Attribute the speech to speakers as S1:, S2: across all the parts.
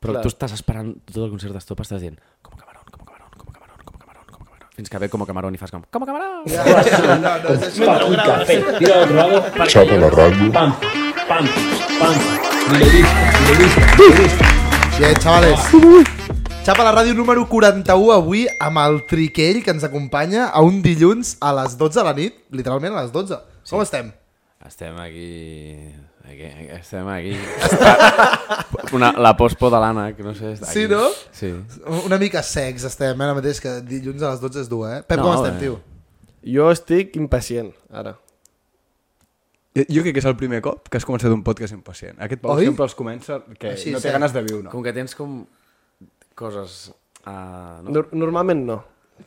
S1: Però
S2: Clar.
S1: tu estàs esperant tot el concert d'Estopa, estàs dient com a camarón, com a camarón, com a camarón, com a camarón, com a camarón. Fins que ve com a camarón i fas com com a camarón. Yeah.
S2: No, no, no, és això.
S3: Un café, tira otro lado, pam,
S4: Chapa la radio.
S3: pam, pam, pam.
S2: Yeah, chavales. Xapa la ràdio número 41 avui amb el Triquell que ens acompanya a un dilluns a les 12 de la nit, literalment a les 12. Sí. Com estem?
S1: Estem aquí... aquí... Estem aquí. Una, la pospo de l'Anna, que no sé... Està
S2: Sí, no?
S1: Sí.
S2: Una mica secs estem, eh, ara mateix, que dilluns a les 12 és dur, eh? Pep,
S1: No,
S2: no, com estem,
S1: eh.
S2: tio?
S5: Jo estic impacient, ara.
S6: Jo- Jo crec que és el primer cop que has començat un podcast impacient. Aquest pau
S2: Oi?
S6: sempre els comença que
S2: Així,
S6: no té
S2: cert.
S6: ganes de viure.
S1: Com que tens com coses... Uh, no?
S5: Nor normalment no.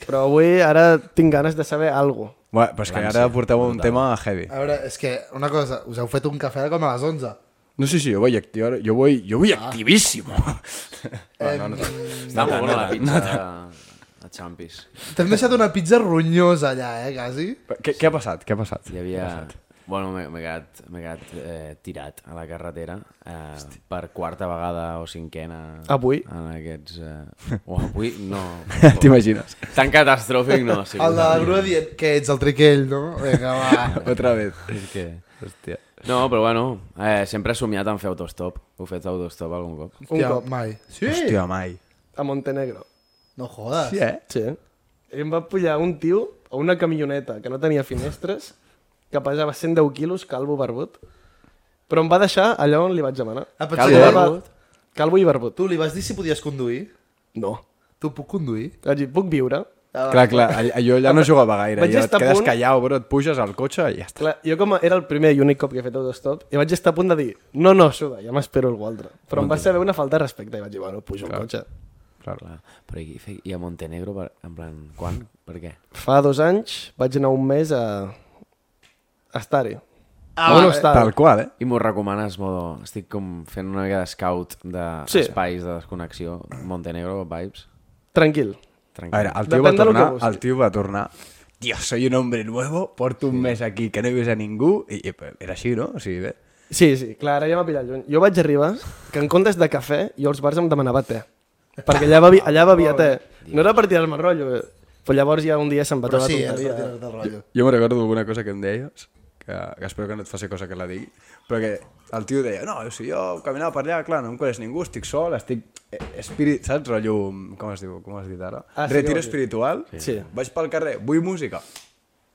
S5: Però avui ara tinc ganes de saber alguna cosa.
S6: Bueno, però és que ara porteu un tema heavy.
S2: A veure, és que una cosa, us heu fet un cafè com a les 11.
S6: No sé si jo vull activar... Jo vull, jo vull activíssim.
S2: Eh,
S1: Està molt bona la pizza de, de Champis.
S2: T'hem deixat una pizza ronyosa allà, eh, quasi?
S6: Què, què ha passat? Què ha passat?
S1: Hi havia... Bueno, m'he m'he quedat, m'he quedat eh, tirat a la carretera eh, per quarta vegada o
S2: Ah,
S1: cinquena.
S5: Avui?
S1: En aquests... Eh... O avui? No.
S6: T'imagines?
S1: Tan catàstrofic no ha sigut.
S2: El de la grua dient que ets el Triquell, no? Vinga, va.
S6: Otra vez.
S1: És que...
S6: Hòstia.
S1: No, però bueno, eh, sempre he somiat en fer autostop. Heu fet autostop algun cop?
S5: Un
S2: Hòstia,
S5: cop.
S2: mai. Sí?
S6: Hòstia, mai.
S5: A Montenegro.
S2: No jodes.
S6: Sí, eh?
S5: Sí. I em va pujar un tio a una camioneta que no tenia finestres, que pesava 110 quilos, calvo barbut, però em va deixar allà on li vaig demanar.
S2: Ah, però
S1: Calvo,
S2: sí, eh?
S1: barbut?
S5: Calvo i barbut.
S2: Tu li vas dir si podies conduir?
S5: No.
S2: Tu puc conduir?
S5: Vaig dir, puc viure?
S6: Clar, clar, all- allò allà no jugava gaire.
S5: Vaig
S6: Vaig et
S5: estar a
S6: quedes
S5: punt-
S6: callau, bro, et puges al cotxe i ja està.
S5: Clar, jo com a- era el primer i únic cop que he fet autostop, i vaig estar a punt de dir, no, no, suda, ja m'espero algú altre. Però em va saber una falta de respecte i vaig dir, bueno, pujo al cotxe.
S6: Clar.
S1: Clar. Però i, i a Montenegro, per, en plan, quan? Per què?
S5: Fa dos anys vaig anar un mes a, a estar-hi.
S2: Ah,
S5: no, no
S2: eh,
S5: estar
S6: Tal qual, eh?
S1: I m'ho recomanes, modo... Estic com fent una mica de scout
S5: Sí.
S1: d'espais de desconnexió. Montenegro, vibes.
S5: Tranquil.
S6: A
S1: Tranquil.
S6: veure, el tio
S5: Depèn
S6: va
S5: de lo que
S6: tornar,
S5: busquis.
S6: el tio va tornar, Dios, soy un hombre nuevo, porto un mes aquí que no he vist a ningú, i, i era així, no? O sigui, bé.
S5: Sí, sí, clar, ara ja m'ha pillat lluny. Jo vaig arribar que en comptes de cafè, jo als bars em demanava te. Perquè allà bevia, allà bevia te. No era per tirar-me rotllo, eh. però llavors ja un dia se'm va
S2: Però
S5: trobar
S2: sí, eh,
S5: tonteria.
S2: sortiràs del rotllo.
S6: Jo me recordo d'alguna cosa que em deies, que, que espero que no et faci cosa que la digui, però que el tio deia, no, o sigui, jo caminava per allà, clar, no em coneix ningú, estic sol, estic... eh, Espírit, saps, rotllo, com es diu, com has dit ara?
S5: Ah, sí,
S6: Ah, sí,
S5: com
S6: Retiro
S5: has dit.
S6: espiritual,
S5: Sí.
S6: vaig pel carrer, vull música,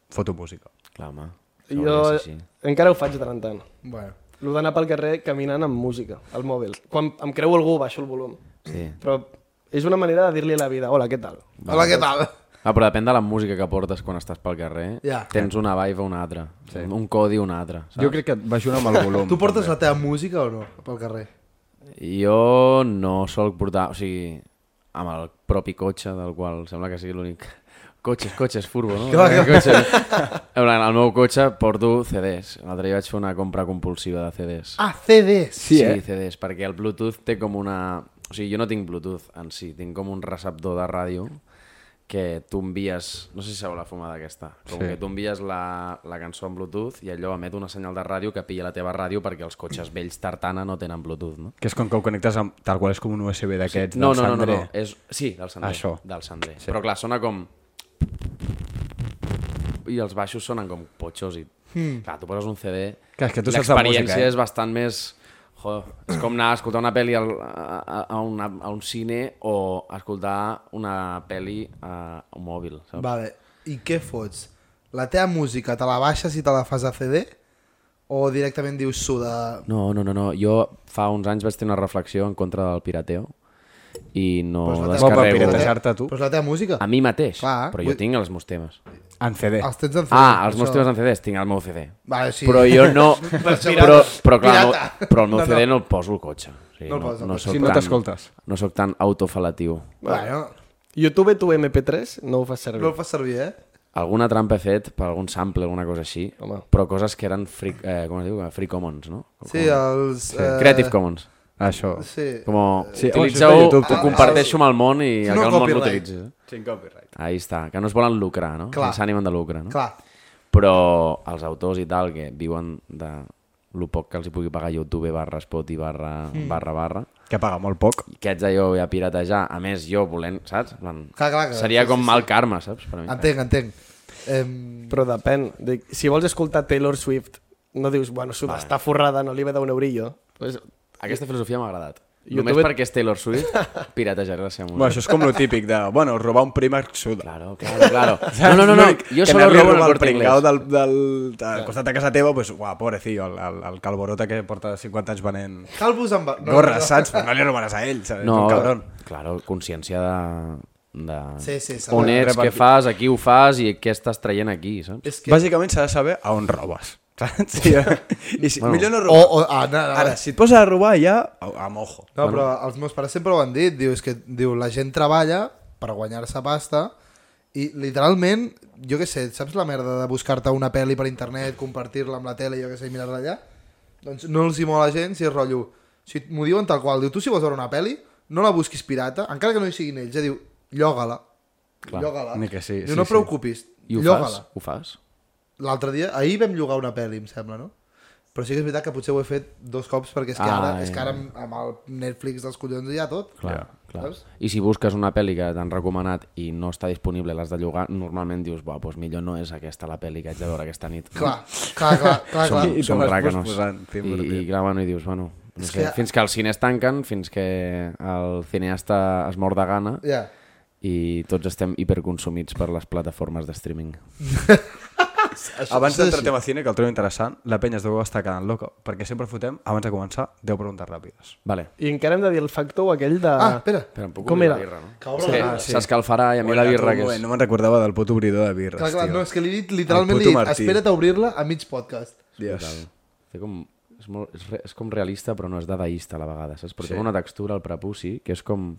S6: foto música.
S1: Clar, home.
S5: Jo
S1: hauria de ser així.
S5: encara ho faig de tant en tant.
S2: Bueno.
S5: Lo d'anar pel carrer caminant amb música, al mòbil. Quan em creu algú, baixo el volum.
S1: Sí.
S5: Però és una manera de dir-li a la vida, hola, què tal?
S2: Hola, què tal?
S1: Ah, però depèn de la música que portes quan estàs pel carrer.
S2: Ja.
S1: Tens una vibe o una altra. Sí. Un codi o una altra. Saps?
S6: crec que et va ajudar amb el volum.
S2: Tu portes la teva música o no pel carrer?
S1: Jo no sol portar... O sigui, amb el propi cotxe, del qual sembla que sigui l'únic... Cotxes, cotxes, furbo, no?
S2: Clar, clar.
S1: Cotxe. En plan, al meu cotxe porto CDs. L'altre dia vaig fer una compra compulsiva de CDs.
S2: Ah, CDs.
S1: Sí, eh? CDs, perquè el Bluetooth té com una... O sigui, jo no tinc Bluetooth en si, tinc com un receptor de ràdio que tu envies... No sé si sabeu la fumada aquesta. Com sí. que tu envies la, la cançó en Bluetooth i allò emet una senyal de ràdio que pilla la teva ràdio perquè els cotxes vells tartana no tenen Bluetooth, no?
S6: Que és com que ho connectes amb... Tal qual és com un USB d'aquests,
S1: No,
S6: del
S1: no, no, no,
S6: Sandre.
S1: no. És... Sí, del Sandré.
S6: Això.
S1: Del Sandré. Sí. Però clar, sona com... I els baixos sonen com potxos i... Mm.
S2: Hmm.
S1: Clar, tu poses un CD...
S6: Clar, és que tu saps de música,
S1: L'experiència
S6: eh?
S1: és bastant més... Joder, és com anar a escoltar una pel·li al, a, a, a, una, a un cine o escoltar una pel·li a un mòbil, saps?
S2: Vale. I què fots? La teva música te la baixes i te la fas a CD? O directament dius suda...
S1: No, no, no, no. Jo fa uns anys vaig tenir una reflexió en contra del pirateo i no
S2: Pues la teva-
S6: Per
S1: descarrego...
S6: piratejar-te tu.
S2: Però és la teva música.
S1: A mi mateix,
S2: Clar,
S1: però jo
S2: vull-
S1: tinc els meus temes.
S6: En CD.
S2: Els tens en CD.
S1: Ah, els
S2: per
S1: meus
S2: això.
S1: temes en CDs, tinc el meu CD.
S2: Vale, sí.
S1: Però jo no...
S2: això
S1: però, però, clar, no,
S2: Pirata.
S1: però el meu no,
S2: No, no.
S1: CD no el poso al cotxe. O sigui,
S2: No el posa al cotxe.
S1: sóc
S6: Si no
S1: tan-
S6: t'escoltes.
S1: No sóc tan autofalatiu.
S2: Bueno,
S5: YouTube tu MP3 no ho fas servir.
S2: no el fas servir, eh?
S1: Alguna trampa he fet per algun sample, alguna cosa així,
S5: Home.
S1: però coses que eren free, eh, com es diu? free commons, no?
S2: Sí, els... Sí. Eh,
S1: Creative Commons.
S6: Això.
S2: Sí.
S1: Com
S6: Sí,
S1: sí, utilitza-ho,
S6: home, això és de YouTube,
S1: ho
S6: també.
S1: comparteixo amb el món i
S2: Si
S1: el
S2: no,
S1: que el món
S2: copyright.
S1: l'utilitzi. eh?
S6: Sin copyright.
S1: Ahí està, que no es volen lucrar, no?
S2: Clar.
S1: No s'animen de lucre, no?
S2: Clar.
S1: Però els autors i tal que viuen de el poc que els hi pugui pagar YouTube barra Spotify barra,
S2: Mm.
S1: barra, barra
S6: Que paga molt poc.
S1: que haig d'allò a piratejar, a més jo volent, saps? En Plan,
S2: Clar, clar, clar,
S1: seria
S2: sí,
S1: com
S2: sí,
S1: mal karma, saps? Per a mi.
S2: Entenc, entenc. Em,
S5: Però depèn. Dic, si vols escoltar Taylor Swift, no dius, bueno, sub, està forrada, no li ve d'un eurillo. Pues,
S1: Aquesta filosofia m'ha agradat.
S5: YouTube-
S1: Només perquè és Taylor Swift, piratejaré la seva música.
S6: Bueno, això és com lo típic de, bueno, robar un primer suda.
S1: Claro, claro, claro. No, no, no, no.
S6: Que
S1: jo solo
S6: anar-li a
S1: robo en el
S6: robar
S1: Corte
S6: pringao
S1: Inglés.
S6: del, del, del costat de casa teva, pues, uah, pobrecillo, el, el, el calborota que porta 50 anys venent
S2: Calvos amb... no,
S6: gorres,
S2: no.
S6: saps? Però No li robaràs a ell, saps?
S1: No,
S6: Un cabron.
S1: claro, consciència de... de...
S2: Sí, sí, s'ha
S1: on
S2: de
S1: ets, què
S6: repartir.
S1: fas, a qui ho fas i què estàs traient aquí, saps?
S2: És que...
S6: Bàsicament s'ha de saber a on robes, saps? I, eh, i si, bueno. millor no
S2: O,
S6: robar.
S2: o, ah, no, no,
S6: Ara, si et poses a robar ja, a, a mojo.
S2: No, però els meus pares sempre ho han dit. Diu, és que diu, la gent treballa per guanyar-se pasta i literalment, jo què sé, saps la merda de buscar-te una pel·li per internet, compartir-la amb la tele, jo què sé, i mirar-la allà? Doncs no els hi mola gens i és rotllo... Si m'ho diuen tal qual, diu, tu si vols veure una pel·li, no la busquis pirata, encara que no hi siguin ells, ja diu, lloga-la. Lloga-la.
S6: ni que sí,
S2: diu,
S6: sí,
S2: no
S6: sí.
S2: et preocupis,
S1: I ho fas?
S2: lloga-la.
S1: Ho fas?
S2: L'altre dia, ahir vam llogar una pel·li, em sembla, no? Però sí que és veritat que potser ho he fet dos cops perquè és que
S1: Ah,
S2: ara, és
S1: ja.
S2: que ara amb, amb el Netflix dels collons hi ha tot.
S1: Clar,
S6: Ja.
S1: clar.
S2: Saps?
S1: I si busques una pel·li que t'han recomanat i no està disponible, l'has de llogar, normalment dius, buah, doncs millor no és aquesta la pel·li que haig de veure aquesta nit.
S2: Clar, clar, clar, clar, clar.
S1: Som,
S6: I
S1: som
S6: te vas
S1: ràcanos.
S6: posposant,
S1: I,
S6: t'he
S1: I
S6: invertit.
S1: clar, bueno, i dius, bueno, no
S2: És
S1: sé,
S2: que-
S1: fins que els cines tanquen, fins que el cineasta es mor de gana
S2: Ja.
S1: i tots estem hiperconsumits per les plataformes de streaming.
S6: Abans
S2: això és
S6: d'entrar al tema cine, que el trobo interessant, la penya es deu estar quedant loca, perquè sempre fotem, abans de començar, 10 preguntes ràpides.
S1: Vale.
S5: I encara hem de dir el factor aquell de...
S2: Ah, espera.
S1: Però em puc
S5: Com
S1: obrir la
S5: era?
S1: birra, no?
S2: Cabrón.
S1: Sí,
S2: Ah,
S6: sí.
S1: S'escalfarà i a mi la
S6: Oiga, tu,
S1: birra
S6: un
S1: que
S6: moment,
S1: és...
S6: No me'n recordava del puto obridor de birres,
S2: Clar, clar,
S6: tio.
S2: no, és que li he dit, literalment
S6: El
S2: li he
S6: puto
S2: dit,
S6: Martí.
S2: espera't a obrir-la a mig podcast.
S6: Dios.
S1: Té com... És, molt, és, re, és com realista, però no és dadaista a la vegada, saps? Però sí. té una textura al prepuci que és com...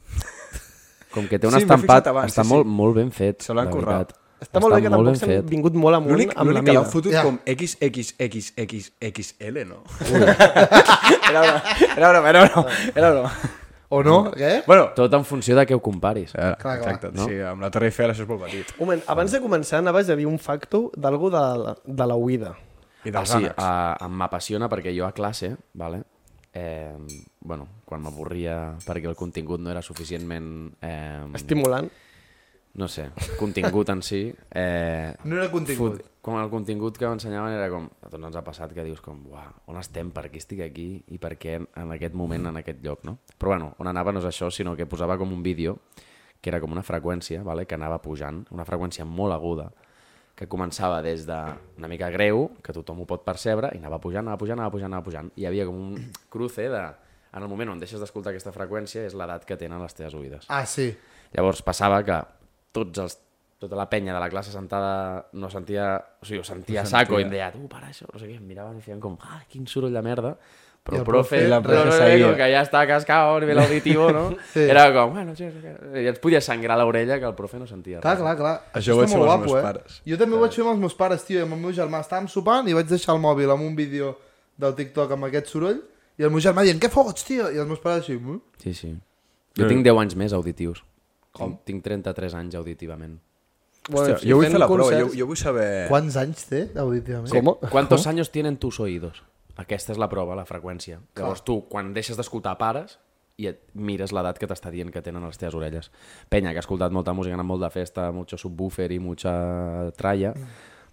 S1: Com que té un
S6: Sí, m'he
S1: estampat...
S6: fixat abans,
S1: està
S6: sí,
S1: molt,
S6: sí.
S1: molt ben fet,
S6: Se l'han
S1: la
S6: currat.
S1: veritat.
S5: Està molt bé que
S1: molt
S5: tampoc
S1: ben
S5: s'han
S1: fet.
S5: vingut molt amunt
S6: L'únic
S5: amb la
S6: l'únic que l'han
S5: mida.
S6: fotut
S2: Ja.
S6: com XXXXXXL, no? era broma, era broma, era broma. Era broma.
S2: O no, què?
S6: Bueno,
S1: Tot en funció de què ho comparis.
S6: clar,
S2: clar.
S6: exacte, sí, amb la Torre Eiffel això és molt petit.
S5: Un moment, abans de començar anaves a dir un facto d'algú de, la- de la huida.
S6: I
S1: Ah,
S6: dels
S1: sí,
S6: ànecs.
S1: a, em m'apassiona perquè jo a classe, vale? eh, bueno, quan m'avorria perquè el contingut no era suficientment... Eh,
S5: Estimulant.
S1: no sé, contingut en si... Eh,
S2: No era contingut.
S1: fot- com el contingut que m'ensenyaven era com... A tots ens ha passat que dius com, uah, on estem, per què estic aquí i per què en aquest moment, en aquest lloc, no? Però bueno, on anava no és això, sinó que posava com un vídeo que era com una freqüència, vale? que anava pujant, una freqüència molt aguda, que començava des de una mica greu, que tothom ho pot percebre, i anava pujant, anava pujant, anava pujant, anava pujant. I hi havia com un cruce de... En el moment on deixes d'escoltar aquesta freqüència és l'edat que tenen les teves oïdes.
S2: Ah, sí.
S1: Llavors passava que tots els, tota la penya de la classe sentada no sentia... O sigui, ho sentia a saco i em deia, tu, para això, no sé què, em miraven i feien com, ah, quin soroll de merda. Però
S2: I
S1: el
S2: el
S1: profe,
S2: profe-
S1: el
S2: la
S1: profe
S6: profe
S1: no, no,
S6: seguia.
S1: no, com que ja està cascado a nivell auditivo, no? sí. Era com, bueno, sí, sí, sí. i ens podia sangrar l'orella que el profe no sentia
S2: Clar,
S1: res.
S2: clar, clar.
S6: Això ho vaig
S2: està
S6: fer
S2: molt
S6: amb els
S2: guapo,
S6: meus
S2: eh?
S6: pares.
S2: Jo també ho vaig fer amb els meus pares, tio, i amb el meu germà. Estàvem sopant i vaig deixar el mòbil amb un vídeo del TikTok amb aquest soroll i el meu germà dient, què fots, tio? I els meus pares així, "Mm?"
S1: Sí, sí. Eh. Jo tinc 10 anys més auditius. Com? Tinc 33 anys auditivament.
S6: Hòstia, jo vull fer la prova, jo, jo vull saber...
S2: Quants anys té, auditivament?
S5: Com?
S1: ¿Cuántos años tienen tus oídos? Aquesta és la prova, la freqüència. Llavors tu, quan deixes d'escoltar pares i et mires l'edat que t'està dient que tenen les teves orelles. Penya, que ha escoltat molta música, ha anat molt de festa, mucho subwoofer i mucha tralla,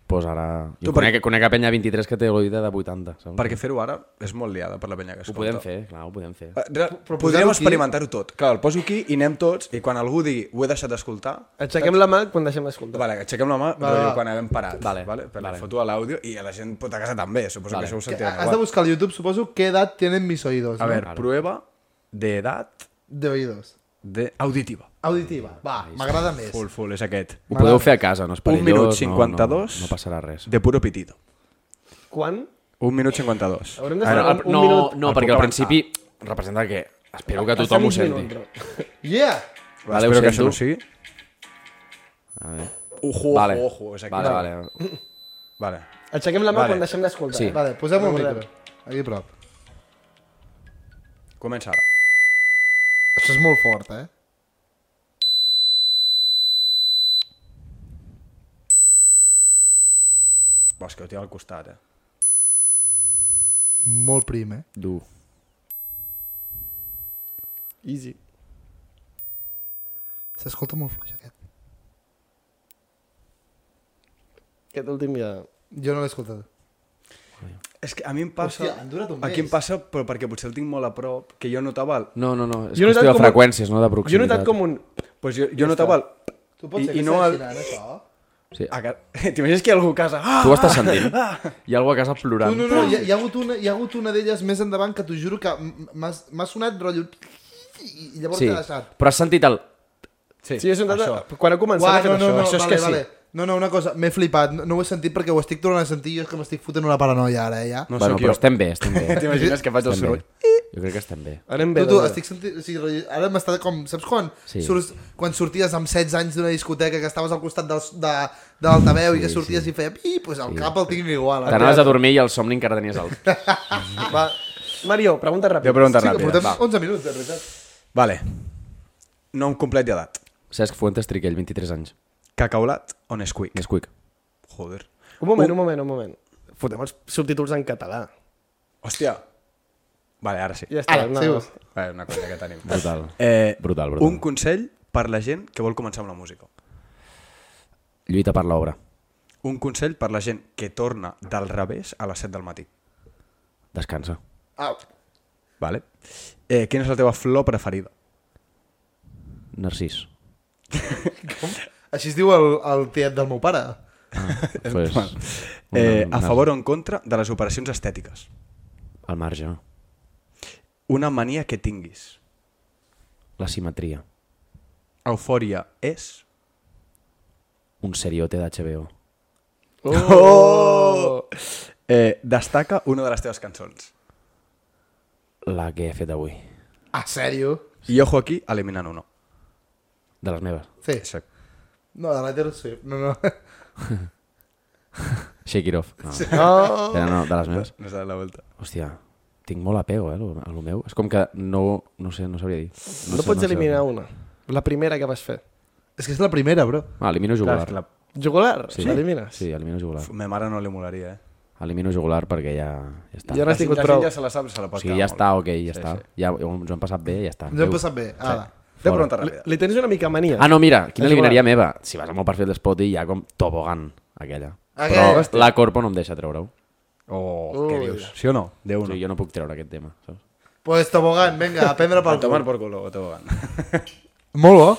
S1: pues ara... Jo
S6: Mm. Tu per-
S1: conec, conec a penya 23 que té l'oïda de 80, saps?
S6: Perquè fer-ho ara és molt liada per la penya que
S1: Ho
S6: escolta.
S1: podem fer, clar, ho podem fer.
S6: Eh, re-
S2: Però posar-ho
S6: Podríem
S2: aquí-
S6: experimentar-ho tot. Clar, el poso aquí i anem tots, i quan algú digui ho he deixat d'escoltar,
S5: Aixequem la mà quan deixem d'escoltar.
S6: vale, aixequem la mà rotllo, quan haguem parat.
S1: Vale,
S6: vale? Per
S1: vale.
S6: la foto a l'àudio i a la gent pot a casa també, suposo
S1: Vale.
S6: que això ho
S2: Que
S6: sentirà.
S2: Has de buscar al YouTube, suposo, qué edad tienen mis oídos.
S6: A
S2: ¿no?
S6: ver, prueba de edad
S2: De oídos.
S6: de auditiva.
S2: Auditiva. Va, m'agrada més.
S6: Full, full, és aquest.
S1: Ho podeu fer a casa, no és
S6: Un
S1: perillós,
S6: minut
S1: no,
S6: 52.
S1: no, no passarà res.
S6: De puro pitido.
S5: Quan?
S6: Un minut 52.
S5: Haurem de
S1: A veure,
S5: fer
S1: al-
S5: un,
S1: no,
S5: un minut.
S1: no,
S6: El
S1: perquè
S6: puc
S1: al
S6: avançar.
S1: principi representa que espero que tothom ho senti.
S2: Yeah!
S1: Vale, ho
S6: Espero que això
S1: sento.
S6: no sigui...
S1: A veure.
S6: Ojo,
S1: Vale,
S6: ojo, ojo. És aquí.
S1: vale, vale.
S6: vale.
S5: Aixequem la mà
S6: Vale.
S5: quan deixem d'escoltar.
S1: Sí.
S2: Vale, posem un
S5: Recordem.
S2: micro. Aquí a prop.
S6: Comença ara.
S2: Això és molt fort, eh?
S6: Bo, és que ho tinc al costat, eh?
S2: molt prim, eh?
S1: Dur.
S5: Easy.
S2: S'escolta molt fluix, aquest.
S5: Aquest últim ja...
S2: Jo no l'he escoltat.
S6: És que a mi em passa...
S2: Hòstia, han durat un
S6: Aquí em
S2: mes.
S6: passa, però perquè potser el tinc molt a prop, que jo notava el...
S1: No, no, no. És
S5: Jo he
S1: qüestió
S5: notat
S1: de
S5: com-
S1: freqüències, no de
S5: Jo he
S1: proximitat.
S5: notat com un...
S6: Pues jo, jo notava el...
S2: Tu
S6: pots I- ser que i no segueixi el-
S2: això?
S1: Sí.
S6: a ca- T'imagines que hi ha algú a casa? Ah!
S1: Tu ho estàs sentint? Ah, Hi ha algú a casa
S2: No,
S1: plorant.
S2: no, no, hi ha, hi ha hagut una, hi ha hagut una d'elles més endavant que t'ho juro que m- m'ha m'ha sonat rotllo... I i llavors
S1: Sí,
S2: t'ha deixat.
S1: però has sentit el...
S5: Sí, és un data... Quan ha començat
S2: Uah,
S5: ha fet
S2: no, no,
S5: això.
S2: no,
S5: això és
S2: vale,
S5: que
S2: vale. No, no, una cosa, m'he flipat, no, no ho he sentit perquè ho estic tornant a sentir i jo és que m'estic fotent una paranoia ara, eh, ja.
S6: No
S1: bueno,
S6: sóc jo.
S1: però estem bé, estem bé.
S6: T'imagines que faig el
S1: estem bé.
S6: soroll?
S1: Jo crec que estem bé.
S5: sí. Anem
S2: Tu,
S5: bé.
S2: tu,
S5: anem bé.
S2: estic sentint... O sigui, rotllo, ara m'està com... Saps quan?
S1: Sí.
S2: Surts, quan sorties amb 16 anys d'una discoteca que estaves al costat dels, de, de l'altaveu i que sorties i feia... I, pues el cap el tinc igual. eh?
S1: T'anaves a dormir i el somni encara tenies el...
S5: Va. Mario, pregunta ràpida.
S6: Jo pregunta
S2: Sí, que
S6: ràpida.
S2: portem
S6: Va.
S2: 11 minuts, de veritat.
S6: Vale. Nom complet i edat.
S1: Cesc Fuentes Triquell, 23 anys.
S6: Cacaulat o Nesquik?
S1: Nesquik.
S6: Joder.
S1: Uh.
S5: Un moment, un moment, un moment. Fotem els subtítols en català.
S6: Hòstia. Vale, ara sí.
S5: Ja està.
S2: Ara, sí.
S6: Vale, una cosa que tenim.
S1: Brutal.
S6: Eh,
S1: Brutal, brutal.
S6: Un consell per la gent que vol començar amb la música.
S1: Lluita per l'obra.
S6: Un consell per la gent que torna del revés a les 7 del matí.
S1: Descansa.
S2: Ah,
S6: Vale. Eh, quina és la teva flor preferida?
S1: Narcís.
S2: així es diu el, el tiet del meu pare.
S1: Pues,
S6: Eh,
S1: una-
S6: a favor o en contra de les operacions estètiques?
S1: Al marge.
S6: Una mania que tinguis.
S1: La simetria.
S6: Eufòria és...
S1: Un seriote d'HBO.
S6: Oh! Eh, destaca una de les teves cançons.
S1: La que he fet avui.
S2: Ah, sèrio?
S6: I ojo aquí, eliminant uno.
S1: De les meves.
S2: Sí.
S6: Exacte.
S2: No, de la Taylor Swift. No, no.
S1: Shake it off. No,
S5: Oh.
S1: no, no de les meves.
S6: Nos da la volta.
S1: Hòstia, tinc molt apego, eh, lo- a lo meu. És com que no, no ho sé, no sabria dir.
S5: No,
S1: sé,
S5: pots
S1: sé.
S5: eliminar una. La primera que vas fer.
S2: És que és la primera, bro.
S1: Ah, elimino jugular.
S6: La...
S5: Jugular? Sí. L'elimines?
S1: Sí, elimino jugular.
S6: Ma mare no li molaria, eh?
S1: Elimino jugular perquè ja, ja està.
S5: Ja no
S1: Ja
S5: has tingut prou.
S6: se la sap, se la
S1: o
S6: pot
S1: sigui, ja està, ok, ja està. Ja, ens ho hem passat bé, ja està.
S2: Ens ho
S1: Adéu.
S2: hem passat bé. Ara.
S6: Té pregunta
S5: Li,
S6: ràpida.
S5: li tens una mica mania.
S1: Ah, no, mira, quina
S5: És
S1: eliminaria
S5: igual.
S1: meva? Si vas al meu perfil d'Spot hi ha com tobogan, aquella.
S2: Aquella,
S1: Però
S2: hòstia.
S1: la Corpo no em deixa treure-ho.
S6: Oh,
S5: Ui.
S6: què dius? Sí o no? De
S1: O
S6: uno.
S1: sigui, jo no puc treure aquest tema, saps?
S2: Pues tobogán, vinga, a prendre pel
S6: Tomar
S2: cul.
S6: por culo, o tobogán.
S2: Molt bo.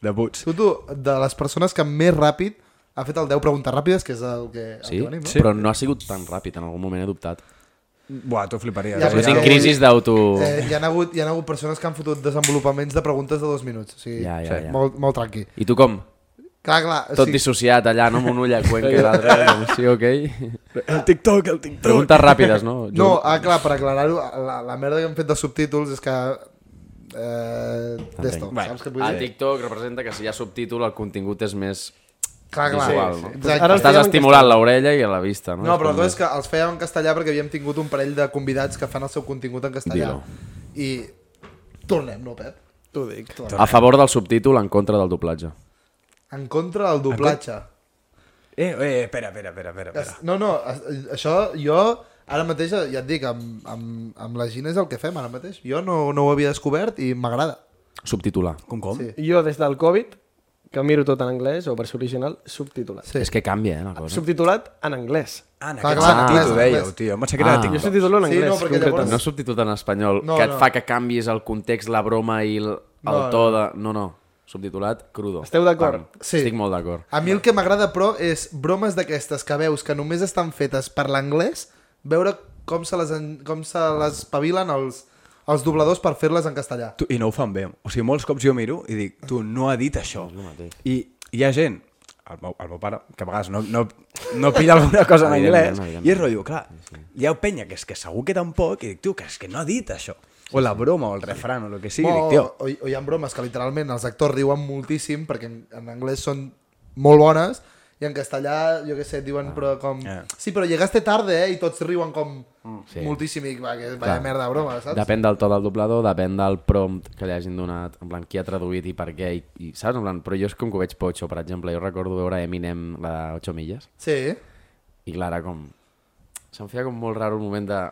S6: De Puig.
S2: Tu, tu, de les persones que més ràpid ha fet el 10 preguntes ràpides, que és el que, el
S1: Sí?
S2: Ah, que venim, no?
S1: Però no ha sigut tan ràpid, en algun moment he dubtat.
S6: Buah, tu fliparies. Eh,
S2: Ja,
S1: Però
S2: sí,
S1: tinc
S2: sí.
S1: crisis d'auto...
S2: Eh, hi, han hagut, hi han hagut persones que han fotut desenvolupaments de preguntes de dos minuts. O sigui,
S1: Ja, ja, ja.
S2: Molt, molt tranqui.
S1: I tu com?
S2: Clar, clar.
S1: Tot dissociat allà, no? Amb un ull a cuenca i l'altre... Sí, ok?
S6: El TikTok, el TikTok.
S1: Preguntes ràpides, no?
S2: No, ah, clar, per aclarar-ho, la, la merda que hem fet de subtítols és que... Eh, D'esto,
S6: Bueno,
S2: saps què et vull
S1: A
S2: dir?
S1: Ah, TikTok representa que si hi ha subtítol el contingut és més...
S2: Clar, Ah, clar.
S1: visual, no?
S2: Exacte.
S5: Ara-
S1: Estàs
S5: fèiem en
S1: estimulant l'orella i la vista, no?
S2: No, però la cosa és que els fèiem en castellà perquè havíem tingut un parell de convidats que fan el seu contingut en castellà.
S1: Dilo.
S2: I tornem, no, Pep?
S5: T'ho dic.
S1: A favor del subtítol, en contra del doblatge.
S2: En contra del doblatge.
S6: Eh, eh, espera, espera, espera, espera. espera.
S2: Es- No, no, es- això jo ara mateix, ja et dic, amb, amb, amb la Gina és el que fem ara mateix. Jo no, no ho havia descobert i m'agrada.
S1: Subtitular.
S6: Com, com?
S2: Sí.
S5: Jo, des del Covid, que miro tot en anglès, o versió original, subtitulat.
S2: Sí.
S1: És que canvia, eh, la cosa.
S5: Subtitulat en anglès.
S6: Ah, en
S2: Clar,
S6: aquest
S2: clar,
S6: sentit
S2: clar,
S6: ho
S2: clar.
S6: dèieu, tio. Em pensava que era
S1: Ah.
S5: Jo
S6: TikTok.
S5: subtitulo en
S2: Sí,
S5: anglès,
S2: no, perquè llavors-
S5: concretament.
S1: No subtitulat en espanyol,
S2: No,
S1: no, que et
S2: no.
S1: fa que canvis el context, la broma i el, el
S2: No,
S1: to de... No, no. Subtitulat, crudo.
S5: Esteu d'acord?
S1: Pam.
S2: Sí.
S1: Estic molt d'acord.
S2: A mi el que m'agrada, però, és bromes d'aquestes que veus que només estan fetes per l'anglès, veure com se les, en, com se les pavilen els, els dobladors per fer-les en castellà.
S6: Tu, I no ho fan bé. O sigui, molts cops jo miro i dic, tu, no ha dit això. I hi ha gent, el meu, el meu pare, que a vegades no, no, no pilla alguna cosa en anglès,
S1: Evidentment, evidentment.
S6: i és rotllo, clar, hi ha penya que és que segur que tampoc, i dic, tu, que és que no ha dit això. O la broma, o el refran, o el que sigui,
S2: o,
S6: dic, tio,
S2: o, o hi ha bromes que literalment els actors riuen moltíssim perquè en, en anglès són molt bones i en castellà, jo què sé, et diuen però com...
S6: Ah.
S2: Sí, però llegaste tarde, eh? I tots riuen com
S6: Mm.
S1: Sí.
S2: moltíssim i va, que vaya
S1: Clar.
S2: merda de broma, saps?
S1: Depèn del to del doblador, depèn del prompt que li hagin donat, en plan, qui ha traduït i per què, i, i saps? En plan, però jo és com que ho veig potxo, per exemple, jo recordo veure Eminem, la de 8 milles,
S2: Sí.
S1: i Clara com... Se'm feia com molt raro el moment de...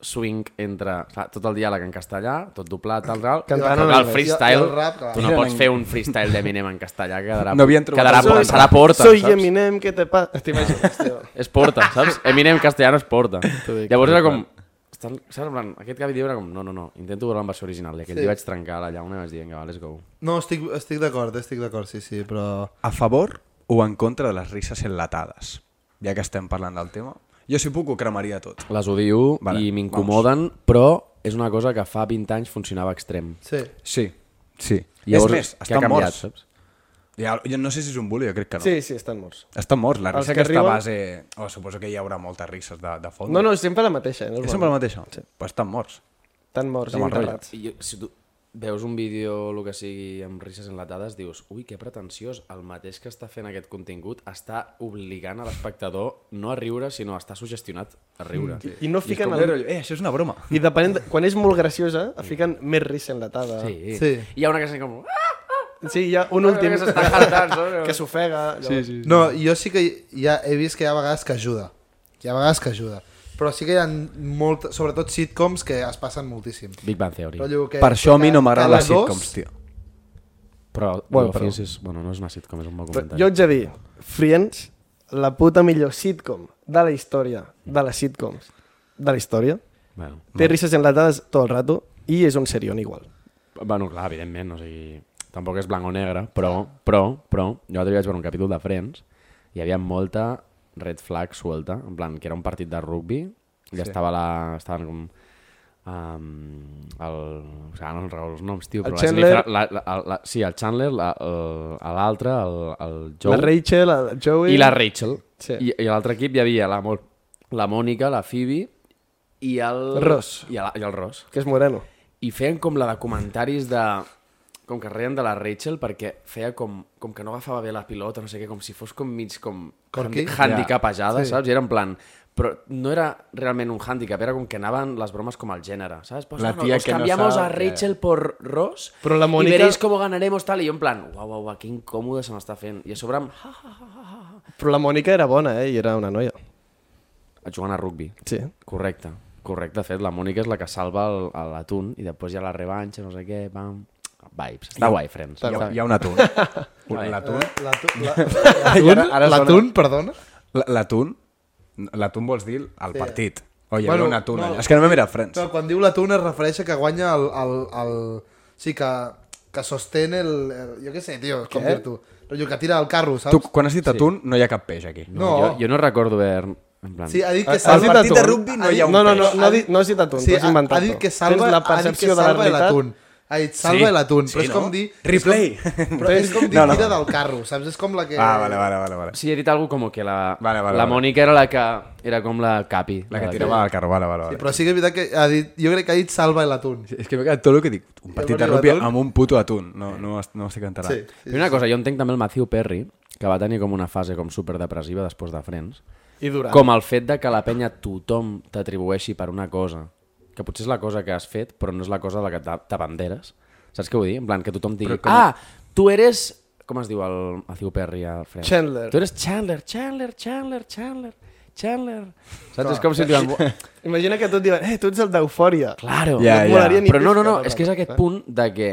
S1: swing entre clar, tot el diàleg en castellà, tot doblat, tal, tal,
S5: Cantant
S1: però
S5: en
S1: clar, el
S5: anglès.
S1: freestyle,
S2: I el rap, clar.
S1: tu no
S6: Era
S1: pots
S6: en-
S1: fer un freestyle d'Eminem en castellà, quedarà,
S6: No havien trobat
S1: quedarà,
S6: el
S1: por-
S6: sonido.
S1: serà porta,
S5: Soy
S1: saps?
S5: Eminem, ¿qué te pasa? T'imagines, tio.
S1: És porta, saps? Eminem en castellà no és porta.
S5: dic,
S1: Llavors era com... Estan, saps, en plan, aquest cap i diu era com, no, no, no, intento veure la versió original, i aquell
S2: Sí.
S1: dia vaig trencar la llauna i vaig dir, vinga, va, let's go.
S2: No, estic, estic d'acord, estic d'acord, sí, sí, però...
S6: A favor o en contra de les risses enlatades? Ja que estem parlant del tema. Jo si puc ho cremaria tot.
S1: Les odio
S6: Vale,
S1: vale, i m'incomoden, però és una cosa que fa 20 anys funcionava extrem.
S2: Sí.
S6: Sí, sí.
S1: Llavors,
S6: és més,
S1: què ha
S6: estan
S1: canviat,
S6: morts.
S1: saps?
S6: Ja, jo no sé si és un bully, jo crec que no.
S5: Sí, sí, estan morts.
S6: Estan morts, la
S5: Els
S6: risa
S5: que
S6: que està a
S5: riuen-
S6: base... Oh, suposo que hi haurà moltes risses de, de fons.
S5: No, no, sempre la mateixa. Eh?
S6: És
S5: normalment.
S6: sempre el mateix. Sí. Però estan morts.
S5: Estan morts i
S6: Amb el rotllo.
S5: enterrats.
S1: I jo, si tu veus un vídeo, el que sigui, amb risses enlatades, dius, ui, que pretensiós, el mateix que està fent aquest contingut està obligant a l'espectador no a riure, sinó a estar sugestionat a riure. Mm,
S5: I no fiquen...
S6: El...
S5: El...
S6: Eh, això és una broma.
S5: I depenent... de- Quan és molt graciosa, fiquen més risa enlatada.
S1: Sí. sí.
S2: Sí.
S1: Hi ha una que és com... "Ah!"
S5: Sí, hi ha un últim
S1: que s'està cantant, saps?
S5: que s'ofega. Sí, sí.
S2: No, jo sí que ja he vist que hi ha vegades que ajuda. Hi ha vegades que ajuda. Però sí que hi ha molt, sobretot sitcoms que es passen moltíssim.
S1: Big Bang Theory.
S2: Rotllo que,
S6: Per això a mi no m'agraden
S2: cada
S6: les
S2: dos-
S6: sitcoms, tio.
S1: Però, bueno,
S5: Bueno, però-
S1: és, bueno, no és una sitcom, és un bon
S5: Però
S1: comentari.
S5: jo ets a dir, Friends, la puta millor sitcom de la història, de les sitcoms, de la història,
S1: Bueno.
S5: té risses enlatades tot el rato i és un serion igual.
S1: Bueno, clar, evidentment, o sigui, tampoc és blanc o negre, però, però, però, jo l'altre dia vaig veure un capítol de Friends i hi havia molta red flag suelta, en plan, que era un partit de rugby i sí. estava la... estaven com... Um, el, o sigui, ara no em recordo els noms, tio,
S5: El
S1: però
S5: Chandler.
S1: la, la, la, la, sí, el Chandler, la- el- a l'altre, el, el, Joe,
S5: La Rachel, el Joey...
S1: i la Rachel.
S5: Sí.
S1: I, i a l'altre equip hi havia la, Mo- la Mònica, la Phoebe i el...
S5: Ross.
S1: I, la, i el Ross
S5: Que és moreno.
S1: i feien com la de comentaris de com que reien de la Rachel perquè feia com, com que no agafava bé la pilota, no sé què, com si fos com mig com
S2: Corky?
S1: handi handicapejada, saps? I era en plan... Però no era realment un hàndicap, era com que anaven les bromes com al gènere, saps? Pues, ah,
S6: La
S1: bueno,
S6: tía
S1: os
S6: que no
S1: cambiamos
S6: sabe
S1: a
S6: que-
S1: Rachel por Ross
S5: Però la Mónica-
S1: y veréis cómo ganaremos tal, i jo en plan, uau, uau, uau, que incòmode se m'està fent. I a sobre amb... ha, ha,
S5: Però la Mònica era bona, eh? I era una noia.
S1: ha, jugant a rugby.
S5: Sí.
S1: Correcte, correcte, de fet, la Mònica és la que salva el- a l'atún i després hi ha la revanxa, no sé què, pam... Vibes. Està guai, Friends.
S6: Hi ha,
S1: Està
S6: hi ha un atún. Un- L'atún...
S2: L'atún, la,
S6: I ara- ara sona-
S2: l'atún, perdona.
S6: L- L'atún... L'atún vols dir el partit. O hi havia
S2: Bueno,
S6: un atún
S2: no.
S6: allà. És que no m'he mirat Friends.
S2: No, quan diu l'atún es refereix a que guanya el... el, el sí, que, que sostén el, el... Jo què sé, tio, com dir-t'ho. Rotllo que tira el carro, saps?
S6: Tu, quan has dit atún, no hi ha cap peix aquí. Ah,
S2: No.
S1: Jo, jo no recordo haver... En plan...
S2: Sí, ha dit
S5: Ha-
S2: que
S5: has
S2: salva...
S5: dit atún.
S2: Ha dit-
S5: No, no, no, no,
S2: Ha
S5: ha dit, no has dit atún,
S2: Sí,
S5: t'ho has
S2: ha,
S5: inventat.
S2: ha dit
S5: tu.
S2: que salva,
S5: Tens la
S2: ha dit que
S5: percepció de la
S2: salva
S5: realitat.
S2: l'atún. Ha dit salva
S6: Sí,
S2: l'atún,
S6: sí,
S2: però és
S6: no?
S2: com dir...
S6: Replay.
S2: És com, però és com dir
S6: No, no.
S2: tira del carro, saps? És com la que...
S6: Ah, vale, vale, vale. vale.
S1: Sí, he dit alguna com que la,
S6: Vale, vale,
S1: la
S6: vale.
S1: Mònica era la que... Era com la capi.
S6: La que tirava al carro, vale, vale.
S2: Sí,
S6: vale.
S2: però sí que és veritat que ha dit, jo crec que ha dit salva l'atún.
S6: Sí, És que m'he quedat tot el que dic. Un partit de
S2: Mario
S6: rugby
S2: Atún.
S6: amb un puto atún. No, no, es- no estic enterant.
S2: Sí.
S6: Sí.
S1: I una cosa, jo entenc també el Matthew Perry, que va tenir com una fase com superdepressiva després de Friends,
S5: I durant.
S1: com el fet de que a la penya tothom t'atribueixi per una cosa, que potser és la cosa que has fet, però no és la cosa de la que t'a- t'abanderes. Saps què vull dir? En plan, que tothom digui, com... ah, tu eres... Com es diu el Matthew Perry al Friends?
S5: Chandler.
S1: Tu eres Chandler, Chandler, Chandler, Chandler, Chandler. Saps? És com si et diuen...
S5: Imagina que tot diuen, eh, tu ets el d'eufòria.
S1: Claro.
S6: Ja,
S5: et
S6: ja.
S5: molaria ni
S1: Però no, no, no, eh?
S5: piscar,
S1: és que és aquest
S5: clar.
S1: punt de que,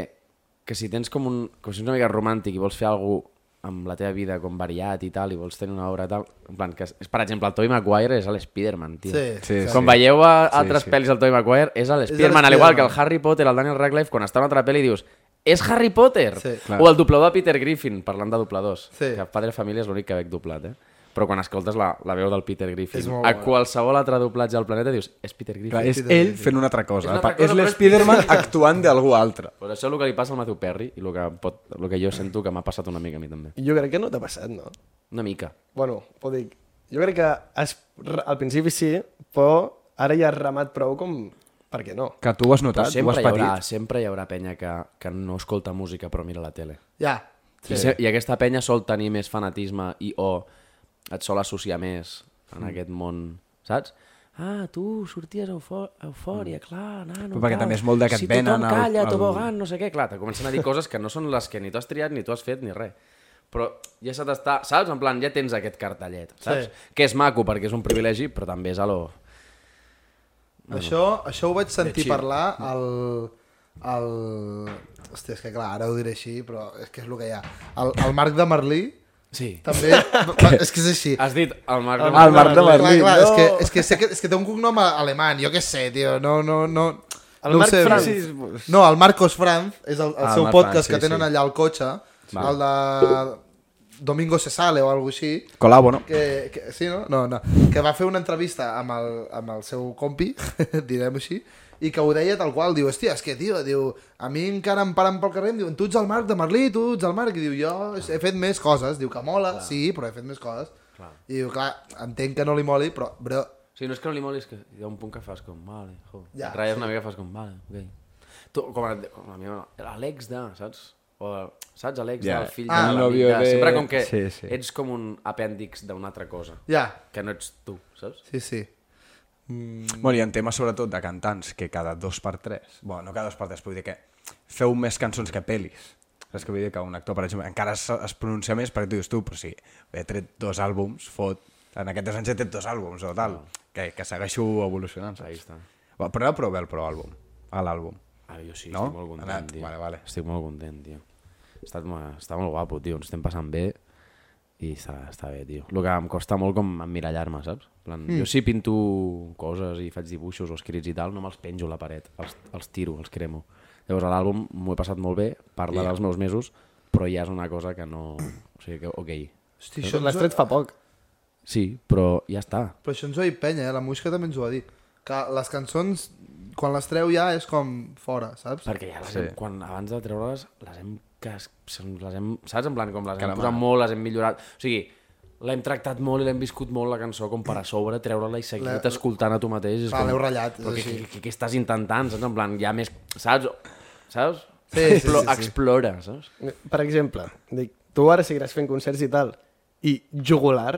S1: que si tens com un... Com si ets una mica romàntic i vols fer alguna cosa amb la teva vida com variat i tal, i vols tenir una obra tal... En plan, que és, és, per exemple, el Tobey Maguire és l'Spiderman, tio.
S2: Sí,
S6: Sí,
S1: Com veieu a altres
S6: sí.
S1: pel·lis del Tobey Maguire, és l'Spiderman, al
S2: l'Spiderman.
S1: igual que el Harry Potter, el Daniel Radcliffe, quan està en una altra pel·li dius és Harry Potter!
S2: Sí.
S6: Clar.
S1: o el doblador de Peter Griffin, parlant de dobladors.
S2: Sí.
S1: Que Padre Família és l'únic que veig doblat, eh? Però quan escoltes la, la veu del Peter Griffin
S2: És molt
S1: a
S2: bo.
S1: qualsevol altre doblatge del planeta dius és Peter Griffin.
S6: Clar, és ell fent una altra
S1: És
S6: cosa.
S1: una altra
S6: És
S1: cosa, però és-
S6: l'Spiderman actuant d'algú altre.
S1: Pues això és el que li passa al Matthew Perry i el que, pot, el que jo sento que m'ha passat una mica a mi també.
S5: Jo crec que no t'ha passat, no?
S1: Una mica.
S5: Bueno, ho dic. Jo crec que has, al principi sí, però ara ja has remat prou com... Per què no?
S6: Que tu ho has
S1: Però
S6: notat, ho has
S1: sempre, hi haurà,
S6: patit.
S1: sempre hi haurà penya que, que no escolta música però mira la tele.
S2: Ja.
S1: Sí. I, se, I aquesta penya sol tenir més fanatisme i o et sol associar més en mm. aquest món, saps? Ah, tu sorties a eufò eufòria, mm. clar, nano,
S6: Però perquè
S1: tal.
S6: també és molt de que et
S1: si
S6: venen
S1: tothom
S6: el-
S1: calla,
S6: el-
S1: tobogan, no sé què, clar, te comencen a dir coses que no són les que ni tu has triat, ni tu has fet, ni res. Però ja se t'està, saps? En plan, ja tens aquest cartellet, saps?
S2: Sí.
S1: Sí. Que és maco perquè és un privilegi, però també és a lo...
S2: Això, això ho vaig sentir parlar al... al... Hòstia, és que clar, ara ho diré així, però és que és el que hi ha. El, el Marc de Merlí
S1: Sí.
S2: també... va- és que és així.
S1: Has dit el Marc de
S6: Ah, El Marc de
S2: Clar,
S6: Berlín.
S2: clar, és,
S6: no.
S2: que, és, que sé que, és que té un cognom a- alemany, jo què sé, tio, no, no, no...
S5: El
S2: no ho
S5: Marc
S2: sé,
S5: Franz.
S2: Sí, No, el Marcos Franz és el, el
S6: Ah, el
S2: seu
S6: Marc
S2: podcast
S6: Franz, sí,
S2: que tenen
S6: sí.
S2: allà al cotxe, el de Domingo se sale o alguna així,
S6: Colabo, no?
S2: que, que, sí, no? No, no. Que va fer una entrevista amb el, amb el seu compi, direm així, i que ho deia tal qual, diu, hòstia, és que, tio, diu, a mi encara em paren pel carrer, em diuen, tu ets el Marc de Merlí, tu ets el Marc, i diu, jo he fet més coses, diu que mola, clar. sí, però he fet més coses. Clar. I diu, clar, entenc que no li moli, però, bro,
S1: Sí, no és que no li molis, que hi ha un punt que fas com, vale, jo.
S2: Ja,
S1: Ja, et ratlles sí. una mica i fas com, vale, ok. Tu, com el, com la meva, l'Àlex de, saps? O, saps, Àlex
S6: Ja.
S1: yeah. del fill
S2: Ah,
S1: de
S2: el
S1: l'amic
S6: nòvio
S1: de...
S6: de-
S1: Sempre com que sí,
S6: Sí, sí.
S1: sí. ets com un apèndix d'una altra cosa,
S2: ja,
S1: que no ets tu, saps?
S2: sí, sí.
S6: Bueno, hi ha temes sobretot de cantants que cada dos per tres, bueno, no cada dos per tres, però vull dir que feu més cançons que pel·lis. Saps que vull dir que un actor, per exemple, encara es, es pronuncia més perquè tu dius tu, però sí, he tret dos àlbums, fot, en aquests anys he tret dos àlbums o tal,
S2: Ah.
S6: que, que segueixo evolucionant, saps?
S1: Ahí està.
S6: Va, però no prou bé el pro àlbum, a l'àlbum.
S1: Ah, jo sí,
S6: No?
S1: estic molt content,
S6: Anat,
S1: tio.
S6: vale, vale.
S1: Estic molt content, tio. Està, està molt guapo, tio. Ens estem passant bé i està, està bé, tio. El que em costa molt com emmirallar-me, saps? En Plan,
S6: Hmm.
S1: mm. Jo sí pinto coses i faig dibuixos o escrits i tal, no me'ls penjo a la paret, els, els tiro, els cremo. Llavors a l'àlbum m'ho he passat molt bé, parla yeah. dels meus mesos, però ja és una cosa que no... O sigui que, ok,
S2: Hosti, això
S5: L'has
S2: ens ho-
S5: tret fa poc.
S1: sí, però ja està.
S2: Però això ens ho ha dit Penya, eh? la música també ens ho va dir. Que les cançons, quan les treu ja és com fora, saps?
S1: Perquè ja les
S6: Sí.
S1: hem, quan, abans de treure-les, les hem, cas- les hem, saps? En plan, com les hem posat molt, les hem millorat. O sigui, l'hem tractat molt i l'hem viscut molt la cançó com per a sobre, treure-la i
S2: La-
S1: seguir-te escoltant a tu mateix. És
S2: Clar,
S1: com,
S2: l'heu ratllat, és
S1: Però què,
S2: així.
S1: què, què, què, estàs intentant, saps? En plan, ja més... Saps? Saps?
S2: Sí, sí, sí,
S1: Explo-
S2: sí.
S1: Explora, saps?
S5: Per exemple, dic, tu ara seguiràs fent concerts i tal, i jugular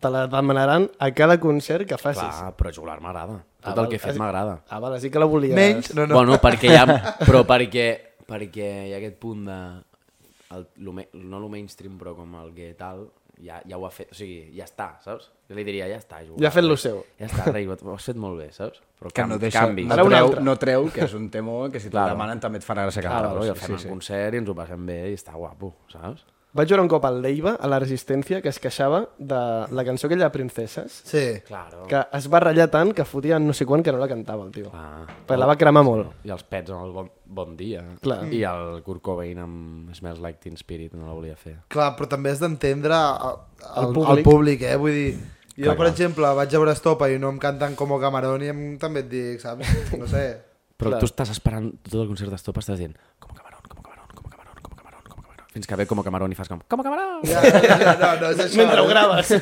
S5: te la demanaran a cada concert que facis.
S1: Clar, però jugar m'agrada. Tot
S2: Ah,
S1: el
S5: val,
S1: que he fet
S5: has-
S1: m'agrada.
S5: Ah, vale, sí que la volies.
S2: Menys, no,
S1: No,
S2: no.
S1: no. Bueno, perquè hi ha... Però perquè, perquè hi ha aquest punt de... El, lo, me- no el mainstream, però com el que tal, ja, ja ho ha fet, o sigui, ja està, saps? Jo li diria, ja està, jugar.
S5: Ja ha fet lo seu.
S1: Ja està, rei, ho ho has fet molt bé, saps? Però
S6: Que
S1: cam,
S6: no deixa,
S1: canvis.
S6: no
S5: Ara un
S6: treu,
S5: altre.
S6: no treu, que és un tema que si t'ho
S1: Claro.
S6: demanen també et farà gràcia
S1: Clar,
S6: cantar.
S1: no, i el fem sí, sí. concert i ens ho passem bé i està guapo, saps?
S5: Vaig veure un cop al Leiva, a la Resistència, que es queixava de la cançó aquella de Princeses,
S2: Sí.
S1: Claro.
S5: que es va ratllar tant que fotia no sé quan que no la cantava el tio.
S1: Ah.
S5: Perquè la va cremar molt.
S1: I els pets amb el bon, bon dia.
S5: Clar.
S1: I el Kurt Cobain amb Smells Like Teen Spirit no la volia fer.
S2: Clar, però també has d'entendre el,
S5: El
S2: el,
S5: públic.
S2: el públic, eh? Vull dir, jo, per exemple, vaig a veure Estopa i no em canten com Camarón i em, també et dic, saps? No sé.
S1: Però Clar. tu estàs esperant tot el concert d'Estopa, estàs dient com a camarón, com a camarón, com a camarón, com a camarón, com a camarón. Fins que ve com a camarón i fas com com a camarón.
S2: Ja, ja, no, no és això.
S5: eh? Mentre ho graves.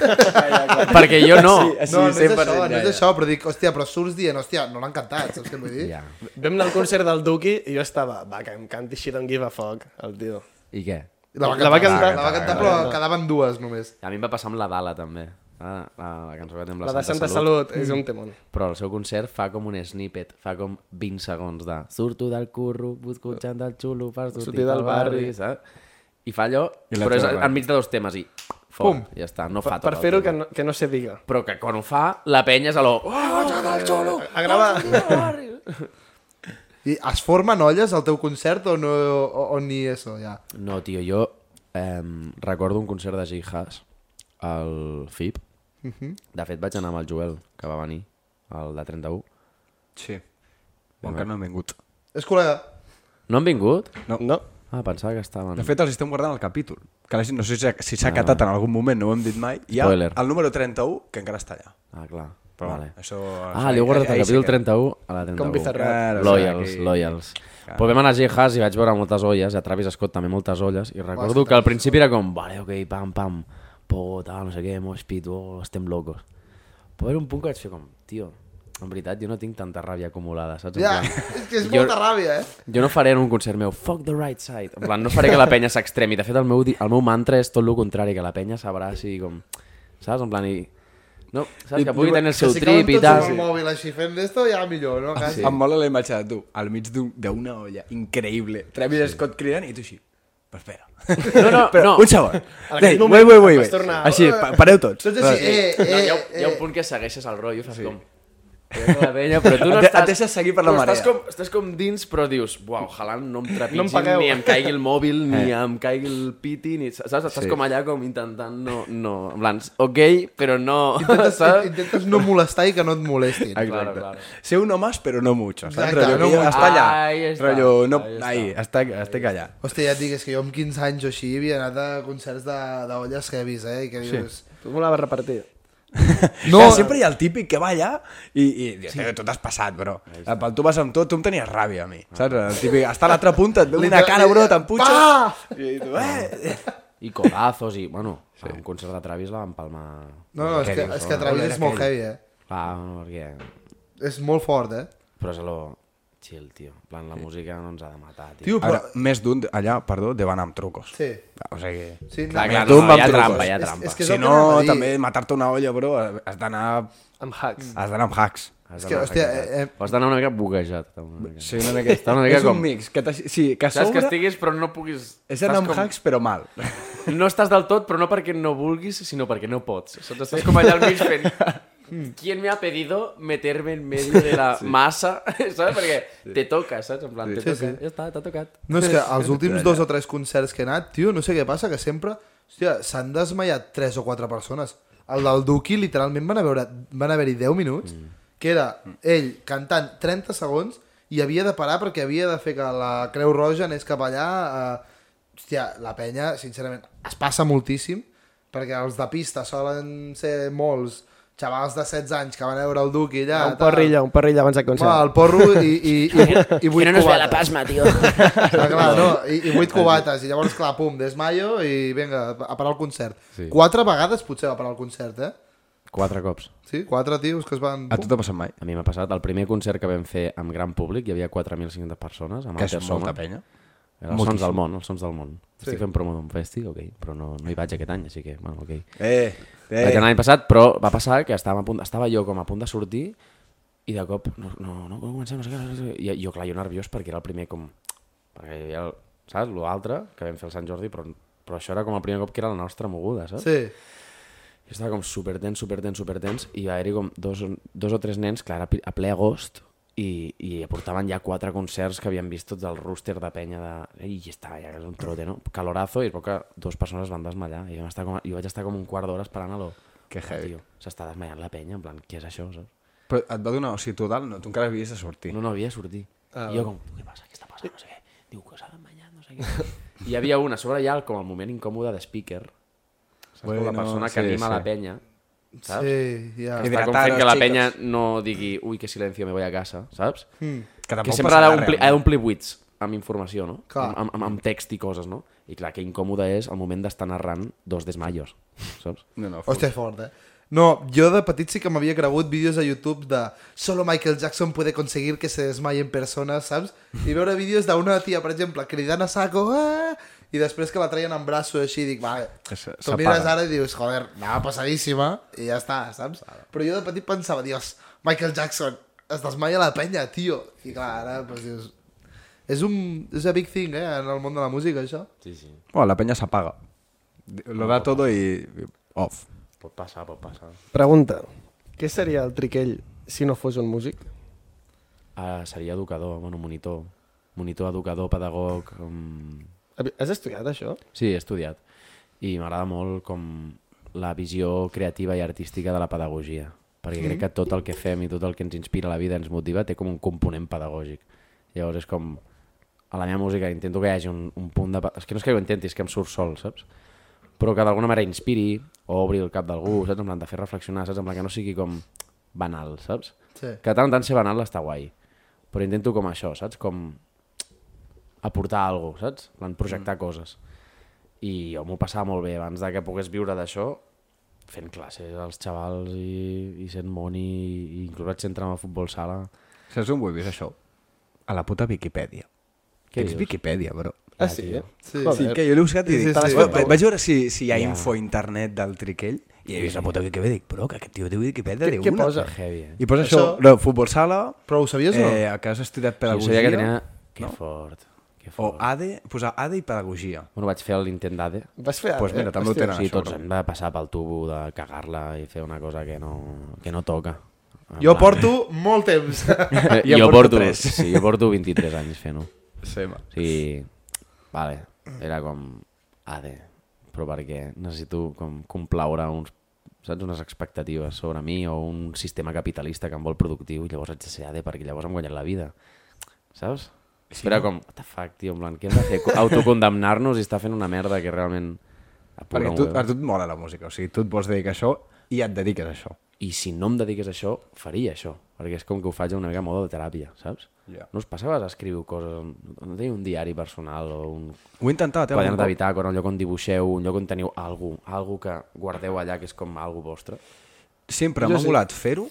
S1: Perquè jo no.
S6: Sí,
S2: No, no és això,
S6: 100%,
S2: no
S6: ja,
S2: és
S6: ja.
S2: això, però dic, hòstia, però surts dient, hòstia, no l'han cantat, saps què vull dir?
S1: Ja.
S5: Vam anar al concert del Duki i jo estava, va, que em canti She Don't Give a Fuck, el tio.
S1: I què?
S2: La, va
S5: La va
S2: cantar,
S5: cantar.
S2: la va cantar, però quedaven dues només.
S1: A mi em va passar amb la Dala, també. La, la, la cançó que té amb la,
S5: La de Santa
S1: Salut.
S5: Salut, és un temón.
S1: Però el seu concert fa com un snippet, fa com 20 segons de surto del curro, busco gent del xulo, per sortir,
S5: Sortir del
S1: del barri,
S5: barri.
S1: saps? I fa allò,
S6: I
S1: I
S6: la
S1: però és
S6: troba.
S1: enmig de dos temes i fora, Pum. ja està, no fa
S5: Per,
S1: tot
S5: per
S1: el
S5: fer-ho
S1: tema.
S5: que, no, que no se diga.
S1: Però que quan ho fa, la penya és a lo... Oh, gent del xulo!
S5: A gravar.
S2: I es formen olles al teu concert o, no, o, o ni eso, ja?
S1: No, tio, jo eh, recordo un concert de Jihas al FIP. Uh -huh. De fet, vaig anar amb el Joel, que va venir, el de 31.
S6: Sí. Bon, que no han vingut.
S2: És col·lega.
S1: No han vingut?
S5: No.
S1: Ah, pensava que estaven...
S6: De fet, els estem guardant el capítol. Que la gent, no sé si s'ha- si s'ha Ah. catat en algun moment, no ho hem dit mai. Hi ha
S1: Spoiler.
S6: el número 31, que encara està allà.
S1: Ah, clar.
S6: Però
S1: vale.
S6: això...
S1: Ah, li heu guardat el
S6: ahí
S1: capítol
S6: se queda.
S1: 31 a la 31.
S5: Com Bizarrap.
S6: Claro, o
S1: loyals,
S6: sigui, aquí-
S1: loyals. Però vam anar a Jihas i vaig veure moltes olles, a Travis Scott també moltes olles, i recordo que al principi era com, vale, ok, pam, pam, po, tal, no sé què, mosh pit, oh, estem locos. Però era un punt que vaig fer com, tio, en veritat, jo no tinc tanta ràbia acumulada, saps? En
S2: Ja,
S1: plan,
S2: és que és
S1: jo-
S2: molta ràbia, eh?
S1: jo no faré en un concert meu fuck the right side. En plan, no faré que la penya s'extremi. De fet, el meu, di- el meu mantra és tot el contrari, que la penya s'abraci i com... Saps? En plan, i... No, saps? Que pugui tenir el seu
S2: si
S1: trip i
S2: caben tots
S1: tal.
S2: amb el mòbil així fent d'esto, ja millor, no? Quasi.
S6: Em mola la imatge de tu, al mig d'un- d'una olla increïble. Travis Scott cridant i tu així. Però espera.
S1: No, no, no.
S6: Però, un segon. Ei,
S5: moment
S6: wait, wait, wait,
S5: vas
S6: wait.
S5: tornar-
S6: Així, pa- pareu tots.
S2: Tots així, eh,
S1: No, hi,
S2: eh,
S1: ha, hi ha
S2: eh.
S1: un punt que segueixes el rotllo i fas sí. com... Ves a la penya, però tu no
S6: Et- et
S1: estàs...
S6: deixes seguir per la
S1: no,
S6: marea.
S1: Estàs com, estàs com dins, però dius, uau, ojalà no em trepitgin,
S5: pagueu."
S1: no ni em caigui el mòbil, ni em caigui el piti, ni... Saps? Estàs
S6: Sí.
S1: sí. com allà com intentant no... no en plan, ok, però no...
S2: Intentes,
S1: saps?
S2: intentes no molestar i que no et molestin.
S1: Claro,
S6: Exacte.
S1: claro.
S6: Ser uno más, però no mucho. Saps?
S2: Exacte,
S6: Rotllo,
S2: no
S6: mira,
S2: mucho.
S6: està allà.
S1: Ahí està,
S6: Rotllo, no...
S1: ahí
S6: Ahí,
S1: està.
S6: està, estic allà.
S2: Hòstia, ja et dic, és que jo amb 15 anys o així havia anat a concerts de- d'olles heavies, eh? I que dius...
S5: Tu me la vas repartir.
S6: No, que sempre hi ha el típic que va allà i, i sí. tu t'has passat, bro. Pel tu vas amb tot, tu em tenies ràbia a mi. Saps? El típic, està a l'altra punta, et ve una
S2: Literal-
S6: cara, bro, t'emputxa.
S2: Pa!
S6: I tu, eh?
S1: I codazos i... Bueno, sí. un concert de Travis la van palmar...
S2: No, no, és que, és que Travis és molt heavy, eh?
S1: Ah, no, perquè...
S2: És molt fort, eh?
S1: Però és lo chill, tio. En plan, la música no ens ha de matar, tio.
S2: Tio,
S6: Ara,
S2: però...
S6: més d'un allà, perdó, de van amb trucos.
S2: Sí.
S6: O sigui...
S2: Sí, no,
S1: Clar,
S2: no,
S1: clar,
S6: tu
S1: no,
S6: em
S1: no,
S6: vas
S1: hi ha
S6: trucos.
S1: trampa, hi ha
S2: És-
S1: trampa.
S2: és que
S6: Si
S2: el
S6: no,
S2: anava a dir.
S6: també matar-te una olla, bro, eh, has d'anar
S5: Amb hacks.
S6: has d'anar amb hacks.
S1: Has
S2: és que,
S1: d'anar
S2: hòstia,
S1: hackeat.
S2: eh, eh.
S1: Has d'anar una mica buguejat. Una mica.
S6: Sí, una mica.
S1: Està una mica
S6: és
S1: com-
S6: un mix. Que t'ha- sí, que a
S1: Saps que
S6: sobre...
S1: estiguis, però no puguis...
S6: És
S1: Saps
S6: anar amb
S1: com-
S6: hacks, però mal.
S1: No estàs del tot, però no perquè no vulguis, sinó perquè no pots. Saps? Estàs com allà al mig fent...
S2: Mm.
S1: ¿Quién me ha pedido meterme en medio de la massa? ¿Sabes? Perquè te toca, saps? En plan, te
S2: Sí,
S1: toca.
S2: sí.
S1: Ja està, t'ha tocat.
S2: No, és que els últims dos o tres concerts que he anat, tio, no sé què passa, que sempre... Hòstia, s'han desmaiat tres o quatre persones. El del Duki, literalment, van a veure van haver-hi 10 minuts, que era ell cantant 30 segons i havia de parar perquè havia de fer que la Creu Roja anés cap allà. Eh... Hòstia, la penya, sincerament, es passa moltíssim, perquè els de pista solen ser molts xavals de 16 anys que van a veure el Duki allà.
S5: Ah, Un porrillo, un porrillo abans del
S2: Va,
S5: concert.
S2: el porro i, i, i, i, i vuit cubates.
S1: tío.
S2: Clar, clar, no, i, i vuit cubates, i llavors, clar, pum, desmaio i vinga, a parar el concert. Sí. Quatre vegades potser va parar el concert, eh?
S1: Quatre cops.
S2: Sí, quatre tios que es van...
S6: A tu t'ha passat mai?
S1: A mi m'ha passat, el primer concert que vam fer amb gran públic, hi havia 4.500 persones, amb
S6: Que és
S1: Alter Soma.
S6: molta penya.
S1: Era Els sons del món, els sons del món. Sí. Estic fent promo d'un festi, ok, però no, no hi vaig aquest any, així que, bueno, ok.
S6: Eh,
S1: Vaig
S6: eh.
S1: anar l'any passat, però va passar que estava, a punt, estava jo com a punt de sortir i de cop, no, no, no, comencem, no sé què, no sé què. I jo, clar, jo nerviós perquè era el primer com... Perquè hi havia, el, saps, l'altre que vam fer el Sant Jordi, però, però això era com el primer cop que era la nostra moguda, saps?
S2: Sí,
S1: Jo estava com supertens, supertens, supertens i va haver-hi com dos, dos o tres nens, clar, a pi- a ple agost, i, i portaven ja quatre concerts que havien vist tots el rooster de penya de... I estava ja, que era un trote, no? Calorazo, i es veu que dues persones es van desmallar. I vam estar com, a- jo vaig estar com un quart d'hora esperant a lo... "Ah,
S6: Que heavy.
S1: Tio, s'està desmallant la penya, en plan, què és això, saps?
S6: Però et va donar, o sigui, tu dalt no, tu encara havies de sortir.
S1: No, no havia de sortir. Ah, I jo com, què passa, què està passant, no sé què. Diu que s'ha desmanyat, no sé què. I hi havia una, a sobre ja, com el moment incòmode de speaker. Saps? Bueno, la persona que anima la penya. Saps?
S2: sí, ja.
S6: I
S1: Està com
S6: Hidrataros,
S1: fent que la
S6: chicos.
S1: penya no digui ui, que silencio, me voy a casa, saps? Mm.
S6: Que
S1: Que
S6: tampoc
S1: sempre ha
S6: passarà
S1: d'omplir
S6: res,
S1: ha
S6: no?
S1: d'omplir buits amb informació, no?
S2: Clar.
S1: Amb, amb, amb text i coses, no? I clar, que incòmode és el moment d'estar narrant dos desmayos, saps?
S6: No, no,
S2: Hòstia, fort, eh? No, jo de petit sí que m'havia cregut vídeos a YouTube de solo Michael Jackson puede conseguir que se desmayen persones, saps? I veure vídeos d'una tia, per exemple, cridant a saco, ah! i després que la traien en braços així, i dic, va,
S6: Que se-
S2: tu
S6: separa.
S2: mires ara i dius, joder, anava passadíssima, i ja està, saps? Però jo de petit pensava, dios, Michael Jackson, es desmaia la penya, tio. I clar, ara, doncs dius... És un... És a big thing, eh, en el món de la música, això.
S1: Sí, sí.
S6: Bueno, la penya s'apaga. Lo da todo y... Off.
S1: Pot passar, pot passar.
S5: Pregunta. Què seria el triquell si no fos un músic?
S1: Ah, seria educador, bueno, monitor. Monitor, educador, pedagog... Um...
S5: Has estudiat això?
S1: Sí, he estudiat. I m'agrada molt com la visió creativa i artística de la pedagogia. Perquè crec que tot el que fem i tot el que ens inspira a la vida, ens motiva, té com un component pedagògic. Llavors és com... A la meva música intento que hi hagi un, un punt de... pe- És que no és que ho intenti, és que em surt sol, saps? Però que d'alguna manera inspiri o obri el cap d'algú, saps? En plan, de fer reflexionar, saps? En plan, que no sigui com banal, saps?
S2: Sí.
S1: Que de tant en tant ser banal està guai. Però intento com això, saps? Com aportar alguna cosa, saps? En plan, projectar mm. coses. I jo m'ho passava molt bé abans de que pogués viure d'això, fent classes als xavals i, i sent moni, i inclús vaig ser entrenador de futbol sala.
S6: Saps on ho he vist, això? A la puta Viquipèdia.
S1: Què
S6: Que ets
S1: dius?
S6: Viquipèdia, bro.
S5: Ah, sí?
S1: tio.
S2: Sí.
S6: Sí, que jo l'he buscat i
S2: Sí,
S6: dic...
S2: sí,
S6: "Te
S2: sí.
S6: les va- Vaig veure si, si hi ha info a internet del triquell i he vist la puta Viquipèdia i dic, bro, que aquest tio diu Viquipèdia de
S5: què
S6: una.
S5: posa?
S1: Heavy, eh?
S6: I posa això,
S2: Això-
S6: no, futbol sala,
S2: Però ho sabies o no?
S6: eh, que has estudiat
S1: Jo
S6: pedagogia,
S1: sabia que tenia... Que no. fort, que
S6: o
S1: fort.
S6: ADE, posar ADE i pedagogia.
S1: Bueno, vaig fer l'intent d'ADE.
S5: Vas fer... eh,
S6: Doncs pues mira, també ho
S1: O
S6: tenen,
S1: sigui,
S6: això,
S1: tots
S6: bro.
S1: hem de passar pel tubo de cagar-la i fer una cosa que no, que no toca.
S2: Jo porto molt temps.
S1: Eh,
S6: Ja
S1: jo,
S6: porto
S1: porto,
S6: tres.
S1: sí, jo porto 23 anys fent-ho. O
S6: Sí, ma.
S1: sigui, vale, era com... Ade, però perquè necessito com complaure uns saps? unes expectatives sobre mi o un sistema capitalista que em vol productiu i llavors haig de ser AD perquè llavors em guanyen la vida. Saps? Sí, era com, what the fuck, tio, en plan, què hem de fer? Autocondemnar-nos i estar fent una merda que realment... apura
S6: Perquè
S1: un
S6: tu,
S1: huevo.
S6: a tu et mola la música, o sigui, tu et vols dedicar a això i et dediques a això.
S1: I si no em dediqués a això, faria això. Perquè és com que ho faig una mica a moda de teràpia, saps?
S6: Ja.
S1: No us passava a escriure coses... No teniu un diari personal o un
S6: Ho he intentat, eh?
S1: quadern de
S6: algun cop.
S1: bitàcora, un lloc on dibuixeu, un lloc on teniu algú, algú que guardeu allà que és com algú vostre?
S6: Sempre m'ha volat fer-ho,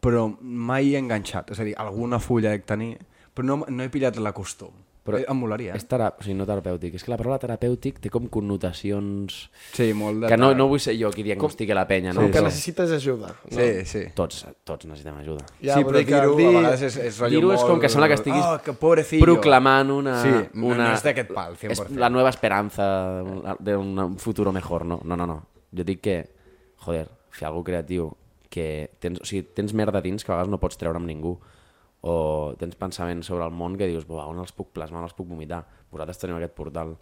S6: però mai he enganxat. És a dir, alguna fulla he de tenir, però no, no he pillat la costum. Però
S1: Però
S6: em molaria, eh?
S1: És tera... o sigui, no terapèutic. És que la paraula terapèutic té com connotacions...
S6: Sí, molt de...
S1: Que no, no vull ser jo qui diagnostique la penya, no?
S5: Com que
S1: Però
S5: necessites ajuda. No?
S6: Sí, sí.
S1: Tots, tots necessitem ajuda.
S5: Ja,
S6: sí,
S5: vull
S6: però
S5: dir que
S6: dir-ho a
S5: dir-
S6: vegades és, és rotllo
S1: Dir-ho és com
S6: molt-
S1: que sembla que estiguis
S6: oh, que pobrecillo.
S1: proclamant una...
S6: Sí, no-
S1: una...
S6: no és d'aquest pal, 100%.
S1: És la nueva esperanza d'un futur mejor, no? No, no, no. Jo dic que, joder, fer alguna creatiu que tens, o sigui, tens merda dins que a vegades no pots treure amb ningú o tens pensaments sobre el món que dius, "Buah, on els puc plasmar, on els puc vomitar. Vosaltres teniu aquest portal.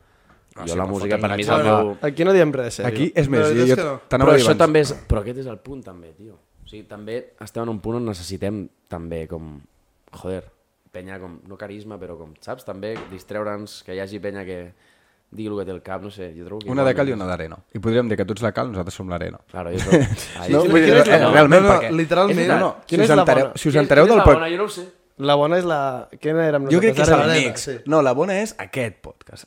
S6: Ah,
S1: jo
S6: sí,
S1: la
S6: però
S1: música
S6: fotem
S1: per
S6: la
S1: mi és el
S6: xapa.
S1: meu...
S5: Aquí no diem res, eh, sèrio.
S6: Aquí, és
S2: La
S6: més,
S2: veritat
S6: jo,
S2: és que
S6: jo
S2: no.
S1: Però
S6: t'anava a dir
S1: això
S6: abans.
S1: també és... Però aquest és el punt, també, tio. O sigui, també estem en un punt on necessitem també com... Joder, penya com... No carisma, però com, saps? També distreure'ns, que hi hagi penya que digui el que té el cap, no sé. Jo trobo que...
S6: Una de cal i
S1: igualment-
S6: una d'arena. I podríem dir que tu ets la cal, nosaltres som l'arena.
S1: Claro, jo trobo... Ai,
S6: No,
S1: sí,
S6: vull dir,
S5: quina és la
S6: eh,
S5: bona?
S6: realment,
S2: No, no,
S6: perquè...
S2: literalment.
S6: és- No, no, si
S5: Quina
S6: us
S5: és la
S6: entereu,
S5: bona?
S6: si us entereu del...
S1: la
S6: pod-
S1: bona, jo no ho sé.
S5: La bona és la... Quina érem
S6: Jo crec que
S5: nosaltres?
S6: és el
S5: Ara
S2: l'Arena,
S6: mix.
S2: sí.
S6: No, la bona és aquest podcast.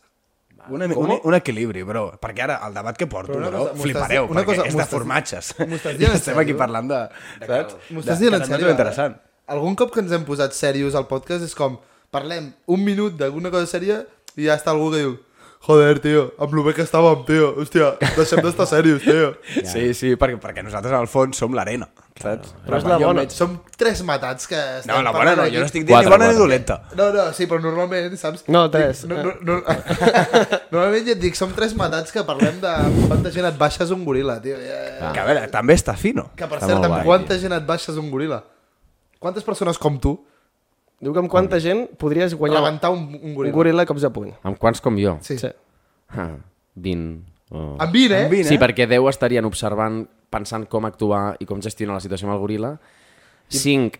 S6: Una, un, un equilibri, bro. Perquè ara el debat que porto,
S2: Però una
S6: bro,
S2: cosa, m'ho
S6: flipareu,
S2: estàs- una
S6: perquè
S2: cosa,
S6: és
S2: m'ho
S6: de
S2: estàs-
S6: formatges.
S2: m'ho estàs dient en
S6: Estem aquí
S2: sèrio?
S6: parlant de...
S2: M'ho
S6: Saps? De-
S2: estàs dient
S6: que
S2: en
S6: també és
S2: sèrio?
S6: interessant.
S2: Algun cop que ens hem posat serios al podcast és com, parlem un minut d'alguna cosa sèria i ja està algú que diu Joder, tio, amb lo bé que estàvem, tio. Hòstia, deixem d'estar serios, tio.
S6: Sí, sí, perquè, perquè nosaltres al fons som l'arena, saps?
S5: Però és la
S6: jo
S5: bona.
S6: em veig-
S2: Som tres matats que estem
S6: No, la bona
S2: parlant
S6: no,
S2: aquí.
S6: jo no estic dient ni
S1: Quatre,
S6: bona ni
S1: quatre.
S6: dolenta.
S2: No, no, sí, però normalment, saps?
S5: No, tres.
S2: No, no, no, normalment ja et dic, som tres matats que parlem de quanta gent et baixes un goril·la, tio. Eh,
S6: Que a veure, també està fino.
S2: Que per
S1: Està
S2: cert,
S1: molt
S2: amb
S1: guai,
S2: quanta gent et baixes un goril·la? Quantes persones com tu
S5: Diu que amb quanta gent podries guanyar
S2: rebentar un, un
S5: un
S2: goril·la?
S5: goril·la a cops de puny.
S1: Amb quants com jo?
S2: Sí.
S5: Sí.
S1: Ah, 20. Oh.
S2: Amb 20, eh?
S6: Amb 20,
S1: Sí,
S6: eh?
S1: perquè 10 estarien observant, pensant com actuar i com gestionar la situació amb el goril·la. 5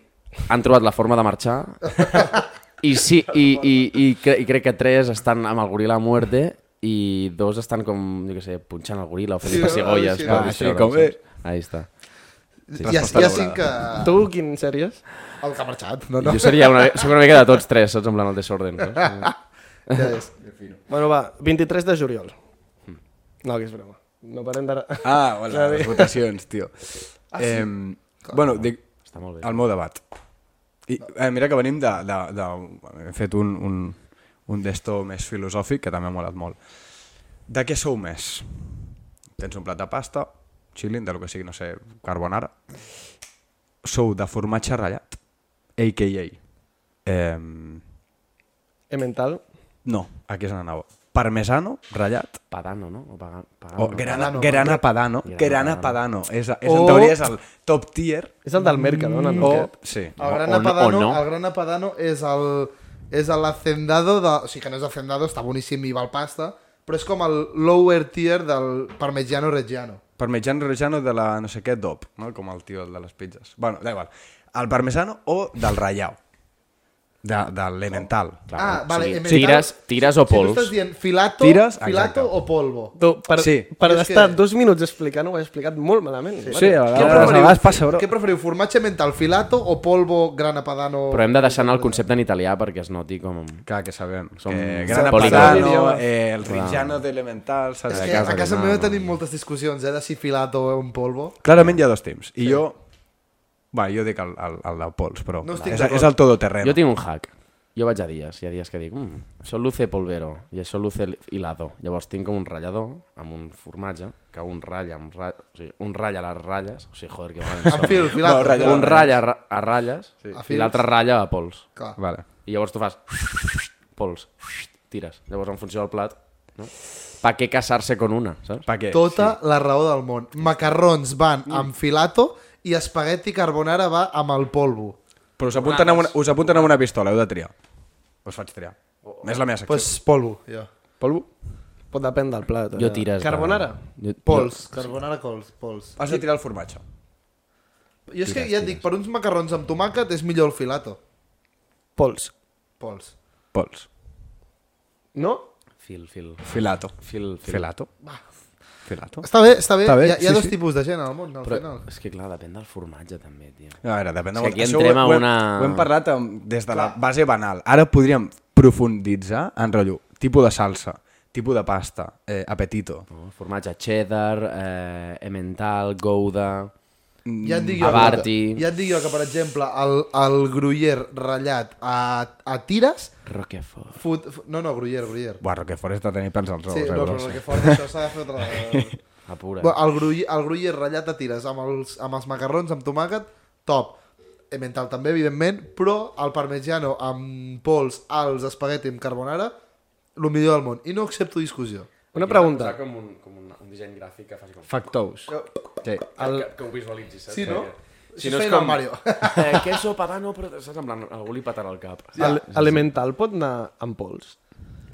S1: han trobat la forma de marxar. I, sí, i, i, i, cre i crec que 3 estan amb el goril·la a muerte i dos estan com, jo què sé, punxant el goril·la o fent-li
S2: Sí, no?
S1: pessigolles.
S2: Sí,
S1: Sí,
S2: no?
S6: Ah, sí, com bé.
S1: Ahí està.
S2: Hi ha, hi ha cinc que...
S5: Tu, quin sèries?
S2: El que ha marxat, no, Ah. no.
S1: Jo seria una, soc una mica de tots tres, saps? Em plan el desorden. Saps?
S2: Ja és.
S5: Bueno, va, 23 de juliol. No, que és broma. No parem d'ara.
S6: Ah, hola, les votacions, tio. Ah, sí? eh, bueno, dic,
S1: Està molt bé.
S6: el meu debat. I, eh, mira que venim de... de, de hem fet un, un, un d'esto més filosòfic que també m'ha molat molt. De què sou més? Tens un plat de pasta, chilling, de lo que sigui, no sé, carbonara. Sou de formatge ratllat, a.k.a. Eh,
S5: E mental.
S6: no, aquí és on anava. Parmesano ratllat
S1: Padano, no? O paga, pagano.
S6: o
S2: Oh,
S6: grana, grana padano. Ah, Grana padano. És, és, en
S5: O-
S6: teoria és el top tier.
S5: És el del Mercadona, no?
S6: O,
S5: Aquest?
S6: sí.
S2: El
S1: o no-
S2: gran
S1: o
S2: apadano,
S1: no.
S2: el gran apadano és el és el hacendado de... O sigui que no és hacendado, està boníssim i val pasta, però és com el lower tier del parmigiano reggiano.
S6: Parmesano reggiano de la no sé què dop, no? com el tio de les pizzas. Bueno, da igual. El parmesano o del rallau. De, de l'elemental.
S2: Ah, vale,
S1: sí,
S2: emmental-
S1: tires- tires o
S2: Si tu estàs
S1: pols.
S2: dient filato,
S6: Tires, exacte.
S2: filato o polvo.
S5: Tu, per, sí.
S6: Sí.
S5: per
S2: És
S5: estar
S2: que-
S5: dos minuts explicant-ho, ho he explicat molt malament.
S6: Sí, a
S2: Què
S6: vegades, a vegades passa, bro.
S2: Què preferiu, formatge mental filato o polvo gran apadano?
S1: Però hem de deixar anar el concepte en italià perquè es noti com...
S6: Clar, que sabem.
S1: Som
S6: Som que
S1: un
S6: gran
S1: polígons.
S6: padano, eh, el reggiano d'elemental... saps?
S2: És
S6: De
S2: que a
S6: casa,
S2: casa
S6: no,
S2: meva
S6: no.
S2: tenim moltes discussions, eh, de si filato o un polvo.
S6: Clarament hi ha dos temps. I jo... Va, jo dic el, el, el de pols, però...
S2: No estic
S6: és,
S2: d'acord.
S6: és el todoterreno.
S1: Jo tinc un hack. Jo vaig a dies, hi ha dies que dic, mm, això luce polvero i això luce li- hilado. Llavors tinc com un ratllador amb un formatge que un ratlla, amb ra... o sigui, un ratlla les ratlles, o sigui, joder, que
S2: En fil,
S1: mal
S2: filato.
S6: ratlla-
S1: Un ratlla a ra- a ratlles sí.
S2: A fils.
S1: i l'altre ratlla a pols.
S2: Clar.
S6: Vale.
S1: I llavors tu fas pols, tires. Llavors en funció del plat, no? Pa què casar-se con una, saps?
S6: Pa què?
S2: Mm. Tota la raó del món. Macarrons van amb filato i espagueti carbonara va amb el polvo.
S6: Però us apunten, amb una, us apunten amb una pistola, heu de triar. Us faig triar. És la meva
S2: Doncs
S6: secció.
S2: pues polvo, jo.
S6: Polvo?
S5: Pot depèn del plat. eh?
S1: Jo tires. de-
S5: Carbonara?
S1: Jo...
S2: Pols, carbonara cols, pols.
S6: Has de tirar el formatge.
S2: Jo és que ja et dic, per uns macarrons amb tomàquet és millor el filato.
S5: Pols.
S2: Pols.
S6: Pols.
S5: No?
S1: Fil, fil.
S6: Filato.
S1: Fil, fil.
S6: Filato. Filato.
S2: Està bé, està bé.
S6: Està bé,
S2: hi ha, hi ha
S6: sí,
S2: dos
S6: sí.
S2: tipus de gent al món, al
S1: Però
S2: final.
S1: és que clar, depèn del formatge també, tio.
S6: A veure, depèn de...
S1: És que aquí
S6: Això
S1: entrem
S6: ho-
S1: a
S6: ho hem-
S1: una-
S6: Ho hem parlat amb, des de la base banal. Ara podríem profunditzar en rotllo tipus de salsa, tipus de pasta, eh, apetito,
S1: No? Formatge cheddar, eh, emmental, gouda...
S6: mm,
S2: Ja et dic jo,
S1: Abarti.
S2: Que, ja et dic jo que, per exemple, el, el gruyer ratllat a, a tires...
S1: Roquefort.
S2: Fut, fu- no, no, gruyer, gruyer.
S6: Buah, Roquefort és de tenir pels als ous,
S2: Sí,
S6: eh,
S2: no,
S6: bro?
S2: però que fort, això s'ha de fer altra vegada.
S1: Apura.
S2: Bueno, el, grull, el gruller ratllat a tires amb els, amb els macarrons, amb tomàquet, top. Emmental també, evidentment, però el parmigiano amb pols, als espagueti amb carbonara, el millor del món. I no accepto discussió.
S5: Una pregunta.
S1: com un, com un, un disseny gràfic que faci com...
S6: Factous. Sí.
S1: El... Que, que ho visualitzis, saps?
S2: Sí, no?
S1: Si
S2: Això
S1: no és
S2: es feia
S1: com...
S2: el Mario.
S1: Eh, queso, patano, però saps? En plan, algú li patarà el cap.
S5: El, elemental pot anar amb pols?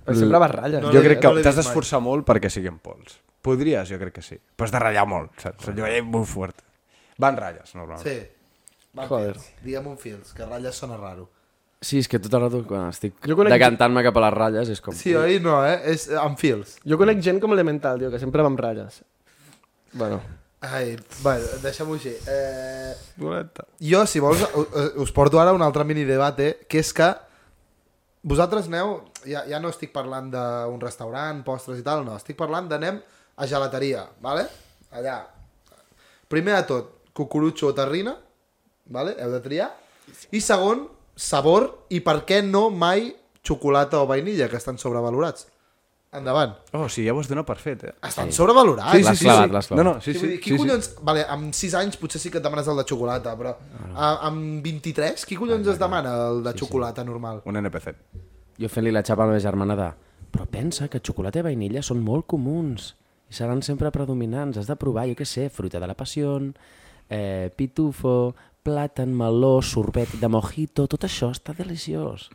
S5: Perquè sempre barralles.
S2: No
S6: jo
S2: l'he-
S6: crec que
S2: no l'he
S6: t'has
S2: vist mai.
S6: d'esforçar molt perquè siguin pols. Podries, jo crec que sí. Però has de ratllar molt, saps? Allò és molt fort. Van ratlles, normalment.
S2: Sí. Va,
S5: Joder.
S2: Joder. Digue'm un fils, que ratlles sona raro.
S1: Sí, és que tot el rato quan estic
S5: Jo conec-
S1: decantant-me cap a les ratlles és com...
S2: Sí, oi? No, eh? És eh, amb fils.
S5: Jo conec gent com elemental, tio, que sempre va amb ratlles. Bueno.
S2: Ai, va, deixem-ho així. Eh...
S5: Dolenta.
S2: Jo, si vols, u- u- us porto ara un altre mini debate, que és que vosaltres aneu, ja, ja no estic parlant d'un restaurant, postres i tal, no, estic parlant d'anem a gelateria, vale? allà. Primer de tot, cucurutxo o terrina, vale? heu de triar. I segon, sabor i per què no mai xocolata o vainilla, que estan sobrevalorats. Endavant.
S6: Oh, sí, ja ho has donat per fet, eh?
S2: Estan sobrevalorats.
S1: Sí, sí, L'has sí, clavat, sí. l'has
S6: No,
S1: clavat.
S6: no, sí,
S2: Sí, vull
S6: sí.
S2: dir, qui sí, collons... Sí. Vale, amb 6 anys potser sí que et demanes el de xocolata, però a, amb 23, qui collons es demana el de xocolata normal?
S6: Un NPC.
S1: Jo fent-li la xapa a la meva germana de... Però pensa que xocolata i vainilla són molt comuns i seran sempre predominants. Has de provar, jo què sé, fruita de la passió, eh, pitufo, plàtan, meló, sorbet de mojito... Tot això està deliciós.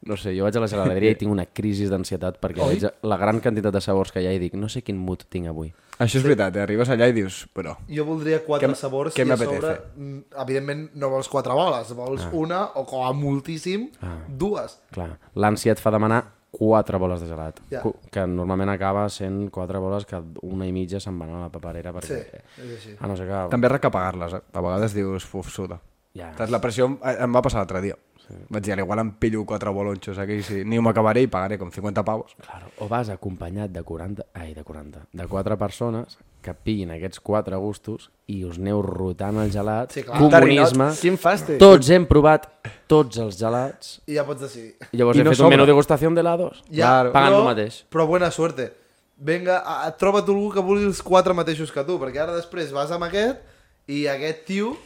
S1: No sé, jo vaig a la geladeria i tinc una crisi d'ansietat perquè veig la gran quantitat de sabors que hi ha i dic no sé quin mood tinc avui.
S6: Això és veritat, eh? Arribes allà i dius, però...
S2: Jo voldria quatre
S6: Què m-
S2: sabors
S6: què
S2: i a sobre,
S6: m'apetece?
S2: mm, evidentment, no vols quatre boles, vols ah. una o com a moltíssim
S6: Ah.
S2: dues.
S1: Clar, l'ànsia et fa demanar quatre boles de gelat,
S2: Ja.
S1: yeah. que normalment acaba sent quatre boles que una i mitja se'n van a la paperera perquè...
S2: Sí, és així.
S1: A no ser que...
S6: També has de pagar-les, eh? A vegades dius, uf, suda.
S1: Ja.
S6: Saps, la pressió em, eh, em va passar l'altre dia. Sí. Vaig dir, "Al igual em pillo quatre bolonxos aquí, si ni m'acabaré i pagaré com 50 pavos.
S1: Claro, o vas acompanyat de 40, ai, de 40, de quatre persones que pillin aquests quatre gustos i us aneu rotant el gelat,
S2: Sí, clar.
S1: comunisme,
S5: Quin fàstic.
S1: tots hem provat tots els gelats,
S2: I ja pots decidir.
S1: i llavors
S6: I
S1: he
S6: no
S1: fet
S6: sobra.
S1: un menú degustació d'helados,
S2: Ja,
S1: pagant
S2: però,
S1: el mateix.
S2: Però bona suerte. Vinga, a, a, troba't algú que vulgui els quatre mateixos que tu, perquè ara després vas amb aquest i aquest tio...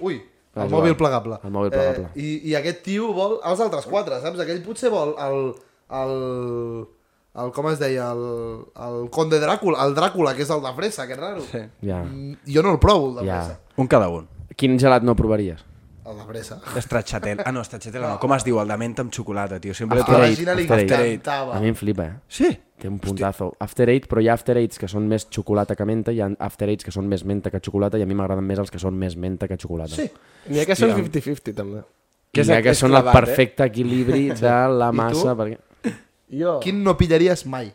S2: Ui, el
S1: Ah, Joan,
S2: mòbil plegable.
S1: el mòbil plegable.
S2: Eh, i, I aquest tio vol els altres quatre, saps? Aquell potser vol el... el el, com es deia, el, el conde Dràcula, el Dràcula, que és el de fresa, que raro. Sí.
S1: Ja,
S2: Jo no el provo, el de
S1: ja.
S2: fresa.
S6: Un cada un.
S1: Quin gelat no provaries?
S2: El de fresa.
S6: Estratxatel. Ah, no, estratxatel no. Com es diu? El de menta amb xocolata, tio. Sempre...
S1: After
S2: a la
S1: Eight,
S2: Gina li
S1: After Eight.
S2: encantava.
S1: A mi em flipa, eh?
S6: Sí.
S1: Té un puntazo. After Eight, però hi ha After Eights que són més xocolata que menta, hi ha After Eights que són més menta que xocolata i a mi m'agraden més els que són més menta que xocolata. Sí.
S5: N'hi ha que són 50-50, també.
S1: Que,
S6: és-
S1: és, que
S6: és
S1: són el
S6: clavat, eh?
S1: perfecte equilibri de la massa. Perquè...
S5: Jo,
S2: Quin no pillaries mai?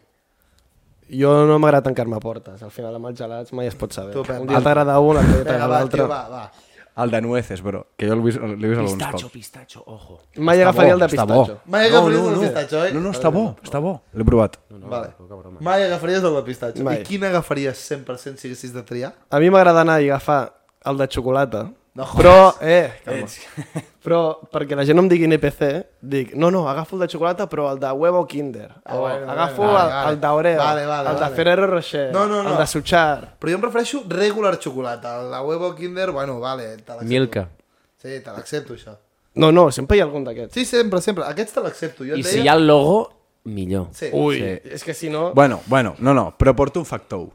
S5: jo no m'agrada tancar-me portes. Al final, amb els gelats mai es pot saber.
S2: Tu, Pep,
S5: un dia t'agrada un, l'altre dia
S2: Vinga,
S5: t'agrada
S2: va, tio,
S5: l'altre.
S2: va, va.
S6: El de nueces, bro. Que jo l'he vist, l'he vist alguns
S1: Pistacho,
S6: cops.
S1: pistacho, ojo.
S5: Mai agafaria el de
S6: Està bo.
S5: pistatxo.
S2: Mai agafaries el de pistatxo, oi?
S6: No, no, està
S1: Eh,
S6: bo, està bo. L'he provat.
S2: Vale. Mai agafaries el de pistatxo.
S5: Mai.
S2: I quin agafaries 100% si haguessis de triar?
S5: A mi m'agrada anar i agafar el de xocolata.
S2: No jodes.
S5: però, eh, calma. però perquè la gent no em digui NPC, dic, no, no, agafo el de xocolata però el de huevo Kinder.
S2: Ah,
S5: o
S2: vale,
S5: agafo
S2: vale,
S5: el,
S2: vale.
S5: el d'Oreo,
S2: Vale, vale,
S5: el
S2: vale.
S5: de Ferrero Rocher,
S2: No, no, no.
S5: el de Suchar.
S2: Però jo em prefereixo regular xocolata. La huevo kinder, bueno, vale, te l'accepto.
S1: Milka.
S2: Sí, te l'accepto, això.
S5: No, no, sempre hi ha algun d'aquests.
S2: Sí, sempre, sempre. Aquests te l'accepto.
S1: I
S2: Jo et
S1: si
S2: deia-
S1: hi ha el logo, millor. Uh.
S2: Sí.
S5: Ui,
S6: Sí.
S5: és que si no...
S6: Bueno, bueno, no, no, però porto un factor.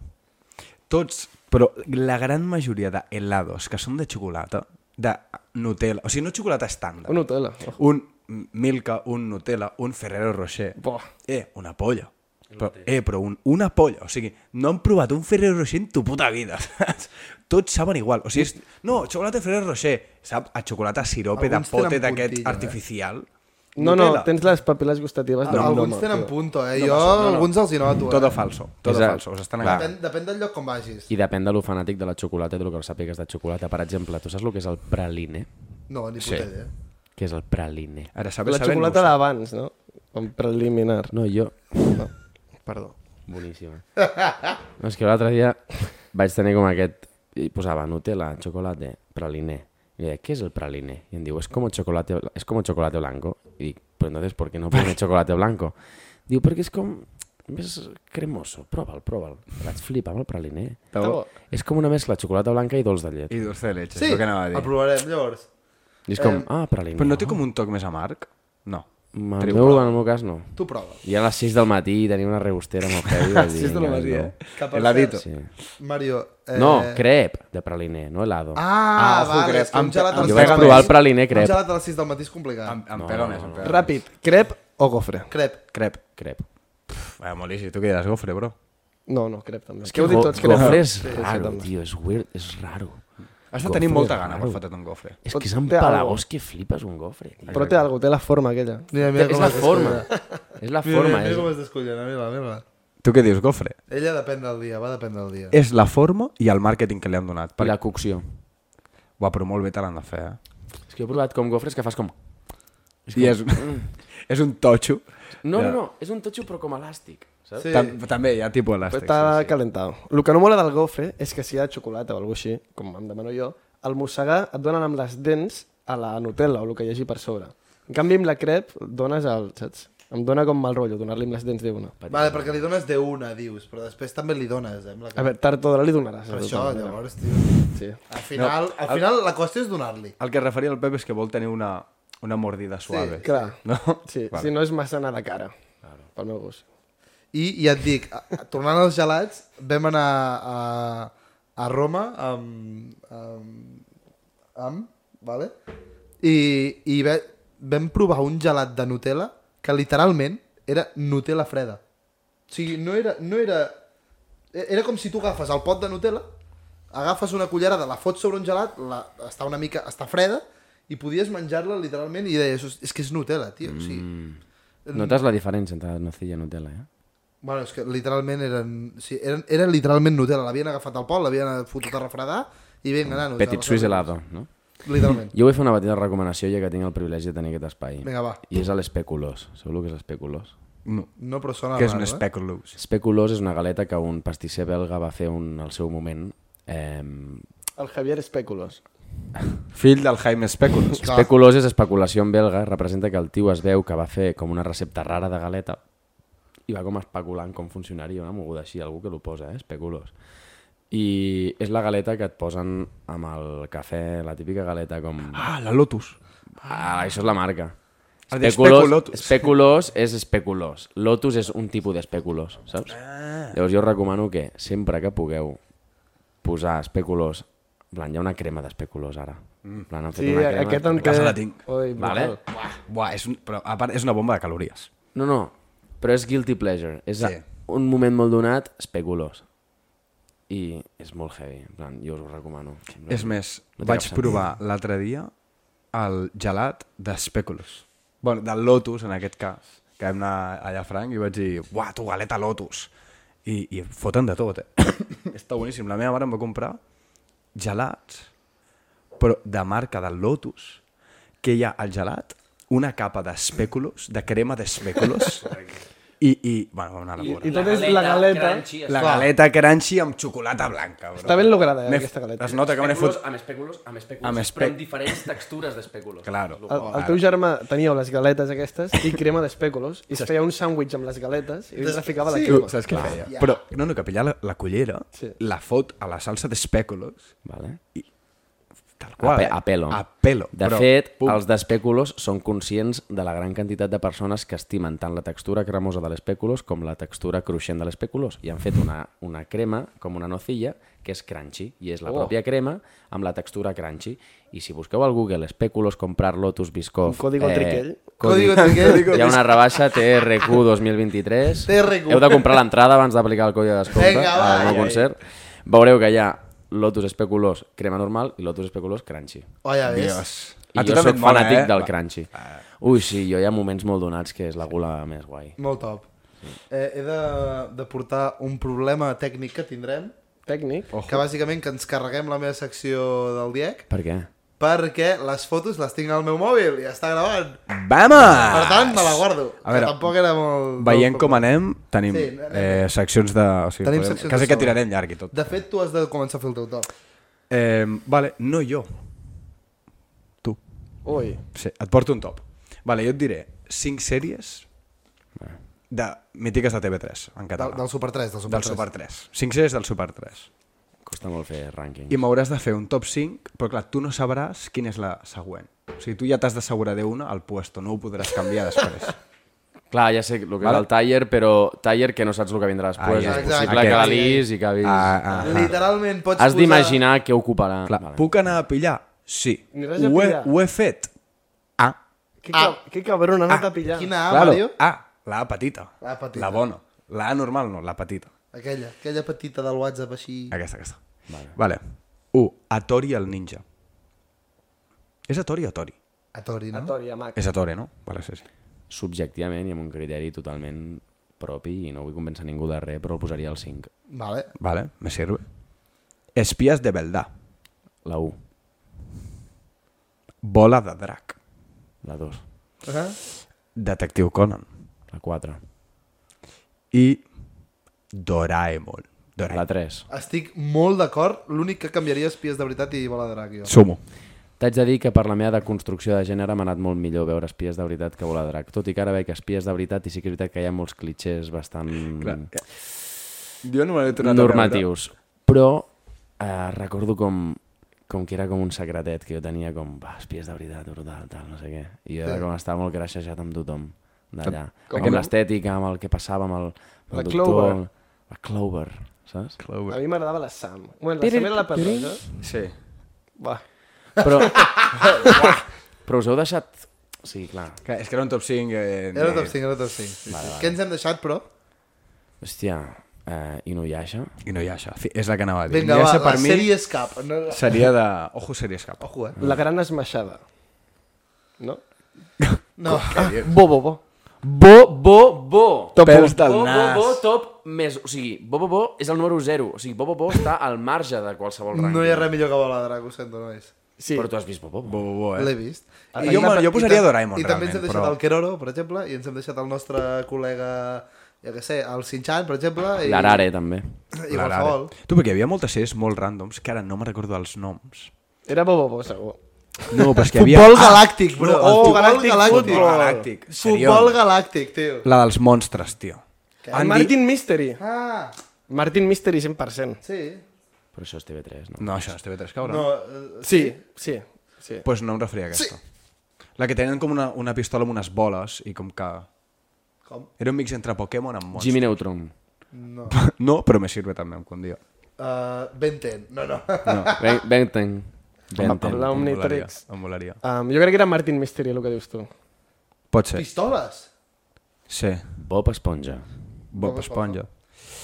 S6: Tots Però la gran majoria de helados que són de xocolata, de Nutella, o sigui, no xocolata estàndard,
S5: Un Nutella. Oh.
S6: un Milka, un Nutella, un Ferrero Rocher.
S5: Buah.
S6: Eh, una polla. Però, eh, però un, una polla. O sigui, no han provat un Ferrero Rocher en tu puta vida. saps? Tots saben igual. O sigui, és, no, xocolata Ferrero Rocher. Sap, a xocolata sirope de
S2: Alguns
S6: pote
S2: tenen
S6: d'aquest
S2: puntilla, eh?
S6: artificial.
S5: No, no,
S6: Nutella.
S5: tens les papil·les gustatives
S2: No,
S5: d'un
S2: Ah, alguns
S5: home.
S2: tenen
S5: tio.
S2: punto, eh? jo alguns els hi noto, eh?
S6: Todo falso. Todo
S1: Exacte.
S6: falso. Us estan
S1: Clar.
S6: enganyant.
S2: Depèn, depèn del lloc on vagis.
S1: I depèn de lo fanàtic de la xocolata i del que sàpigues de xocolata. Per exemple, tu saps el que és el praline?
S2: No, ni puta idea.
S1: Què és el praline?
S6: Ara sabeu
S5: La xocolata d'abans, no? Com preliminar.
S1: No, jo...
S5: Perdó.
S1: Boníssima. No, és que l'altre dia vaig tenir com aquest... I posava Nutella, xocolate, praliné. I deia, què és el praliné? I em diu, és com chocolate, es como chocolate blanco. I dic, però entonces, ¿por qué no pone chocolate blanco? Diu, perquè és com... És cremoso, prova'l, prova'l. Vaig flipar amb el praliné.
S6: bo.
S1: És com una mescla de xocolata blanca i dolç de llet.
S6: I dulce de leche,
S2: Sí,
S6: és el que anava a
S2: el
S6: dir.
S2: provarem, llavors.
S1: I és com, ah, praliné.
S6: Eh,
S1: Ah,
S6: Però no té com un toc més amarg? No.
S1: En el,
S6: Triple.
S1: meu, en el meu cas, no.
S2: Tu prova.
S1: I a les 6 del matí tenia una regustera amb el Javi. vaig dir,
S6: Sí, és de la
S1: "Vinga,
S6: masia.
S1: no".
S2: Que per
S6: Heladito.
S1: Sí.
S2: Mario... Eh...
S1: No, crep de praliné, no helado.
S2: Ah,
S6: Ah,
S2: ah
S6: ojo,
S2: vale,
S6: crep.
S2: és que un
S6: Em-
S2: gelat a
S6: em
S2: les
S1: jo vaig
S2: sis del
S1: provar el
S2: matí-
S1: praliné crep.
S2: Un gelat a les 6 del matí és complicat.
S6: Em, em pega més, em pega
S5: Ràpid, crep o gofre?
S2: Crep.
S6: Crep.
S1: Crep.
S6: Pff, Vaya, molt easy. Tu què diràs, gofre, bro?
S5: No, no, crep també. És
S1: Que
S5: que heu dit tots crep.
S1: Gofre és raro,
S5: Exacte.
S1: tio, és weird, és raro.
S6: Has de
S1: Gofre
S6: tenir molta
S1: és
S6: gana per
S1: raro.
S6: fotre't un gofre.
S1: És
S5: Pot-
S1: que és
S5: té
S1: empalagós que flipes un gofre, tio.
S5: Però té alguna cosa, té la forma aquella.
S2: Mira,
S1: és la forma, és la
S2: Mira,
S1: forma. eh.
S2: mira,
S1: és-
S2: mira com es descullena, mira, mira.
S6: Tu què dius, gofre?
S2: Ella depèn del dia, va depèn del dia.
S6: És la forma i el màrqueting que li han donat.
S1: I
S6: Perquè...
S1: la cocció.
S6: Uah, però molt bé te l'han de fer, eh?
S1: És que jo he provat com gofres que fas com...
S6: I és, és un totxo.
S1: No, no, no, és un totxo però com elàstic. Saps?
S2: Sí.
S6: Tam també hi ha tipus elàstic.
S5: Està calentado. El que no mola del gofre és que si hi ha xocolata o alguna així, com em demano jo, el mossegar et donen amb les dents a la Nutella o el que hi hagi per sobre. En canvi, amb la crep, dones al... Saps? Em dóna com mal rotllo donar-li amb les dents d'una.
S2: Vale, perquè li dones de una, dius, però després també li dones, eh? amb la
S5: A
S2: cara.
S5: veure, tard o d'hora li donaràs.
S2: Per
S5: de
S2: això,
S5: tota manera.
S2: llavors, tio.
S5: Sí.
S2: Al final, al final la qüestió és donar-li.
S6: El que referia el Pep és que vol tenir una, una mordida suave.
S5: Clar.
S6: No?
S5: Sí,
S6: Vale.
S5: si no és massa anar de cara. Pel meu gust.
S2: I ja et dic, a- a- tornant als gelats, vam anar a, a Roma amb... amb, amb vale? I, i ve, vam provar un gelat de Nutella que literalment era Nutella freda. O sigui, no era... No era, e- era com si tu agafes el pot de Nutella, agafes una cullerada, la fots sobre un gelat, la, està una mica... està freda, i podies menjar-la literalment i deies, "Hosti, és que és Nutella, tio. O sigui,
S1: Notes la diferència entre nocilla i Nutella, eh?
S2: Bueno, és que literalment eren... Sí, eren, era literalment Nutella. L'havien agafat al pot, l'havien fotut a refredar i vinga, nanos.
S1: Petit
S2: a la
S1: suís
S2: cervesa.
S1: helado, no?
S2: Literalment.
S1: Jo vull fer una petita recomanació ja que tinc el privilegi de tenir aquest espai.
S2: Vinga, va.
S1: I és a l'especulós. Sabeu el que és l'especulós?
S6: No.
S2: No, però sona
S6: Que és
S2: raro,
S6: un
S2: eh?
S6: especulous.
S1: Especulós és una galeta que un pastisser belga va fer un, al seu moment. Eh,
S5: El Javier Espèculos.
S6: Fill del Jaime Especulous.
S2: Clar.
S1: especulós és especulació en belga, representa que el tio es veu que va fer com una recepta rara de galeta i va com especulant com funcionaria una moguda així, algú que l'ho posa, eh? especulós. I és la galeta que et posen amb el cafè, la típica galeta com...
S6: Ah, la Lotus.
S1: Ah, això és la marca.
S6: Ha dit
S1: Especulós,
S6: especulotus.
S1: especulós és especulós. Lotus és un tipus d'especulós, saps?
S6: Ah.
S1: Llavors jo recomano que sempre que pugueu posar especulós, en plan, hi ha una crema d'especulós ara.
S6: Mm.
S1: En plan, han fet
S5: Sí,
S1: una crema...
S5: aquest en
S6: a
S5: té...
S6: casa la tinc.
S5: Ui,
S1: Vale?
S5: brutal.
S6: Buah, és un, però a part és una bomba de calories.
S1: No, no, però és guilty pleasure. És
S6: Sí.
S1: sí. un moment molt donat, especulós. I és molt heavy, en plan, jo us ho recomano.
S6: És més,
S1: no té cap
S6: vaig
S1: sentit.
S6: provar l'altre dia el gelat d'espèculos. bueno, del Lotus, en aquest cas. Que vam anar allà a Frank i vaig dir, uah, tu galeta Lotus. I, i foten de tot, eh? Està boníssim. La meva mare em va comprar gelats, però de marca del Lotus, que hi ha al gelat una capa d'espèculos, de crema d'espèculos, i, i, bueno, vam anar a la
S5: I,
S6: vora.
S5: I tot és la galeta.
S6: La galeta crunchy amb xocolata blanca, bro.
S5: Està ben lograda, eh,
S6: M'he-
S5: aquesta galeta.
S6: Es nota que me n'he fot...
S1: amb especulós, amb especulós,
S6: Amb espe- però amb
S1: diferents textures d'especulós.
S6: Claro.
S5: El, el teu germà tenia les galetes aquestes i crema d'espèculos i es feia un sàndwich amb les galetes i es ficava la
S6: Sí,
S5: crema.
S6: saps què feia? Però, no, no, que pillar la, la cullera,
S5: Sí.
S6: la fot a la salsa d'espèculos
S1: Vale?
S6: Tal qual. eh?
S1: A, pe- a pelo.
S6: A pelo.
S1: De
S6: però,
S1: fet,
S6: pum.
S1: els d'espèculos són conscients de la gran quantitat de persones que estimen tant la textura cremosa de l'espèculos com la textura cruixent de l'espèculos i han fet una, una crema, com una nocilla, que és crunchy, i és la oh. pròpia crema amb la textura crunchy. I si busqueu al Google espèculos, comprar Lotus Biscoff... eh,
S5: Un código triquell.
S2: Código triquell.
S1: Hi ha una rebaixa TRQ 2023.
S2: TRQ.
S1: Heu de comprar l'entrada abans d'aplicar el codi de descompte
S2: Vinga, va,
S1: al
S2: ai, ai.
S1: meu concert. Veureu que hi ha Lotus Especulós crema normal i Lotus Especulós crunchy.
S2: Oh, ja ves.
S6: Dios.
S1: I jo
S6: també
S1: sóc
S6: et mola,
S1: fanàtic
S6: eh?
S1: del
S6: Va.
S1: crunchy. Ui, sí, jo hi ha moments molt donats que és la gula més guai.
S2: Molt top. Eh, he de, de portar un problema tècnic que tindrem,
S5: Tècnic.
S2: que bàsicament que ens carreguem la meva secció del DIEC,
S1: Per què?
S2: perquè les fotos les tinc al meu mòbil i està gravant.
S6: Vamos!
S2: Per tant, me la guardo.
S6: Ah, A veure,
S2: que tampoc era molt...
S6: Veient
S2: molt-
S6: com anem, tenim
S2: Sí, anem.
S6: eh, seccions de... O sigui,
S2: Tenim
S6: podem,
S2: seccions
S6: quasi
S2: de
S6: que
S2: sobre.
S6: tirarem llarg i tot.
S2: De fet, tu has de començar a fer el teu top.
S6: Eh, vale, no jo. Tu.
S5: Ui.
S6: Sí, et porto un top. Vale, jo et diré 5 sèries de mítiques de TV3,
S2: Del,
S6: en català.
S2: del Super 3, del Super
S6: del
S2: 3.
S6: Super 3. 5 sèries del Super 3.
S1: Costa molt fer rànquing.
S6: I m'hauràs de fer un top 5, però clar, tu no sabràs quina és la següent. O sigui, tu ja t'has d'assegurar d'una al puesto, no ho podràs canviar després.
S1: Clar, ja sé el que és el taller, però taller que no saps el que vindrà després.
S6: ja,
S1: és
S2: exacte.
S1: possible que
S6: Aquest.
S1: la lis i que avis...
S6: ah, ah.
S2: Literalment pots
S1: Has
S2: posar...
S1: d'imaginar què ocuparà.
S6: Clar,
S1: Vale.
S6: puc anar a pillar? Sí.
S5: Aniràs a
S6: Ho he,
S5: pillar?
S6: ho he fet. Ah.
S5: Que, ah. que cabrón, ha anat a pillar.
S2: Quina A,
S6: claro.
S2: Mario?
S6: Ah, la A petita.
S2: La A petita.
S6: La bona. La A normal no, la petita.
S2: Aquella, aquella petita del WhatsApp així...
S6: Aquesta, aquesta. Vale. vale. 1. Atori el ninja. És Atori o Atori?
S2: A Tori, no?
S5: Tòria, mac.
S6: És Atori, no? Vale, sí, sí.
S1: Subjectivament i amb un criteri totalment propi i no vull convèncer ningú de res, però el posaria al 5.
S2: Vale.
S6: Vale, me sirve. Espies de Beldà.
S1: La 1,
S6: Bola de drac.
S1: la 2,
S2: Uh -huh.
S6: Detectiu Conan.
S1: la 4,
S6: I
S1: la
S6: Doraemon. Doraemon.
S1: 3.
S2: Estic molt d'acord. L'únic que canviaria és Pies de veritat i Bola de Drac, jo.
S6: Sumo.
S1: T'haig de dir que per la meva deconstrucció de gènere m'ha anat molt millor veure espies de veritat que volar drac, tot i que ara veig espies de veritat i sí que és veritat que hi ha molts clitxers bastant
S6: Mm. Jo no m'he tornat
S1: normatius, però eh, recordo com, com que era com un secretet que jo tenia com, va, espies de veritat, brutal, tal, no sé què, i jo era com estava molt graixejat amb tothom d'allà,
S5: Com
S1: com,
S5: que
S1: amb
S5: no-
S1: l'estètica, amb el que passava amb el, amb
S5: La
S1: el
S5: Clover.
S1: doctor, la Clover, saps?
S6: A veure.
S5: A mi m'agradava la Sam. Bueno, la Sam era la perrosa.
S6: Sí.
S5: Va.
S6: Ah.
S1: Però, però us heu deixat... Sí, clar.
S6: Que és que era un top 5... Eh,
S2: Era top 5, era top 5. Sí, sí. Què ens hem deixat, però?
S1: Hòstia, eh, Inuyasha,
S6: I no hi ha això. Fi- És la que anava a dir.
S2: Vinga,
S6: Inuyasha
S2: va, la
S6: per mi
S2: sèrie és cap. No, no.
S6: seria de... Ojo, series cap.
S2: Ojo, eh?
S5: La gran esmaixada. No?
S2: No.
S5: Bo, bo, bo.
S1: Bo, bo, bo.
S6: Top
S1: bo,
S6: Pèls un. del
S1: bo,
S6: nas.
S1: Bo, bo, top més... O sigui, bo, bo, bo és el número 0. O sigui, bo, bo, bo està al marge de qualsevol rang.
S2: No hi ha res millor que Bola de Drac, ho sento, nois.
S5: Sí.
S1: Però tu has vist bo, bo, bo.
S6: Bo, bo, bo, eh?
S2: L'he vist.
S6: Ah, jo me- jo
S2: ta-
S6: posaria Doraemon,
S2: I també ens hem
S6: realment,
S2: deixat
S6: però-
S2: el Keroro, per exemple, i ens hem deixat el nostre col·lega, jo què sé, el Sinchan, per exemple. I,
S1: L'Arare, també.
S2: I
S6: La Lara.
S2: qualsevol.
S6: Tu, perquè hi havia moltes sèries molt ràndoms que ara no me'n recordo els noms.
S5: Era bo, bo, bo, segur.
S6: No, però és que hi havia... Ah,
S2: Futbol galàctic, bro.
S6: no,
S2: el
S6: oh,
S2: futbol
S5: galàctic,
S2: galàctic.
S6: Futbol galàctic.
S2: Futbol
S6: Serion.
S2: galàctic, tio.
S6: La dels monstres, tio.
S5: El
S6: Andy...
S5: Martin Mystery.
S2: Ah,
S5: Martin Mystery 100%.
S2: sí.
S1: Però això és TV3, no?
S6: No, això no és TV3, cabrón.
S2: No,
S6: No.
S2: eh,
S5: Sí, sí. sí.
S6: Pues no em referia a aquesta. Sí. La que tenen com una, una pistola amb unes boles i com que...
S2: com?
S6: Era un mix entre Pokémon amb monstres.
S1: Jimmy Neutron.
S2: No.
S6: No, però me sirve també, em condia.
S2: Uh, Benten. No, no.
S1: Ben- Benten. Benten.
S5: L'Omnitrix.
S6: Em volaria.
S5: Um, jo crec que era Martin Mystery, el que dius tu.
S6: Pot ser.
S2: Pistoles.
S6: Sí.
S1: Bob Esponja.
S6: Bob
S2: Eh,
S6: Esponja.
S2: eh,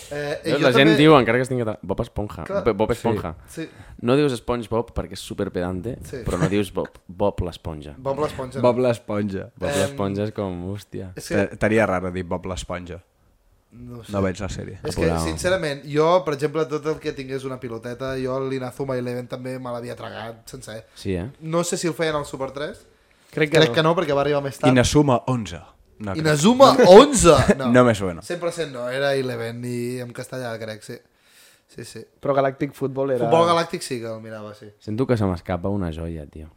S1: Eh,
S2: jo
S1: la gent
S2: també-
S1: diu, encara que estigui... català, Bob Esponja.
S2: Clar.
S1: Bo- Bob Esponja.
S2: Sí,
S1: No dius SpongeBob perquè és superpedante,
S2: Sí.
S1: però no dius Bob, Bob l'Esponja.
S2: Bob l'Esponja.
S6: Bob l'Esponja.
S1: Bob l'Esponja és com, hòstia.
S2: Eh, És que,
S6: T'aria raro dir Bob l'Esponja.
S2: no sé.
S6: No veig la sèrie.
S2: És que,
S1: Apurado.
S2: sincerament, jo, per exemple, tot el que tingués una piloteta, jo l'Inazuma Eleven també me l'havia tragat sencer.
S1: Sí, eh?
S2: No sé si el feien al Super 3.
S5: Crec que
S2: Crec
S5: no.
S2: que no, perquè va arribar més tard.
S6: Inazuma 11. Ah, No, crec.
S2: Inazuma 11! No,
S6: No me suena.
S2: 100% no, era Eleven i en castellà, crec, sí. Sí, sí.
S5: Però Galàctic Futbol era...
S2: Futbol galàctic sí que el mirava, sí.
S1: Sento que se m'escapa una joia, tio.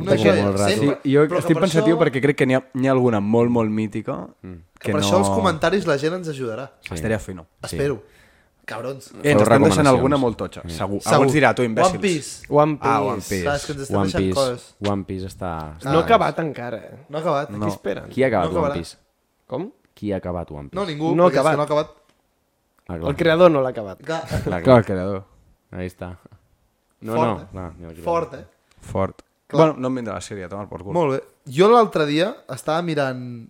S2: Una
S1: Futbol
S2: joia,
S1: molt raro.
S6: Sí,
S2: sempre.
S6: jo
S2: Però que
S6: estic
S2: per
S6: pensatiu
S2: això-
S6: perquè crec que n'hi ha, n'hi ha alguna molt, molt mítica
S2: Que
S1: Mm.
S6: que
S2: per
S6: no...
S2: això els comentaris la gent ens ajudarà.
S6: Estaria fino.
S2: Espero. Cabrons.
S6: Eh, ens estan deixant
S1: recomanacions. Mm.
S6: alguna molt totxa, segur. segur. Alguns dirà, tu, imbècils.
S2: One Piece.
S5: One Piece.
S6: Ah, One Piece.
S2: Saps que ens estan
S1: One
S2: deixant
S1: Piece,
S2: coses.
S1: One Piece està... està...
S2: ah,
S5: No ha acabat encara, eh?
S2: No ha acabat.
S5: Què esperen?
S1: Qui ha acabat
S2: No
S1: One
S2: acabarà.
S1: Piece?
S5: Com?
S1: Qui ha acabat One Piece?
S2: No, ningú,
S5: No ha
S2: perquè és que
S5: acabat.
S2: no ha acabat.
S1: Ah, clar.
S5: El creador no l'ha acabat.
S2: Clar,
S1: Clar,
S6: Clar,
S1: clar.
S6: el creador.
S1: Ahí està. No,
S2: Fort,
S1: no,
S2: eh?
S1: clar, ni el creador.
S2: Fort, eh?
S6: Fort.
S2: Clar.
S6: Bueno, no em vindrà la sèrie, toma el por cul.
S2: Molt bé. Jo l'altre dia estava mirant...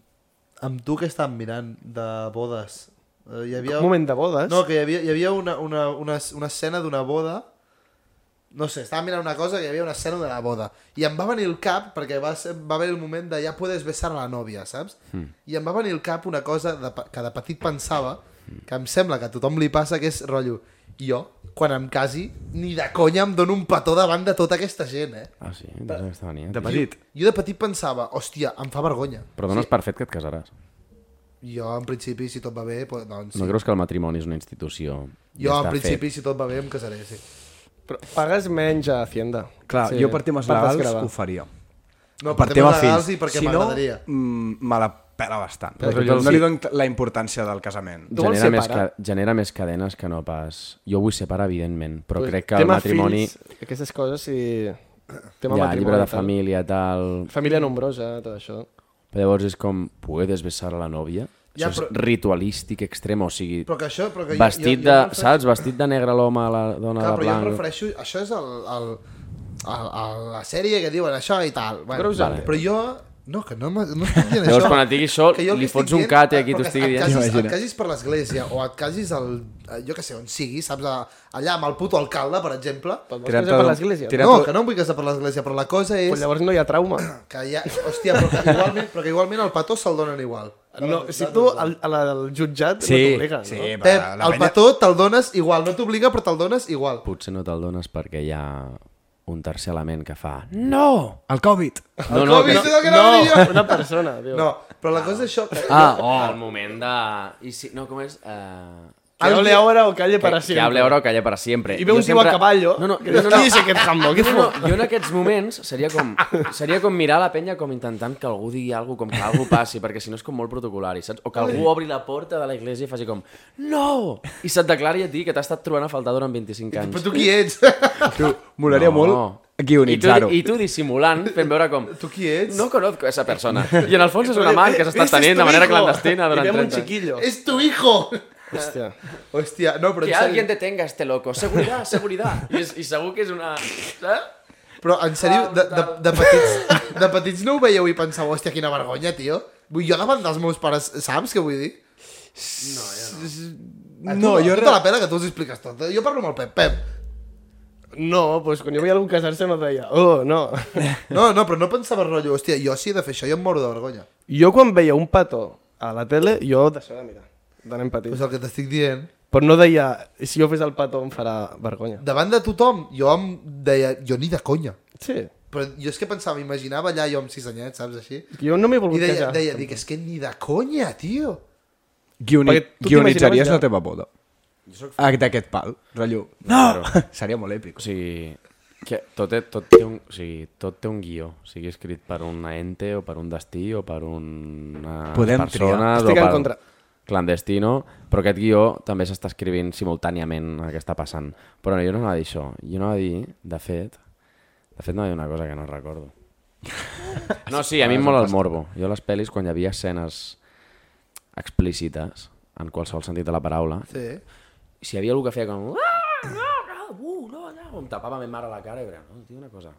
S2: Amb tu que estàvem mirant de bodes. Eh, Hi havia...
S5: Un moment de bodes.
S2: No, que hi havia, hi havia una, una, una, una escena d'una boda no sé, estava mirant una cosa que hi havia una escena de la boda i em va venir el cap, perquè va, ser, va haver el moment de ja puedes besar a la nòvia, saps?
S1: Hmm.
S2: Mm. I em va venir el cap una cosa de, pe- que de petit pensava, que em sembla que a tothom li passa, que és rotllo jo, quan em casi, ni de conya em dono un petó davant de tota aquesta gent, eh?
S1: Ah, sí? Des d'aquesta mania.
S6: De
S1: tio.
S6: petit.
S2: Jo de petit pensava, hòstia, em fa vergonya.
S1: Però dones per fet que et casaràs.
S2: Jo, en principi, si tot va bé, doncs, doncs
S1: No
S2: sí.
S1: creus que el matrimoni és una institució?
S2: Jo,
S1: Ja
S2: en
S1: està
S2: principi, si tot va bé, em casaré, sí.
S5: Però pagues menys a Hacienda.
S6: Clar, sí. jo per temes
S5: per
S6: legals
S5: desgravar.
S6: ho faria.
S2: No,
S6: per
S2: per
S6: tema
S2: temes legals
S6: fills.
S2: i perquè
S6: si no,
S2: m'agradaria.
S6: mm, me la pela bastant.
S1: Però
S6: Però
S1: jo-
S6: jo, no
S1: sí.
S6: li dono la importància del casament.
S5: Tu
S1: fet.
S5: vols
S1: Genera
S5: ser
S1: més,
S5: pare?
S1: ca- genera més cadenes que no pas... Jo vull ser pare, evidentment, però
S5: Pues,
S1: crec que el
S5: tema
S1: matrimoni...
S5: Fills, aquestes coses, sí... Tema
S1: ja,
S5: matrimoni,
S1: llibre de
S5: tal.
S1: família, tal...
S5: Família nombrosa, tot això.
S1: Però llavors és com, puedes besar a la nòvia?
S2: Ja,
S1: Ja, Això és
S2: però-
S1: ritualístic extrem, o sigui...
S2: Però que això... Però que
S1: vestit
S2: jo, jo, jo
S1: de...
S2: em refereixo-
S1: Saps? Vestit de negre l'home, la dona de
S2: Clar, però jo em
S1: blanc...
S2: refereixo... Això és el, el, el, el, la sèrie que diuen això i tal. Bueno,
S5: Creus,
S2: vale.
S5: Andreu?
S2: Però jo... No, que no, m'ha- no estic dient
S1: Llavors,
S2: això.
S1: quan et digui això,
S2: Que jo el
S1: li
S2: que estic
S1: fots un
S2: dient-
S1: cat i aquí
S2: però
S1: t'ho
S2: que
S1: estigui
S2: et
S1: dient.
S2: casis-
S6: Imagina't.
S2: Et casis per l'església o et casis al... eh, Jo que sé, on sigui, saps? A, allà amb el puto alcalde, per exemple.
S5: Te'n vols
S6: Tirar
S5: casar
S6: tot-
S5: per l'església?
S6: tirar-
S2: No,
S6: tot-
S2: que no em vull casar per l'església, però la cosa
S5: Pues
S2: és...
S5: llavors no hi ha trauma.
S2: Que ja, hòstia, però que igualment, però que igualment el petó se'l donen igual.
S5: No, si tu al, al, al jutjat no t'obliguen,
S6: sí,
S5: no?
S6: però
S2: Pep,
S6: la, la
S2: el
S6: penya...
S2: petó te'l dones igual, no t'obliga però te'l dones igual.
S1: Potser no te'l dones perquè hi ha un tercer element que fa... No!
S6: El Covid.
S1: No,
S2: Mm. El
S1: no,
S2: Covid
S1: que no-
S2: és el que anava a dir
S5: No,
S2: jo.
S5: una persona, diu.
S2: No, però la cosa és això... Que...
S1: Ah, oh, el moment de... I si... No, com és? Uh...
S5: Que hable ahora o calle para
S1: Que
S5: siempre.
S1: hable ahora o calla para siempre.
S5: I ve un
S1: Jo
S5: tio a caballo,
S1: No, no,
S5: que
S1: no, no,
S5: dius,
S1: no.
S5: "Qui és aquest jambo? Què
S1: No, no,
S5: fot?"
S1: jo en aquests moments seria com, seria com mirar la penya com intentant que algú digui alguna com que algú passi, perquè si no és com molt protocolari, saps? O que algú obri la porta de la iglesia i faci com, no! I se't declari a ti que t'ha estat trobant a faltar durant 25 anys.
S2: Però tu qui ets?
S6: Tu, molaria no. molt guionitzar-ho.
S1: I, tu- I tu dissimulant, fent veure com...
S2: tu qui ets?
S1: No conozco a esa persona. I en el fons és una man que s'està
S2: Ese es
S1: tenint
S2: tu
S1: de manera
S2: hijo.
S1: clandestina
S5: I
S1: durant
S5: ve un
S1: 30 anys.
S5: chiquillo.
S2: És tu hijo!
S5: Hòstia.
S2: Hòstia, no, però
S1: Que
S2: en sèrio...
S1: alguien detenga a este loco. Seguridad, seguridad. I, és, i segur que és una... Saps?
S2: Però en sèrio, de, de, de, petits, de petits no ho veieu i penseu, hòstia, quina vergonya, tio. Vull jo davant dels meus pares, saps què vull dir? No, jo no.
S6: No,
S2: tu,
S6: jo
S2: tu
S6: re-
S2: te la pela que tu us expliques tot. eh? Jo parlo amb el Pep. Pep.
S5: No, pues quan jo veia algú casar-se no deia, oh, no.
S2: No, no, però no pensava rotllo, hòstia, jo si he de fer això, jo em moro de vergonya.
S5: Jo quan veia un petó a la tele, jo deixava de mirar, de nen petit.
S2: Pues el que t'estic dient,
S5: Però no deia, si jo fes el petó em farà vergonya.
S2: davant de tothom, jo em deia, jo ni de conya.
S5: Sí.
S2: Però jo és que pensava, m'imaginava allà jo amb sis anyets, saps, així?
S5: Jo no m'he volgut
S2: I deia,
S5: casar.
S2: deia, dic, és que ni de conya, tio.
S6: Guioni...
S5: Perquè tu t'imaginaves
S6: Guionitzaries
S5: ja-
S6: la teva boda. Ah, D'aquest pal, rotllo. No! Seria molt èpic.
S1: O sigui, que tot, té- tot, té un, o sigui, tot té un guió. O sigui, escrit per un ente o per un destí o per una
S6: Podem
S1: persona...
S6: triar.
S5: Estic
S1: o
S5: en
S1: per
S5: contra.
S1: clandestino, però aquest guió també s'està escrivint simultàniament el que està passant. Però no, jo no anava a dir això. Jo anava a dir, de fet... De fet, no hi ha una cosa que no recordo. No, sí, a mi em mola el morbo. Jo a les pel·lis, quan hi havia escenes explícites, en qualsevol sentit de la paraula,
S2: Sí.
S1: si hi havia algú que feia com... "Ah, no, no, uh, no, no", em tapava a mi mare la cara i era, no, tio, una cosa.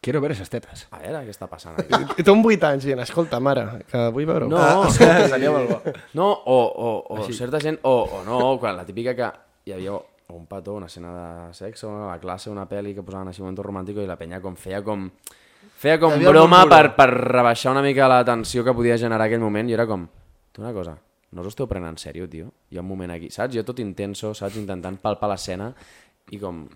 S6: Quiero ver esas tetas.
S1: A veure què està passant aquí.
S5: I té un 8 anys dient, escolta, mare, que vull veure-ho.
S1: No,
S6: Ah, Seria molt bo.
S1: no o, o, o certa gent, o, o no, quan la típica que hi havia un petó, una escena de sexe, a la classe, una pel·li que posaven així momento romàntic i la penya com feia com... Feia com
S2: Hi havia un
S1: broma
S2: murmullo.
S1: per, per rebaixar una mica la tensió que podia generar aquell moment i era com, tu una cosa, no us ho esteu prenent en sèrio, tio? Hi ha un moment aquí, saps? Jo tot intenso, saps? Intentant palpar l'escena i com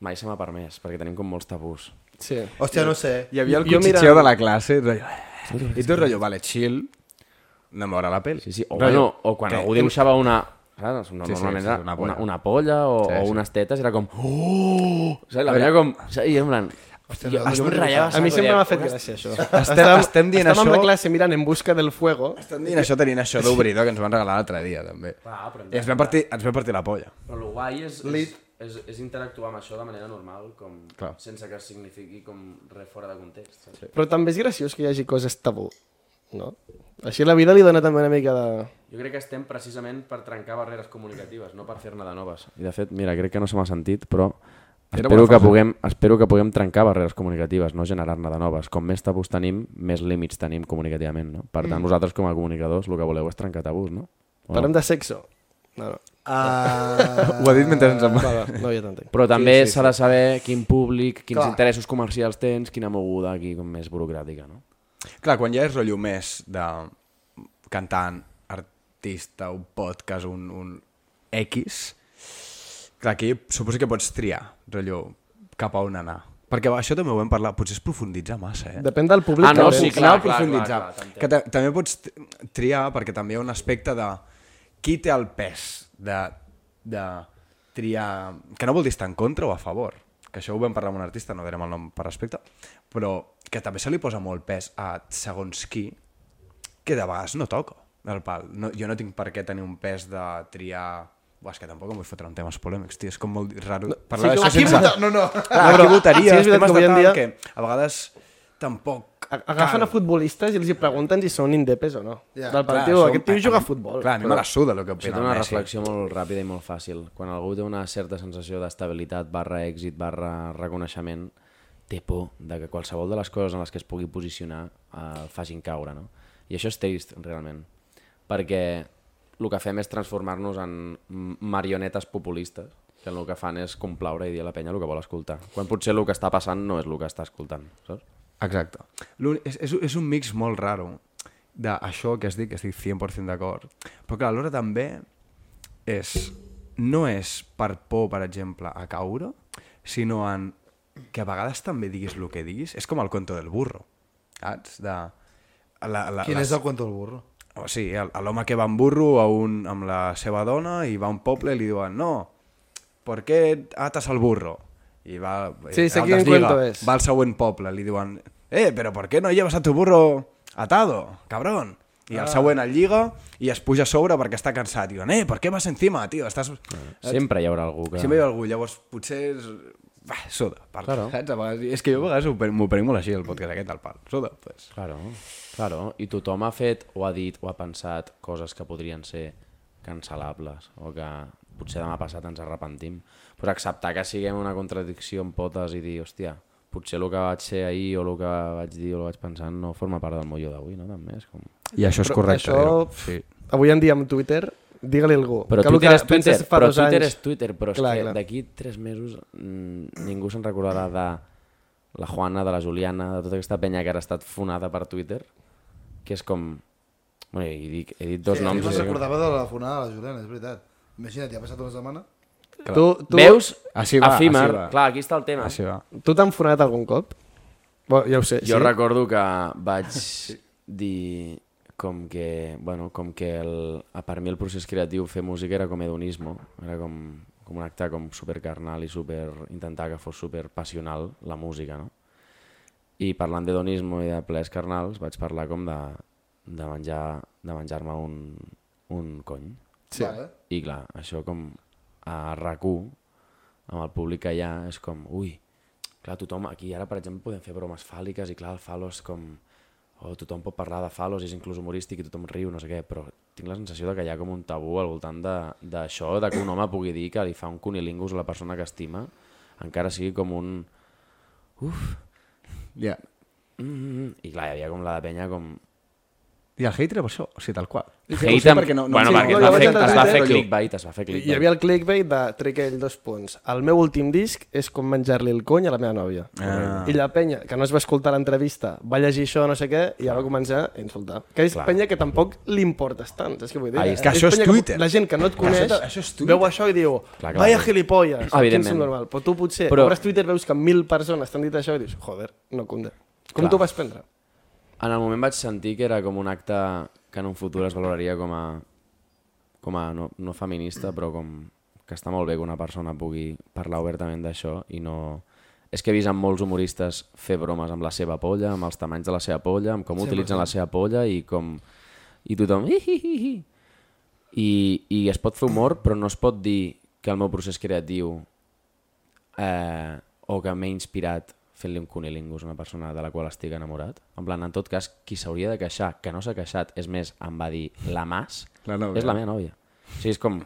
S1: mai se m'ha permès, perquè tenim com molts tabús.
S5: Sí.
S2: Hòstia, no sé.
S6: Hi havia el
S5: Jo
S6: cuchicheo
S5: mirant-
S6: de la classe. Rotllo. I tu, rotllo, vale, chill, anem a veure la pel·li.
S1: Sí, sí. O,
S6: Rotllo,
S1: bueno, o quan
S6: que-
S1: algú dibuixava una... Saps? No,
S6: Sí, sí,
S1: normalment
S6: sí,
S1: era
S6: una
S1: una
S6: polla.
S1: polla, una, una polla o,
S6: Sí,
S1: sí, o
S6: sí.
S1: unes tetes, era com... Oh! Saps? La veia com... saps? I en plan...
S2: Hòstia,
S1: Jo,
S2: no,
S1: es
S2: no, no,
S6: Ah,
S1: ratllava
S5: A mi
S1: saco,
S5: sempre
S1: deia,
S5: m'ha fet gràcia, això.
S6: Estem, estem dient
S5: Estàvem
S6: això...
S5: de classe mirant En busca del fuego.
S6: Estem dient això tenint això d'obridor que ens van regalar l'altre dia, també.
S1: Ah, però-
S6: I ens va partir, ens va partir la polla.
S1: Però el guai és, és,
S2: Lit.
S1: és, és interactuar amb això de manera normal, com,
S6: Clar.
S1: sense que signifiqui com res fora de context. Saps?
S5: Però també és graciós que hi hagi coses tabú, no? Així la vida li dona també una mica de...
S1: Jo crec que estem precisament per trencar barreres comunicatives, no per fer-ne de noves. I de fet, mira, crec que no se m'ha sentit, però
S6: Era
S1: espero
S6: bona
S1: que,
S6: frase.
S1: puguem, espero que puguem trencar barreres comunicatives, no generar-ne de noves. Com més tabús tenim, més límits tenim comunicativament, no? Per
S6: Mm.
S1: tant, vosaltres com a comunicadors el que voleu és trencar tabús, no?
S6: Oh.
S1: O no?
S5: Parlem de sexo. No, no.
S2: Ah,
S6: Ho ha dit mentre ens en
S5: Va, va, no, ja t'entenc.
S1: Però també s'ha de saber quin públic, quins interessos comercials tens, quina moguda aquí com més burocràtica, no?
S6: Clar, quan ja és rotllo més de cantant, artista, un podcast, un, un X, clar, aquí suposo que pots triar, rotllo, cap a on anar. Perquè això també ho vam parlar, potser és profunditzar massa, eh?
S5: Depèn del públic.
S1: Ah, no,
S5: que
S1: sí,
S5: tens.
S1: clar,
S6: Anar a profunditzar.
S1: clar, clar, t'entenc.
S6: que ta- també pots t- triar, perquè també hi ha un aspecte de qui té el pes de, de triar... Que no vol dir estar en contra o a favor. Que això ho vam parlar amb un artista, no direm el nom per respecte, però que també se li posa molt pes a segons qui, que de vegades no toco el pal. No, jo no tinc per què tenir un pes de triar... Buah, és que tampoc em vull fotre en temes polèmics, tio, és com molt raro no, parlar
S5: sí,
S6: sí,
S5: jo-
S6: d'això
S5: Aquí
S2: Qui
S6: sense...
S2: vota? No, no.
S6: Clar,
S5: No,
S6: no,
S5: però
S6: però, votaries,
S5: sí, és veritat
S6: temes
S5: que avui
S6: de
S5: en
S6: tal,
S5: dia-
S6: que a vegades tampoc...
S5: A- Agafen a futbolistes i els hi pregunten si són indepes o no.
S2: Ja.
S5: Del partit,
S6: això-
S5: aquest
S1: eh,
S5: tio juga a futbol.
S6: Clar, a mi me la suda el que
S1: Això
S6: opina
S1: té
S6: el
S1: una
S6: Messi.
S1: reflexió molt ràpida i molt fàcil. Quan algú té una certa sensació d'estabilitat barra èxit barra reconeixement, té por de que qualsevol de les coses en les que es pugui posicionar eh, el facin caure, no? I això és trist, realment. Perquè el que fem és transformar-nos en m- marionetes populistes que el que fan és complaure i dir a la penya el que vol escoltar. Quan potser el que està passant no és el que està escoltant, saps?
S6: Exacte. L'únic- És, és, és un mix molt raro d'això que has dit, que estic 100% d'acord. Però clar, alhora també és... No és per por, per exemple, a caure, sinó en que a vegades també diguis el que diguis. És com el conto del burro, saps? De... La, la,
S2: Quin
S6: les-
S2: és el cuento del burro?
S6: O sigui, el- a l'home que va amb burro a un, amb la seva dona i va a un poble i li diuen no, per què atas el burro? I va,
S5: Sí, sé
S6: el
S5: quin
S6: deslliga,
S5: cuento és.
S6: Va al següent poble, li diuen eh, però per què no llevas a tu burro atado, cabrón? I el següent el lliga i es puja a sobre perquè està cansat. Diuen, eh, per què vas encima, tio? Estàs...
S1: Sempre hi haurà algú que...
S6: Sempre hi ha algú, llavors potser és... Va, soda, parla, claro. saps? A vegades, és que jo a vegades ho pre- m'ho prenc molt així, el podcast aquest, al pal. Soda, pues.
S1: Claro, claro. I tothom ha fet o ha dit o ha pensat coses que podrien ser cancel·lables o que potser demà passat ens arrepentim. Però acceptar que siguem una contradicció en potes i dir, hòstia, potser el que vaig ser ahir o el que vaig dir o el que vaig pensar no forma part del meu jo d'avui, no? També és com...
S6: I això és correcte.
S5: Això,
S6: dir-ho. Sí.
S5: avui en dia amb Twitter, digue-li algú.
S1: Però
S5: que el
S1: Twitter
S5: que
S1: és Twitter,
S5: penses fa
S1: però
S5: dos
S1: Twitter
S5: anys-
S1: és Twitter, però és
S5: Clar,
S1: que
S5: clar.
S1: d'aquí tres mesos mm, ningú se'n recordarà de la Juana, de la Juliana, de tota aquesta penya que ara ha estat fonada per Twitter, que és com... Bueno, he dit, he dit dos
S2: Sí,
S1: noms. eh.
S2: jo me'n
S1: així com-
S2: recordava de la fonada de la Juliana, és veritat. Imagina't, ja ha passat una setmana.
S5: Tu,
S1: Tu... Veus?
S6: Així va,
S1: Efímer.
S6: així va.
S1: Clar, aquí està el tema.
S6: Així va.
S5: Tu t'han fonat algun cop? Bo, ja ho sé.
S1: Jo
S5: sí?
S1: recordo que vaig dir com que, bueno, com que el, a per mi el procés creatiu fer música era com hedonismo, era com, com un acte com supercarnal i super, intentar que fos super passional la música, no? I parlant d'hedonisme i de plaers carnals, vaig parlar com de, de menjar de menjar-me un, un cony.
S2: Sí. Vale.
S1: I clar, això com a rac amb el públic que hi ha, és com, ui, clar, tothom, aquí ara, per exemple, podem fer bromes fàl·liques i clar, el falo és com, oh, tothom pot parlar de falos, és inclús humorístic i tothom riu, no sé què, però tinc la sensació de que hi ha com un tabú al voltant de- d'això, de, de que un home pugui dir que li fa un cunilingus a la persona que estima, encara sigui com un...
S6: Yeah.
S1: Mm, mm, mm. I clar, hi havia com la de penya com...
S6: I el hate era per això, o sigui, tal qual.
S1: Hate amb- bueno,
S5: sí,
S1: perquè
S5: no,
S1: es va,
S5: jo vaig
S1: fer,
S5: entrar a
S1: es va fer
S5: Twitter,
S1: clickbait, es va fer clickbait.
S5: Hi havia el clickbait de Triquell, dos punts. El meu últim disc és com menjar-li el cony a la meva nòvia.
S6: Ah.
S5: I la penya, que no es va escoltar l'entrevista, va llegir això, no sé què, i ja va començar a insultar. Que és
S1: Clar.
S5: penya que tampoc li importes tant, saps què vull dir?
S1: Ai,
S5: Eh?
S1: és
S6: que això és
S5: penya
S6: Twitter.
S5: la gent que no et coneix
S6: això- això és Twitter.
S5: veu això i diu,
S1: Clar, clar.
S5: vaya gilipolles, quin
S1: Evidentment.
S5: som normal. Però tu potser,
S1: Però-
S5: Però... obres Twitter, veus que mil persones t'han dit això i dius, joder, no conde. Com
S1: Clar.
S5: t'ho vas prendre?
S1: En el moment vaig sentir que era com un acte que en un futur es valoraria com a... com a no, no feminista, però com que està molt bé que una persona pugui parlar obertament d'això i no és que he vist amb molts humoristes fer bromes amb la seva polla, amb els tamanys de la seva polla, amb com utilitzen la seva polla i com... I tothom... Hi, hi, hi, hi. I, I es pot fer humor, però no es pot dir que el meu procés creatiu eh, o que m'he inspirat fent-li un cunilingus a una persona de la qual estic enamorat. En plan, en tot cas, qui s'hauria de queixar, que no s'ha queixat, és més, em va dir la Mas,
S6: La nòvia.
S1: és la meva nòvia. O sigui, és com,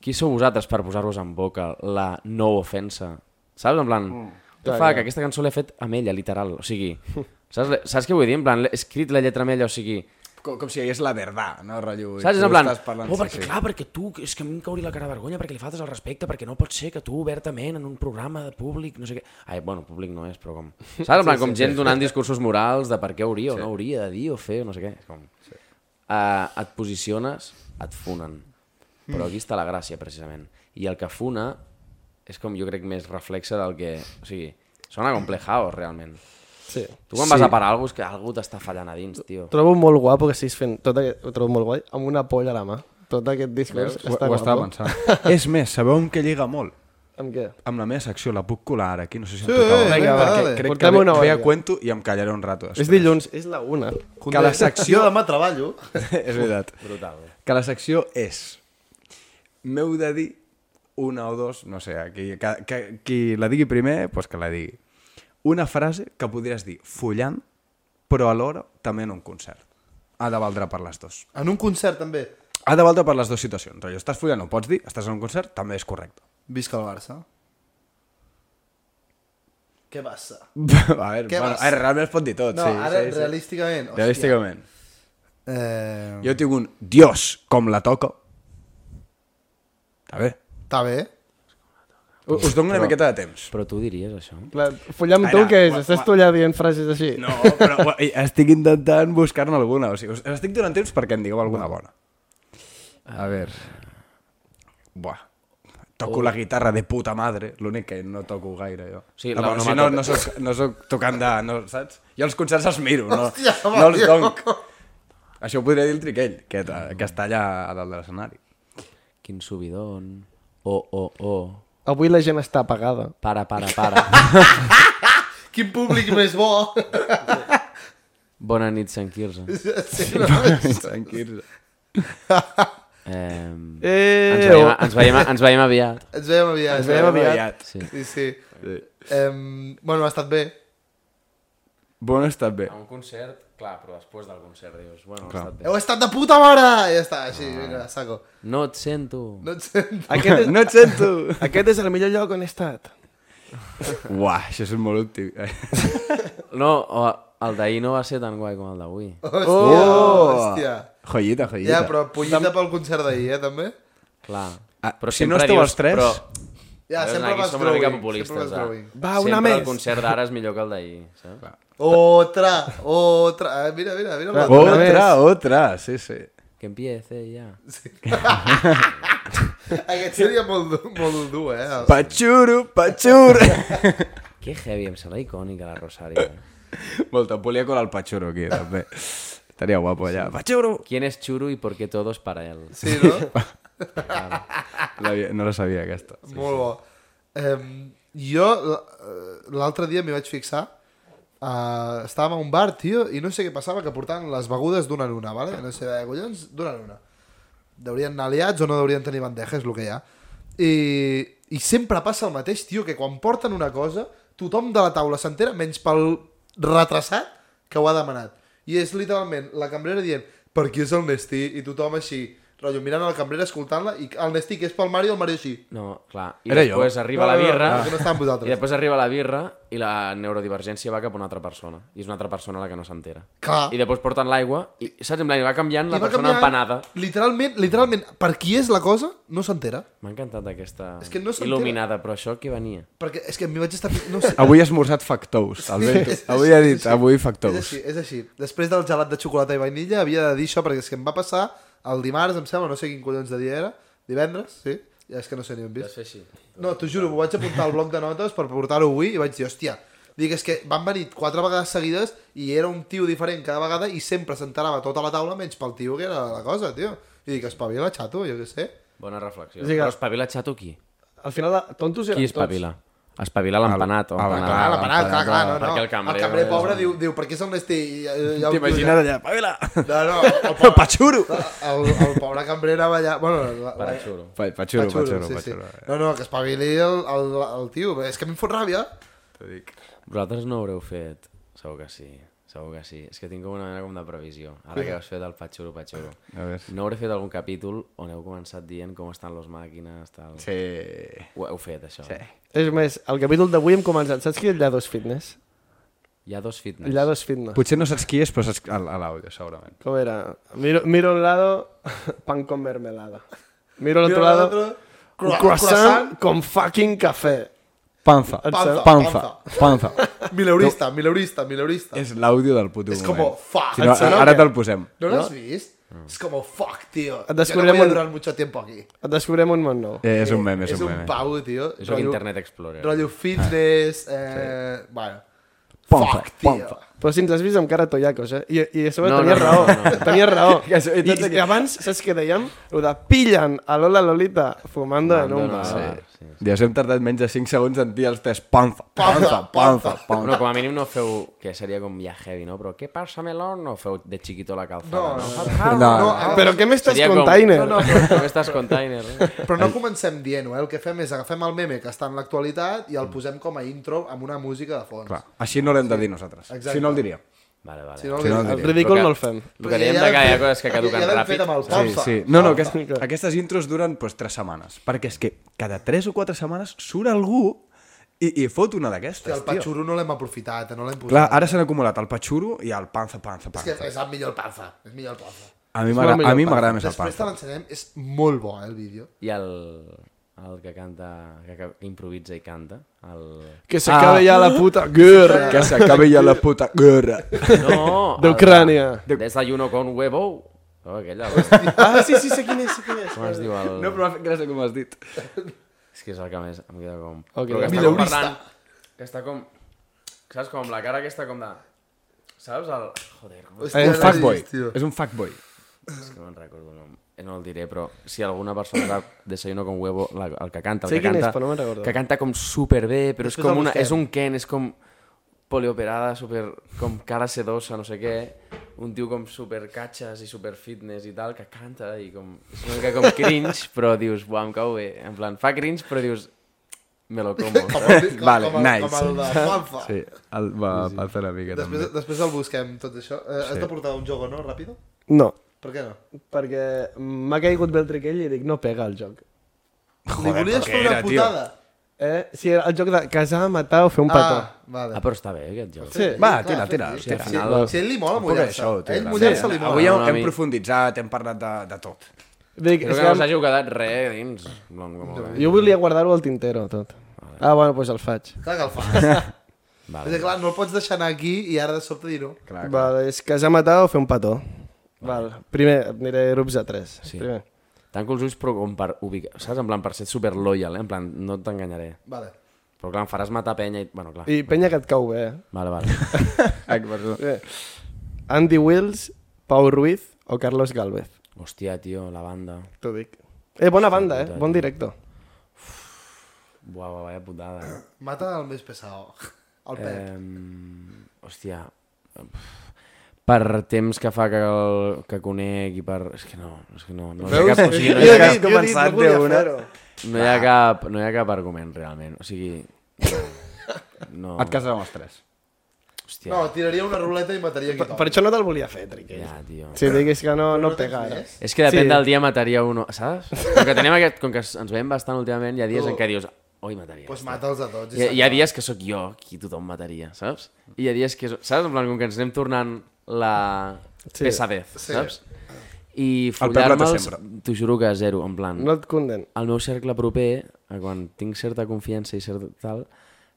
S1: qui sou vosaltres per posar-vos en boca la no ofensa? Saps? En plan, mm.
S5: Clar,
S1: fa clar.
S5: clar.
S1: que aquesta cançó l'he fet amb ella, literal. O sigui, saps, saps què vull dir? En plan, l'he escrit la lletra amb ella, o sigui...
S6: Com, com si hi hagués la verdad, no, rotllo? i
S1: Saps? És
S6: tu
S1: en plan,
S6: estàs parlant-
S1: oh, perquè
S6: sí, sí.
S1: clar, perquè tu, és que a mi em cauri la cara de vergonya, perquè li faltes el respecte, perquè no pot ser que tu obertament en un programa de públic, no sé què... Ai, bueno, públic no és, però com... Saps? En plan, com gent donant discursos morals de per què hauria o no hauria de dir o fer o no sé què. És Com... Eh, et posiciones, et funen. Però aquí està la gràcia, precisament. I el que funa és com, jo crec, més reflexa del que... O sigui, sona com plejaos, realment.
S5: Sí.
S1: Tu quan sí. vas a parar algú és que algú t'està fallant a dins, tio.
S5: Trobo molt guapo que estiguis fent... Tot aquest... Ho trobo molt guai, amb una polla a la mà. Tot aquest discurs
S6: Ho,
S5: està
S6: ho
S5: guapo.
S6: estava pensant. és més, sabeu amb què lliga molt?
S5: Amb què?
S6: Amb la meva secció, la puc colar ara aquí, no sé si em
S2: Sí,
S6: toca o no,
S2: vinga,
S6: perquè
S2: dale.
S6: crec que
S5: Portem
S6: ve,
S5: una hora
S6: ve a
S5: ja.
S6: cuento i em callaré un rato.
S5: És dilluns, és la una.
S6: Que la secció...
S2: Jo demà treballo.
S6: és veritat.
S1: Brutal.
S6: Que la secció és... M'heu de dir una o dos, no sé, qui, que, que, qui la digui primer, doncs que la digui. Una frase que podries dir follant, però alhora també en un concert. Ha de valdre per les dues.
S2: En un concert, també.
S6: Ha de valdre per les dues situacions. Rotllo, estàs follant, ho pots dir, estàs en un concert, també és correcte.
S2: Visca el Barça. Què passa?
S6: a veure,
S2: Què
S6: bueno,
S2: vas?
S6: a veure, realment es pot dir tot.
S2: No,
S6: sí,
S2: ara,
S6: sí, sí.
S2: realísticament... hòstia.
S6: Realísticament.
S2: Eh,
S6: Jo tinc un Dios com la toca. Està bé.
S2: Està bé.
S6: U- Us dono una miqueta de temps.
S1: Però tu diries això?
S5: Clar, follar amb tu,
S6: Ara,
S5: què és?
S6: gua-
S5: Estàs
S6: gua-
S5: tu allà dient frases així?
S6: No, però ua, ei, estic intentant buscar-ne alguna. O sigui, us us estic donant temps perquè en digueu alguna bona. A veure... Buah. Toco
S2: Oh.
S6: la guitarra de puta madre, l'únic que no toco gaire, jo.
S1: Sí,
S6: no,
S1: la
S6: però, o sigui, no,
S1: onomatope-
S6: no, soc, no soc tocant de... No, saps? Jo els concerts els miro, no,
S2: Hòstia,
S6: no els
S2: va,
S6: dono.
S2: tio.
S6: Això ho podria dir el Triquell, que, que està allà a dalt de l'escenari.
S1: Quin subidon. Oh, oh, oh.
S5: Avui la gent està apagada.
S1: Para, para, para.
S2: Quin públic més bo!
S1: Bona nit, Sant Quirze.
S2: Sí, no?
S6: Tranquils.
S1: Eh,
S5: Eh,
S1: ens, veiem, ens, veiem, ens veiem aviat.
S2: Ens veiem aviat.
S5: Ens veiem aviat.
S1: Sí.
S2: Sí, sí. Em, bueno, ha estat bé.
S6: Bon estat bé.
S1: un concert, clar, però després del concert dius, bueno,
S6: Clar.
S1: estat
S2: Heu estat de puta mare! Ja està,
S1: Ah.
S2: així, vinga, saco.
S1: No et sento.
S2: No et sento.
S5: Aquest és,
S6: No et sento!
S5: aquest és el millor lloc on he estat.
S6: Uah, això és molt útil.
S1: No, o, el d'ahir no va ser tan guai com el d'avui.
S2: Hòstia,
S1: Oh!
S2: hòstia.
S6: Oh! Joyita, joyita.
S2: Ja, però pollita pel concert d'ahir, eh, també?
S1: Clar.
S6: Ah, si no esteu els tres-
S2: Ja,
S1: Veus,
S2: sempre
S1: aquí
S2: vas
S1: som una mica
S2: growing, sempre
S1: populistes.
S2: vas growing.
S1: eh?
S5: Va, una
S1: sempre el
S5: més.
S1: concert d'ara és millor que el d'ahir, saps?
S2: Otra, otra. Ah, Mira, mira, mira. l'altre.
S5: Otra
S6: Otra,
S5: vez.
S6: otra, sí, sí.
S1: Que empiece ja. Oh.
S2: Aquest seria molt, du- molt dur, eh?
S6: Patxuro, patxuro.
S1: Que heavy, em sembla icònica la Rosario. Eh?
S6: Molta, em volia colar el patxuro aquí, també. Estaria guapo allà. Patxuro!
S1: ¿Quién es Churu y por qué todos para él?
S2: Sí, no?
S6: L'havia- No la sabia, aquesta.
S2: Molt bo. Um, jo l- eh, l'altre dia m'hi vaig fixar uh, estàvem a un bar, tio, i no sé què passava, que portaven les begudes d'una en una, vale? no sé, eh, collons, d'una en una. Deurien anar aliats o no deurien tenir bandeja, és el que hi ha. I, I sempre passa el mateix, tio, que quan porten una cosa, tothom de la taula s'entera, menys pel retrasat que ho ha demanat. I és literalment la cambrera dient, per qui és el Nestí? I tothom així, rotllo, mirant a la cambrera, escoltant-la, i el Nestí, que és pel Mario, el Mario així.
S1: No, clar. I
S6: Era
S1: després
S6: jo.
S1: arriba
S2: No,
S1: la
S2: no, no,
S1: birra...
S2: Ah. no, que no estàvem vosaltres.
S1: I després arriba la birra i la neurodivergència va cap a una altra persona. I és una altra persona la que no s'entera.
S2: Clar.
S1: I després porten l'aigua i, saps, en plan, va canviant
S2: I
S1: la
S2: va
S1: persona
S2: canviant.
S1: empanada.
S2: Literalment, literalment, per qui és la cosa, no s'entera.
S1: M'ha encantat aquesta
S2: És que no s'entera.
S1: il·luminada, però això qui venia?
S2: Perquè és que m'hi vaig estar... fi- No sé.
S6: Avui he esmorzat factous, el vento.
S2: És així,
S6: Avui ha
S2: és
S6: dit,
S2: així.
S6: avui
S2: És
S6: factous.
S2: així, és així. Després del gelat de xocolata i vainilla havia de dir això perquè és que em va passar el dimarts, em sembla, no sé quin collons de dia era, divendres, sí, ja és que no sé ni on vist.
S1: fer així.
S2: No, t'ho juro, m'ho vaig apuntar al bloc de notes per portar-ho avui i vaig dir, hòstia, dic, és que van venir quatre vegades seguides i era un tio diferent cada vegada i sempre s'enterava tota la taula menys pel tio que era la cosa, tio. I dic, espavila, xato, jo què sé.
S1: Bona reflexió.
S5: O sigui que-
S1: Però espavila xato qui?
S5: Al final, tontos eren
S1: Qui espavila?
S5: tots.
S1: Espavilar l'empanat. o
S6: Ah, va,
S1: empanada.
S2: Clar,
S6: Ah,
S2: l'empanat, clar, clar, no, no.
S1: Perquè el cambrer...
S2: el cambrer pobre diu, diu, per què som l'esti? I- eh, i- i-
S6: T'imagines allà, pavela!
S2: No, no, el
S6: El
S2: pobre,
S6: patxuro!
S2: el, el pobre cambrer anava allà... Bueno, la, la,
S1: Xuro.
S6: Pa- Patxuro,
S2: Patxuro,
S6: patxuro,
S2: sí, sí.
S6: patxuro.
S2: No, no, que espavili el, el, el tio. És que a mi em fot ràbia.
S6: T'ho dic.
S1: Vosaltres no ho haureu fet? Segur que sí. Segur que sí. És que tinc com una mena com de previsió. Ara que has fet el patxuro, patxuro.
S6: A veure.
S1: No hauré fet algun capítol on heu començat dient com estan les màquines, tal...
S6: Sí.
S1: Ho heu fet, això?
S6: Sí.
S5: És més, el capítol d'avui hem començat... Saps qui és Llados Fitness?
S1: Hi ha dos fitness.
S5: Llados Fitness.
S6: Potser no saps qui és, però saps a a l'àudio, segurament.
S5: Com era? Miro, miro a un lado, pan con mermelada. Miro al otro lado, un
S2: Croissant,
S5: croissant con fucking café.
S6: Panza.
S2: Panza,
S6: Panza. Panza.
S2: Mileurista, mileurista, mileurista.
S6: És l'àudio del puto
S2: És
S6: moment.
S2: com, fuck,
S6: Si no, ah,
S2: em sembla
S6: ara
S2: que-
S6: te'l posem.
S2: ¿No lo has visto? Es como, fuck, tío.
S5: Et
S2: Yo no
S5: descobrirem
S2: voy a
S5: un-
S2: durar mucho tiempo aquí.
S5: Et descobrirem un món nou.
S6: Eh, és un meme, és
S2: es
S6: un
S2: un
S6: meme.
S2: pavo, tío.
S1: Jo soc Internet Explorer.
S2: Rollo fitness, eh, bueno.
S6: Pompa,
S2: fuck, tío.
S6: pompa.
S5: Però si ens has vist amb cara tollacos, eh? I, i a sobre
S1: No,
S5: no, tenies
S1: no,
S5: no,
S1: no,
S5: raó,
S1: no,
S5: no, no. tenies raó.
S6: I tot
S5: I, I abans, saps què dèiem? El de pillen a Lola Lolita fumando en un bar.
S1: Sí.
S5: Sí.
S1: sí.
S6: Ja hem tardat menys de 5 segons en dir els tres panza, panza, panza,
S1: Bueno,
S6: panza.
S1: com a mínim no feu... Que seria com ja heavy, no? Però què passa, Melón? No feu de chiquito la calzada, no?
S6: No,
S2: No,
S6: no.
S2: ah,
S5: Però què m'estàs eh?
S1: Seria com-
S5: container?
S1: No, no, però com estàs container. eh?
S2: però no comencem dient-ho, eh? El que fem és agafem el meme que està en l'actualitat i el posem com a intro amb una música de fons.
S6: Clar, així no l'hem de dir nosaltres.
S2: Exacte.
S6: Si no el diria.
S1: Vale, vale.
S2: Si no,
S6: Si no,
S5: El
S6: el diria.
S5: ridícul
S1: Però que-
S5: no el fem.
S1: El que dèiem de que hi ha coses que caduquen
S2: ja l'hem
S1: ràpid.
S2: fet amb el
S6: Sí,
S2: pompa.
S6: sí. No, no,
S5: Panza.
S6: aquestes, aquestes intros duren pues, 3 setmanes. Perquè és que cada 3 o 4 setmanes surt algú i, i fot una
S2: Hòstia,
S6: d'aquestes,
S2: el
S6: tio.
S2: patxuro no l'hem aprofitat, no l'hem posat.
S6: Clar, ara s'han acumulat el patxuro i el panza, panza,
S2: És que
S6: panza.
S2: és el millor el panza, és millor el panza.
S6: A mi
S5: És
S6: m'agra-
S5: molt millor
S6: a mi
S5: el panza.
S6: m'agrada més el
S2: Després te
S6: panza.
S2: l'ensenyem, és molt bo, eh, el vídeo.
S1: I el, el que canta, que, que improvisa i canta. El...
S5: Que s'acabe ja la puta guerra
S6: Que s'acabi ja la puta guerra.
S1: No! el-
S5: d'Ucrània.
S1: Desayuno con huevo. Oh, aquella,
S5: Ah, sí, sí, sé quin és, sé quin és.
S1: com es diu el...
S6: No, però m'ha fet gràcia com has dit.
S1: És que és el que més em queda com...
S5: Ok.
S1: Però que està com
S2: Mileurista.
S1: parlant... Que està com... Saps com? La cara aquesta com de... Saps? El... Joder, com...
S2: Hòstia,
S6: És
S2: l'he
S6: un Eh, fuckboy.
S2: vist, tio.
S6: És un fuckboy.
S1: és que no en recordo el nom. Eh, No el diré, però si alguna persona sap Desayuno con huevo, la, el que canta... El
S5: Sé
S1: que
S5: quin és,
S1: canta,
S5: però no me'n recordo.
S1: Que canta com superbé, però
S5: Després
S1: és com
S5: el
S1: una...
S5: busquem.
S1: És un Ken, és com polioperada, super... com cara sedosa, no sé què un tio com super catxes i super fitness i tal, que canta i com... És una mica com cringe, però dius, buah, em cau bé. En plan, fa cringe, però dius, me lo como. saps?
S2: Com el- com-
S6: Vale,
S2: com el-
S6: nice.
S2: Com el de Juanfa.
S6: Sí, el va passar una mica
S2: Després,
S6: també.
S2: després el busquem, tot això. Eh, Has de portar un joc o no, ràpido?
S5: No,
S2: Per què no?
S5: perquè m'ha caigut bé el triquell i dic, no pega el joc.
S2: Li volies fer una putada?
S5: Eh? Sí, el joc de casar, matar o fer un petó.
S2: Ah, vale.
S1: Ah, però està bé aquest joc.
S5: Sí.
S6: Va,
S2: clar,
S6: tira, tira,
S2: fes-li.
S6: tira.
S2: Si, si, a ell li mola mullar-se.
S6: això, tio,
S2: A ell
S6: la
S2: mullar-se li mola.
S6: Avui
S1: No,
S6: hem,
S1: no, a
S6: hem
S1: mi-
S6: profunditzat, hem parlat de, de tot.
S5: Dic,
S1: Crec
S5: és
S1: que no us
S5: que
S1: hàgiu quedat res a dins. No, no, no, no.
S5: jo volia guardar-ho al tintero, tot. Ah, bueno, doncs el faig.
S2: Clar que el fas. És
S1: Vale.
S2: que clar, no el pots deixar anar aquí i ara de sobte dir-ho.
S6: Clar, clar.
S5: Val, és casar, matar o fer un petó. Val. Primer, aniré a grups de 3.
S1: Sí.
S5: Primer.
S1: Tanco els ulls però com per ubicar, saps? En plan, per ser super loyal, eh? En plan, no t'enganyaré.
S2: Vale.
S1: Però clar, em faràs matar penya i... Bueno, clar.
S5: I penya que et cau bé. eh?
S1: Vale, vale.
S6: Ah, que perdó.
S5: Bé. Andy Wills, Pau Ruiz o Carlos Galvez.
S1: Hòstia, tio, la banda.
S5: T'ho dic. Eh, bona banda, eh? Bon director.
S1: Buah, buah, vaya putada. eh?
S2: Mata el més pesado. El Pep.
S1: Eh, hòstia. Per temps que fa que, el, que conec i per... És que no, és que no. No hi ha cap, o sigui, no hi
S5: Jo
S1: ha
S5: he
S1: cap,
S5: dit, jo he dit, no volia fer-ho.
S1: no hi ha cap, no hi ha cap argument, realment. O sigui... No.
S6: Et cases amb els tres.
S1: Hòstia.
S2: No, tiraria una ruleta i mataria qui
S5: Per,
S2: toca.
S5: per això no te'l volia fer, Triquell.
S1: Ja, tio.
S5: Si diguis que no, no pega
S2: tens
S5: ara.
S2: més?
S1: És que depèn
S5: Sí.
S1: sí. del dia mataria un... Saps? Com que, tenim aquest, com que ens veiem bastant últimament, hi ha dies
S2: Tu-
S1: en què dius... Oi, mataria.
S2: Pues Doncs mata'ls a tots.
S1: hi, ha- hi ha dies que sóc jo qui tothom mataria, saps? I hi ha dies que... Saps? En plan, com que ens anem tornant la
S5: Sí.
S1: sí. pesadez,
S2: Sí.
S1: sí. saps? I
S6: El plat de
S1: follar-me'ls,
S6: sempre.
S1: t'ho juro que zero, en plan...
S5: No et conden.
S1: El meu cercle proper, a quan tinc certa confiança i cert tal,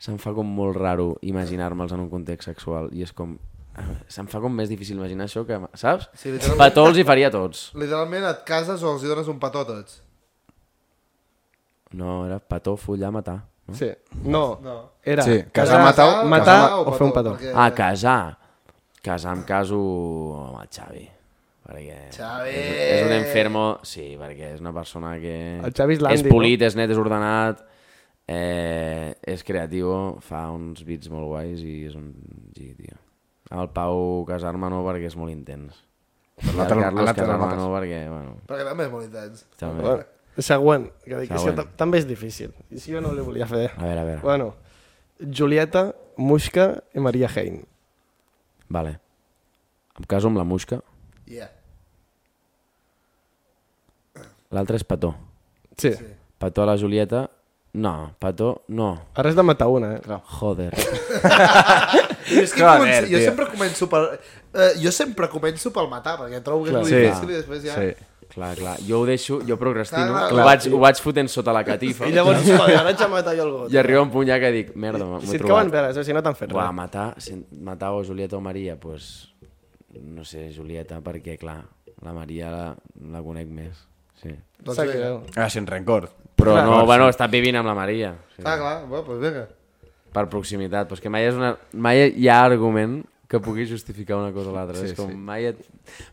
S1: se'm fa com molt raro imaginar-me'ls en un context sexual. I és com... eh, Se'm fa com més difícil imaginar això que... Saps?
S2: Sí, literalment.
S1: Petó els hi faria a tots.
S2: Literalment et cases o els hi dones un petó a tots.
S1: No, era petó, follar, matar. No?
S5: Sí. No.
S2: No.
S5: Era
S6: Sí,
S5: casar,
S6: casar,
S5: matar,
S2: casar,
S5: matar
S2: casar
S5: o fer un petó.
S2: perquè-
S1: Ah, casar. Casar em caso amb el Xavi. Perquè
S2: Xavi!
S1: És, és un enfermo... Sí, perquè és una persona que...
S5: El Xavi és l'Andy,
S1: És polit, és net, és ordenat, Eh, és creatiu, fa uns beats molt guais i és un G, tio. El Pau Casarma no perquè és molt intens. I el
S6: l'altre-
S1: Carlos
S6: l'altre no
S1: Casarma
S6: notes.
S1: no perquè, bueno,
S2: Perquè també és molt intens.
S1: també.
S5: Bueno, següent, que dic, és que
S1: Següent.
S5: ta- també és difícil. I si jo no li volia fer.
S1: A veure, a veure.
S5: Bueno, Julieta, Muixca i Maria Hein.
S1: Vale. Em caso amb la Muixca.
S2: Yeah.
S1: L'altre és Pató.
S5: Sí.
S1: Pató a la Julieta. No, Pató, no.
S5: Ara has de matar una, eh? Clar.
S1: Joder.
S2: Jo, és que
S6: Joder,
S2: començo, jo
S6: tio.
S2: sempre començo per... Eh, jo sempre començo pel matar, perquè trobo que és
S5: Clar.
S2: molt
S6: Sí.
S2: difícil i després ja...
S6: Sí.
S1: Clar, clar. Jo ho deixo, jo procrastino.
S2: Clar,
S1: Clar,
S2: clar.
S1: clar, ho, vaig, ho vaig fotent sota la catifa.
S5: I llavors, joder, ara haig de matar jo el got.
S1: I arriba un punyà que dic, merda, m'ho he
S5: si et cauen
S1: trobat.
S5: veres, eh? si no t'han fet
S1: Uà,
S5: res.
S1: matar, si matar o Julieta o Maria, pues, no sé, Julieta, perquè, clar, la Maria la, la conec més. Sí.
S2: Doncs
S5: Sap
S2: vinga.
S5: greu.
S6: Ah, sin rencor.
S1: Però
S5: Clar.
S1: no, bueno, està vivint amb la Maria. Sí.
S2: Ah, clar, bueno, doncs vinga.
S1: Per proximitat. Però és que mai, és una, mai hi ha argument que pugui justificar una cosa o l'altra. Sí, és com, mai, et,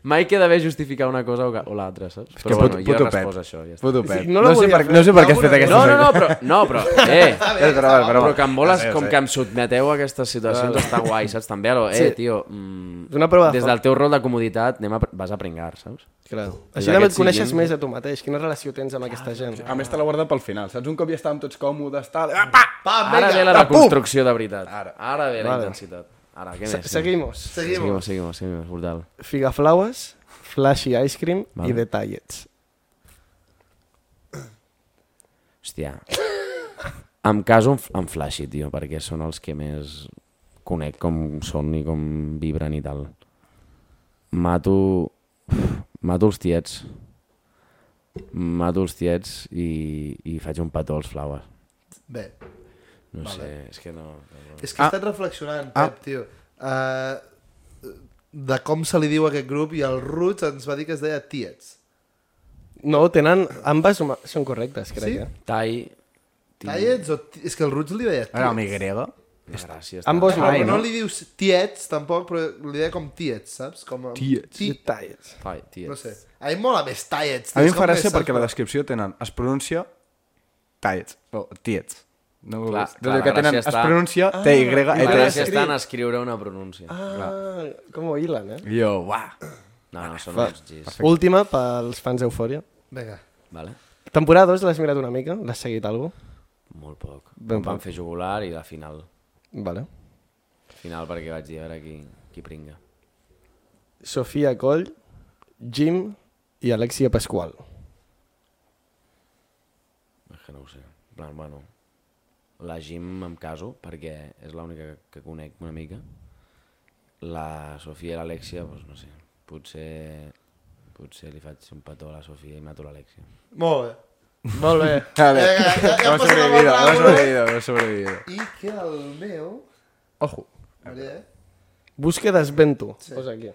S1: mai queda bé justificar una cosa o, ca- o l'altra, saps?
S6: És que
S1: Però bueno, jo
S6: put-
S1: he
S6: puto pet.
S1: respost això. Ja està.
S6: Puto pet.
S5: no la
S6: sé
S5: volia
S6: per,
S5: fer.
S6: no sé per què has fet
S2: Alguna-
S6: aquesta
S1: No, no, no, però, no, però eh,
S6: És broma, és broma.
S1: Però que em voles,
S6: Ja sé, ja
S1: com
S6: sé.
S1: que em sotmeteu a aquestes situacions, està guai, saps? També, a lo, eh, tio, mm,
S5: És una prova de
S1: des
S5: foc.
S1: del teu rol de comoditat anem a, pr- vas a pringar, saps?
S5: Clar.
S1: És
S5: Així també
S1: d'aquests
S5: et coneixes
S1: siguin-
S5: més a tu mateix, quina relació tens amb aquesta gent.
S6: A més, te l'ha guardat pel final. Saps? Un cop ja estàvem tots còmodes, tal... Ah, pa!
S2: Pam,
S1: Ara ve la reconstrucció de veritat.
S6: Ara.
S1: Ara ve la intensitat. Ara, què
S5: Se
S1: més?
S5: Seguimos.
S2: Seguim.
S1: Seguimos, seguimos, seguimos, brutal.
S5: Figaflaues, Flashy Ice Cream i
S1: Vale.
S5: The Tallets.
S1: Hòstia. Em caso amb, amb Flashy, tio, perquè són els que més conec com són i com vibren i tal. Mato... Mato els tiets. Mato els tiets i, i faig un petó als flaues.
S2: Bé,
S1: No vale. sé, és que no...
S2: és
S5: Ah.
S2: que he estat reflexionant, Pep, tio. Uh, de com se li diu a aquest grup i el Roots ens va dir que es deia Tiets.
S5: No, tenen... Ambes home- són correctes, crec.
S2: Sí?
S5: Eh?
S1: Tai... Ti-
S2: Tiets o... ti- És que el Roots li deia Tiets.
S6: mi grega.
S1: Gràcies.
S5: Ambos
S2: Però
S5: mai,
S2: no
S5: no?
S2: li dius Tiets, tampoc, però li deia com Tiets, saps? Com... Tiets.
S5: The Tallets.
S1: Tai, tiets.
S2: No sé. A mi em mola més Tiets.
S6: A
S2: tio,
S6: mi em
S2: és
S6: fa
S2: com
S6: gràcia
S2: més,
S6: perquè la
S2: saps?
S6: descripció tenen... Es pronuncia... Tiets. O Oh, tiets. No,
S1: Clar,
S6: és
S1: clar,
S6: allò que
S1: la
S6: tenen,
S1: gràcia
S6: es
S1: està-
S6: pronuncia E T-Y,
S1: La gràcia
S6: E-T-S.
S1: està en escriure una pronúncia.
S5: Ah, com ho hilen, eh?
S6: Jo, uah.
S1: No, no, són uns gis.
S5: Última pels fans d'Eufòria.
S2: Vinga.
S1: Vale?
S5: Temporada 2 l'has mirat una mica? L'has seguit alguna cosa?
S1: Molt poc.
S5: Ben
S1: Em van
S5: poc.
S1: fer jugular i la final.
S5: Vale.
S1: Final perquè vaig dir, a veure qui, qui pringa.
S5: Sofia Coll, Jim i Alexia Pasqual.
S1: És que no ho sé. En plan, bueno, la Jim em caso perquè és l'única que, que conec una mica. La Sofia i l'Alexia, doncs no sé, potser, potser li faig un petó a la Sofia i mato l'Alexia.
S2: Molt bé.
S5: Molt bé.
S6: A ver,
S2: Venga, ya- ya
S6: Eh, hemos
S2: pasó la
S6: sobrevivido,
S2: barra,
S6: hemos
S2: bro.
S6: sobrevivido, hemos sobrevivido.
S2: I que el meu...
S6: Ojo.
S2: Miré, eh?
S5: Busca desvento. Sí. Posa aquí.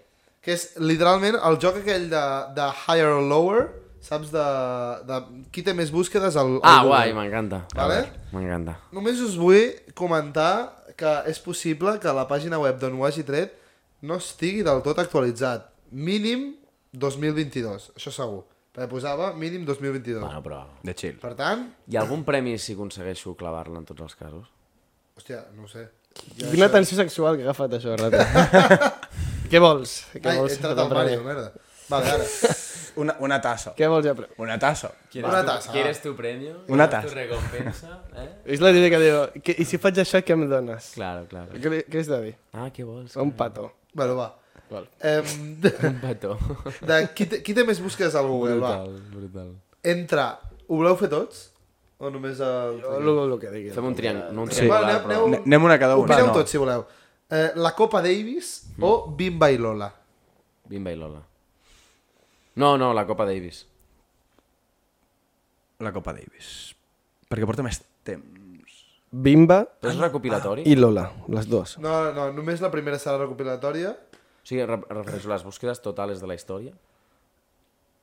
S2: Que és literalment el joc aquell de, de Higher or Lower, saps? De, de qui té més búsquedes al... al
S1: Ah,
S2: Google.
S1: guai, m'encanta. A
S2: Vale.
S1: veure, M'encanta.
S2: Només us vull comentar que és possible que la pàgina web d'on ho hagi tret no estigui del tot actualitzat. Mínim 2022, això segur. Perquè posava mínim 2022.
S1: Bueno, però...
S6: De chill.
S2: Per tant,
S1: Hi ha algun premi si aconsegueixo clavar-la en tots els casos?
S2: hòstia, no ho sé. Ja
S5: Quina
S2: això-
S5: tensió sexual que ha agafat això, rata. Què vols? Què
S2: Ai, he
S5: vols?
S2: entrat al Mario, merda. Vale, ara.
S6: Una, una tassa.
S5: Què vols? apre-
S6: Una tassa.
S2: Una tassa.
S1: ¿Quieres tu premio?
S6: Una tassa.
S1: ¿Tu recompensa? Eh?
S5: És la idea que diu, que, i si faig això, què em dones?
S1: Claro, claro.
S5: Què, li- què has de dir?
S1: Ah, què vols?
S5: Un pato.
S2: Bueno, va.
S5: Val.
S2: Em, de,
S1: Un petó.
S2: de qui, té, qui té més busques al Google, va?
S1: Brutal, brutal.
S2: Entre, ho voleu fer tots? O només el...
S5: Jo, lo, lo que digui.
S1: Fem un triangle, no un
S6: Sí.
S1: triangular,
S2: Bueno,
S1: però...
S2: aneu-
S6: Ne- Anem una cada una.
S2: Opineu
S6: no?
S2: tots, si voleu. Eh, la Copa Davis o Bimba i Lola?
S1: Bimba i Lola. No, no, la Copa Davis.
S6: La Copa Davis. Perquè porta més temps.
S5: Bimba
S1: Però
S2: Ah.
S1: és recopilatori?
S5: i Lola, les dues.
S2: No, no, només la primera serà recopilatòria.
S1: O sigui, re refereixo les búsquedes totales de la història.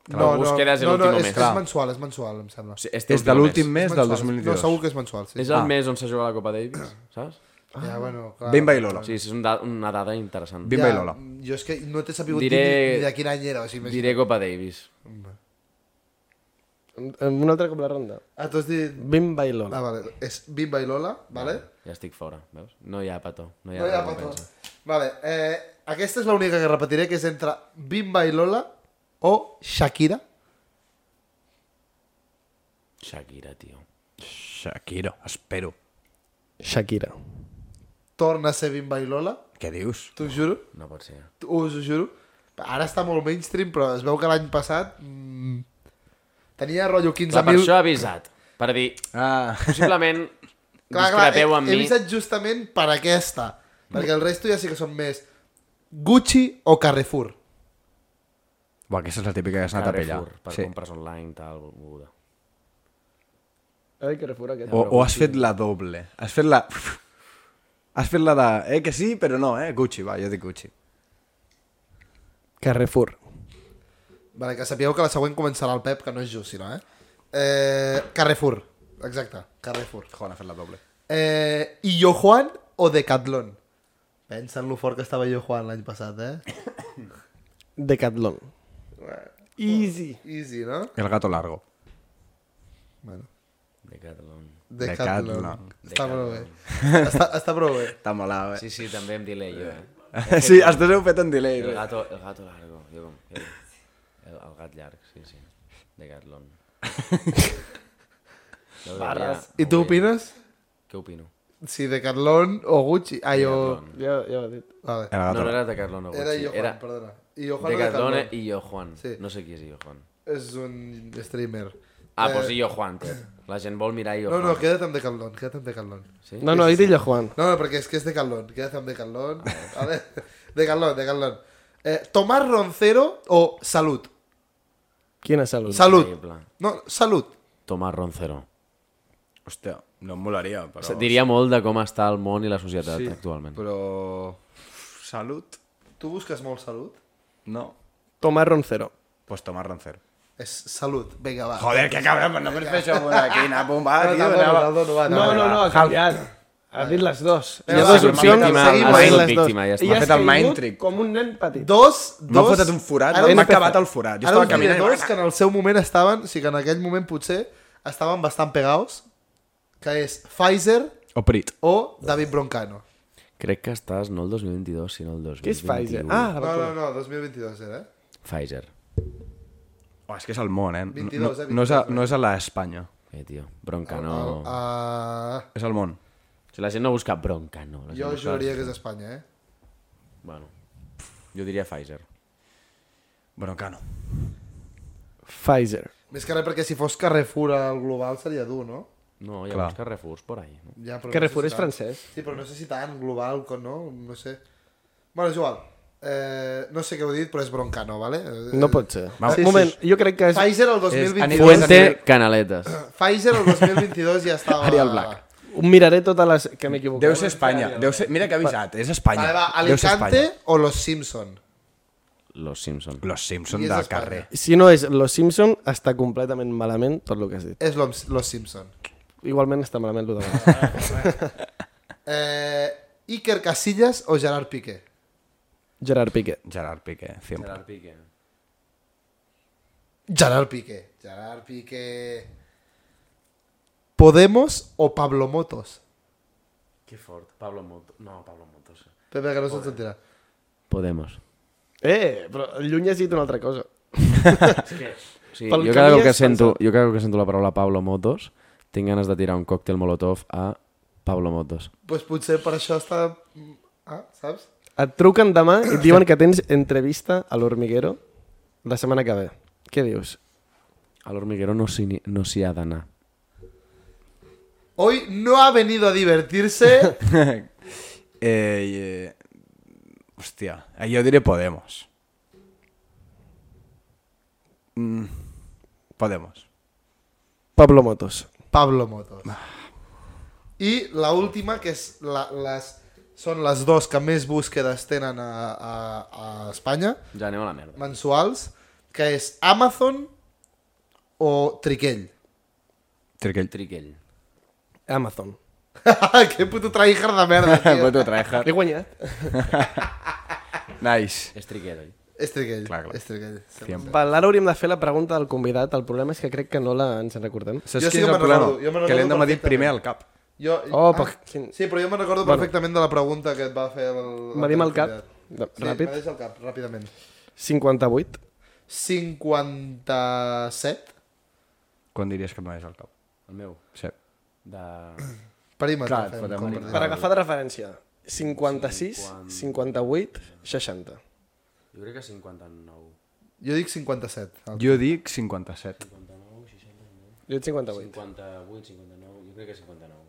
S1: Clar,
S2: No, no,
S1: búsquedes en
S2: no, no
S1: l'últim
S2: és,
S1: mes.
S2: és mensual, és mensual, em sembla.
S1: O sigui, este
S6: És de l'últim
S1: mes.
S2: És
S6: mes del
S2: mensual, és-
S6: 2022.
S2: No, segur que és mensual, sí. Ah.
S1: És el mes on se juga la Copa Davis, saps?
S2: Ja, bueno, clar.
S6: Bimba i Lola.
S1: O sigui, és un da una dada interessant.
S6: Bimba i Lola.
S2: Jo és que no t'he sabut
S1: Diré-
S2: dir ni de quin any era, o sigui, imagina't.
S1: Diré Copa Davis.
S5: Un altre cop la ronda.
S2: Ah, tu has dit...
S5: Bim Bailona.
S2: Ah, vale. És Bimba i Lola, vale?
S1: Ja estic fora, veus? No hi ha petó. No hi ha,
S2: Eh? No hi ha petó.
S1: recompensa.
S2: Vale, eh, aquesta és l'única que repetiré, que és entre Bimba i Lola o Shakira.
S1: Shakira, tio.
S6: Shakira, espero.
S5: Shakira.
S2: Torna a ser Bimba i Lola,
S6: Què dius?
S2: t'ho juro,
S1: No pot ser.
S2: t'ho- us ho juro. Ara està molt mainstream, però es veu que l'any passat mm, tenia rotllo
S1: Clar, per
S2: 15.000...
S1: això he avisat. Per dir,
S6: Ah,
S1: possiblement
S2: Clar, clar, he,
S1: discrepeu amb
S2: he
S1: mi. Mm.
S2: avisat justament per aquesta, perquè el resto ja sí que són més Gucci o Carrefour.
S6: Buah, aquesta és la típica que has anat a pellar.
S1: Carrefour, per
S6: Sí.
S1: compres online, tal, volguda.
S5: Ai, que refura aquest.
S6: O, o has fet la doble. Has fet la... Has fet la de... Eh, que sí, però no, eh? Gucci, va, jo dic Gucci.
S5: Carrefour.
S2: Vale, que sapigueu que la següent començarà el Pep, que no és just, sinó, eh? eh Carrefour, exacte, Carrefour.
S6: Joder, ha fet la doble.
S2: Eh, I Yo Juan o Decathlon? Pensa en lo fort que estava Yo Juan l'any passat, eh?
S5: Decathlon. Easy.
S2: Easy, no?
S6: El gato largo.
S2: Bueno,
S1: Decathlon.
S2: Decathlon.
S6: Decathlon.
S2: Està prou bé. Està, està prou bé.
S6: Està malalt,
S1: Sí, sí, també em delay jo, eh?
S6: eh? Sí, els dos heu fet en delay.
S1: El
S6: eh?
S1: gato, el gato largo. Jo com... El, el, el gat llarg, sí, sí. Decathlon. No,
S5: Barres.
S1: ja,
S2: I tu
S1: ho veia.
S2: opines?
S1: Què opino?
S2: Si Decathlon o Gucci? Ah, jo...
S1: Decathlon.
S5: Ja, ja ho he dit.
S2: Vale.
S6: El
S1: No,
S6: gato
S1: no
S6: largo.
S1: era Decathlon o Gucci.
S2: Era Yo Juan,
S1: era
S2: perdona. I Yo Juan o
S1: Decathlon
S2: Decathlon.
S1: i Yo Juan.
S2: Sí.
S1: No sé qui és Yo Juan.
S2: És un streamer.
S1: Ah, doncs Yo Juan. té. La gent vol mirar Yo
S2: No,
S1: Juan.
S2: no, queda't amb Decathlon, queda't amb Decathlon.
S1: Sí?
S5: No, no, he dit jo, Juan.
S2: No, no, perquè és que és Decathlon, queda't amb Decathlon. Vale? Decathlon, Decathlon. Eh, Tomás Roncero o Salut?
S5: Quina salut?
S2: Salut.
S1: Increïble.
S2: No, Salut.
S1: Tomàs Roncero.
S6: Hòstia, no em molaria, però...
S1: Diria molt de com està el món i la societat sí, actualment.
S6: Però... Salut?
S2: Tu busques molt Salut?
S6: No.
S5: Tomás Roncero.
S6: Pues tomar rancer.
S2: És salut, vinga, va.
S6: Joder, que cabra, però no pots fer això amb una quina bomba,
S2: No,
S6: tio.
S2: no, no, no, no, va,
S5: No,
S2: va,
S5: no,
S2: va.
S5: no, ha canviat. Ha dit les dues. Hi
S2: Vinga,
S5: ha
S2: va,
S5: dues
S2: va,
S5: opcions.
S2: víctima,
S5: seguim
S2: ha sigut
S5: les dues.
S1: víctima, ja està.
S5: I
S1: M'ha
S5: has
S6: fet el mind
S5: caigut
S6: trick.
S5: Com un nen petit.
S2: Dos, dos...
S6: M'ha fotut un forat, eh?
S2: Ara us
S6: m'ha
S2: diré-
S6: acabat el forat.
S2: ara
S6: Jo estava
S2: us diré
S6: caminant i-
S2: Dos que en el seu moment estaven, o sigui que en aquell moment potser estaven bastant pegaos, que és Pfizer
S6: O Prit.
S2: o David Broncano.
S1: Crec que estàs no el 2022, sinó el 2021.
S5: Què és Pfizer? Ah,
S2: No, no, no, 2022 era, eh?
S1: Pfizer.
S6: Oh, és que és el món, eh?
S2: 22, eh,
S6: no, no, és a, no és a l'Espanya.
S1: Eh, tio, bronca no...
S5: Oh.
S2: El- ah,
S6: És el món.
S1: Si la gent no busca bronca, no. La gent
S2: jo
S1: busca...
S2: juraria que és Espanya, eh?
S1: Bueno, jo diria Pfizer.
S6: Broncano.
S5: Pfizer.
S2: Més que res perquè si fos Carrefour al global seria dur, no?
S1: No, hi ha
S6: Clar.
S1: uns Carrefours por ahí. No?
S2: Ja, però
S5: Carrefour
S2: no
S5: és
S2: sé si tant.
S5: francès.
S2: Sí, però no sé si tant global com no, no sé. Bueno, és igual. Eh, no sé què heu dit, però és Broncano, vale? Eh,
S5: No pot ser.
S2: Va, sí,
S5: Un moment,
S2: sí.
S5: jo crec que és...
S2: Pfizer el
S6: És-
S2: 2022.
S6: Fuente-
S1: Fuente Canaletes.
S2: Pfizer el 2022 ja estava...
S6: Ariel Black.
S5: Miraré totes les... Que m'he equivocat.
S6: Deu ser Espanya. Deu ser... Mira que he avisat. És Espanya.
S2: eh. Vale, va,
S6: Deu ser Espanya.
S2: Alicante o Los Simpson?
S1: Los Simpson.
S6: Los Simpson
S2: I és
S6: del
S2: Espanya.
S6: carrer.
S5: Si no és Los Simpson, està completament malament tot el que has dit.
S2: És Los, los Simpson.
S5: Igualment està malament el de
S2: Eh, Iker Casillas o Gerard Piqué?
S5: Gerard Piqué.
S6: Gerard Piqué, 100%.
S1: Piqué.
S2: Gerard Piqué. Gerard Piqué... Podemos o Pablo Motos?
S1: Que fort. Pablo Motos. No, Pablo Motos. eh.
S2: Pepe, que no se'n sentirà.
S1: Podemos.
S5: Eh, però lluny has dit una altra cosa.
S1: Sí,
S5: Pel
S1: jo, cada
S5: camí
S1: cop que
S5: has
S1: sento, jo cada cop que sento la paraula Pablo Motos tinc ganes de tirar un còctel molotov a Pablo Motos.
S2: Doncs pues potser per això està... Ah, saps?
S5: Et truquen demà i et diuen que tens entrevista a l'Hormiguero la setmana que ve. Què dius?
S1: A l'Hormiguero no s'hi no s'hi ha d'anar.
S2: Hoy no ha venido a divertirse.
S6: eh, eh, hòstia, eh, jo diré Podemos. Mm, Podemos.
S5: Pablo Motos.
S2: Pablo Motos. I la última, que és la, les, són les dues que més búsquedes tenen a, a, a Espanya,
S1: Ja anem a la merda.
S2: mensuals, que és Amazon o Triquell.
S6: Triquell.
S1: Triquell.
S5: Amazon.
S2: que puto tryhard de merda, tio.
S6: Puto tryhard.
S5: He guanyat.
S6: Nice.
S1: És triquell, oi?
S2: És triquell.
S6: Clar, clar.
S2: És triquell.
S6: Siempre.
S5: Val, ara hauríem de fer la pregunta del convidat. El problema és que crec que no la ens en recordem.
S6: Saps
S2: Jo sí que
S6: quin és el
S2: me'n
S6: problema?
S2: recordo, jo me'n
S6: que l'hem de
S2: recordo
S6: medir primer al cap.
S2: Jo, ah,
S5: Oh, per- quin-
S2: Sí, però jo me'n recordo perfectament de la pregunta que et va fer el...
S5: Medim el cap. De-
S2: Sí,
S5: ràpid.
S2: Medim el cap, ràpidament.
S5: 58.
S2: 57.
S6: Quan diries que et medeix al cap?
S1: El meu.
S6: Sí.
S1: De...
S2: Perímetre.
S6: Clar, et
S2: fem,
S6: fotem
S2: Ah, com
S6: un-
S2: per dir.
S5: Per agafar de referència, 56, 58, 60.
S1: Jo crec que 59.
S2: Jo dic 57. El...
S6: Jo dic 57.
S5: Jo ets 58.
S1: 58, 59, jo crec que 59.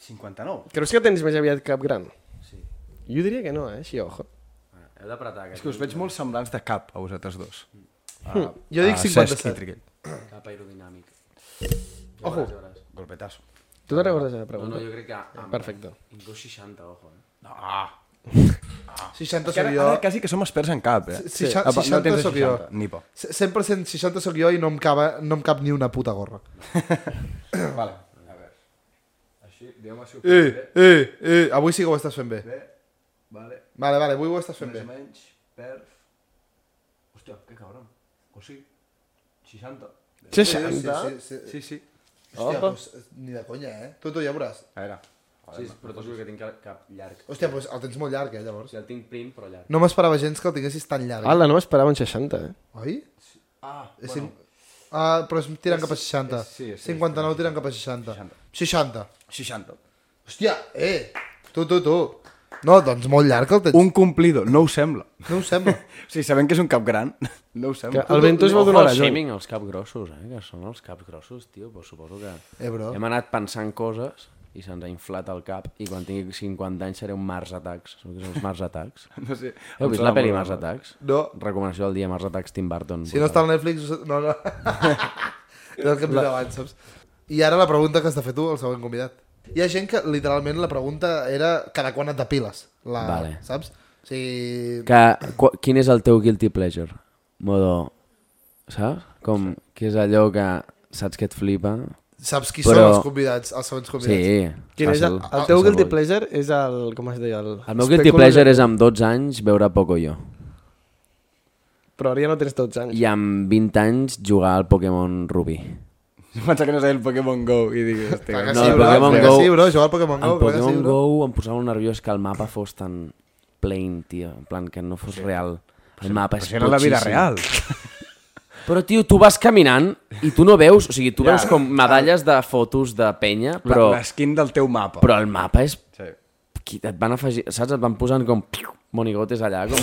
S6: 59?
S5: Creus que tens més aviat cap gran?
S1: Sí.
S5: Jo diria que no, eh? Així, ojo.
S1: Ah, heu d'apretar.
S6: És que us veig molt semblants de cap a vosaltres dos.
S2: Jo dic
S6: A Cesc i
S2: 57.
S6: Triquell.
S1: eh, Cap aerodinàmic. Ja ojo. Veuràs, ja veuràs.
S6: Golpetazo.
S5: Tu te'n recordes de la
S1: No,
S5: pregunta?
S1: no, jo crec que... Ah,
S5: Perfecte.
S1: Inclús 60, ojo, eh?
S2: 60
S6: Que
S2: sóc
S6: ara,
S2: jo.
S6: ara quasi que som experts en cap, eh?
S2: Sí, sí. Apa, no 60 tens de sóc jo. 60,
S6: Ni por.
S2: 100% 60 sóc jo i no em, cava, no em cap ni una puta gorra.
S6: Vale. A veure. Així, diguem-ho així.
S2: Eh, eh, eh. Avui sí que ho estàs fent bé.
S6: Bé. Vale.
S2: Vale, vale, avui ho estàs fent bé.
S6: menys. Perf. Hòstia, que cabron. O sí. 60.
S5: 60?
S2: Sí, sí, sí.
S6: Sí, sí.
S2: Hòstia, pues, ni de conya, eh? Tu, tu ja veuràs.
S6: A veure.
S1: Sí, però tot que tinc el cap llarg. O
S2: Hòstia, pues, el tens molt llarg, eh, llavors.
S1: sigui, el tinc prim, però llarg.
S2: No m'esperava gens que el tinguessis tan llarg.
S5: Ala, no m'esperava un 60, eh?
S2: Oi?
S6: Ah,
S2: És bueno. Ah, però es tiren cap a 60.
S6: és- sí, és-
S2: 59 tiren cap a 60. 60.
S6: 60.
S2: Hòstia, eh! Tu, tu, tu. No, doncs molt llarg el tens.
S6: Un complido, no ho sembla.
S2: No ho sembla.
S6: O sigui, sabem que és un cap gran, no ho
S5: Que
S6: sembla.
S5: el Ventus va donar
S1: el
S6: eh,
S5: la Johnny.
S1: shaming, els cap grossos, eh? Que són els cap grossos, tio. Però suposo que
S2: Eh, bro.
S1: hem anat pensant coses i se'ns ha inflat el cap i quan tingui 50 anys seré un Mars Attacks. Saps què són els Mars Attacks?
S6: No sé.
S1: Heu
S6: em
S1: vist
S6: sona
S1: la pel·li
S6: molt
S1: Mars
S6: raro.
S1: Attacks?
S2: No.
S1: Recomanació del dia Mars Attacks Tim Burton.
S2: Si no està al Netflix... us- No, no. Del que hem dit abans, saps? I ara la pregunta que has de fer tu, el següent convidat. Hi ha gent que literalment la pregunta era cada quan et depiles. La,
S1: Vale.
S2: Saps? O sigui...
S1: Que, qu quin és el teu guilty pleasure? Modo, saps? Com, que és allò que saps que et flipa?
S2: Saps qui
S1: Però-
S2: són els convidats, els següents
S1: Sí.
S2: convidats.
S5: Quin és
S1: fàcil.
S5: el, el teu
S1: Fàcil,
S5: guilty
S1: vull.
S5: pleasure és el... Com es deia? El,
S1: El meu guilty pleasure és amb 12 anys veure Pocoyo.
S5: Però ara ja no tens 12 anys.
S1: I amb 20 anys jugar al Pokémon Rubí.
S6: Em Pensava eh? que no sabia el Pokémon Go i dic, hòstia,
S2: Clar que
S1: No,
S2: sí,
S1: el
S2: bro,
S1: Pokémon
S2: clar que
S1: Go-
S2: Sí, bro, jugar al Pokémon Go.
S1: Al
S2: clar que sí,
S1: Pokémon
S2: bro.
S1: Go em posava molt nerviós que el mapa fos tan plain, tio. En plan, que no fos real. El mapa és
S6: si era la vida
S1: pochíssim.
S6: real.
S1: Però, tio, tu vas caminant i tu no veus... O sigui, tu veus com medalles de fotos de penya, però,
S6: Però... L'esquin del teu mapa.
S1: però el mapa és
S6: Sí.
S1: qui- et van afegir, saps? Et van posant com piu, monigotes allà, com...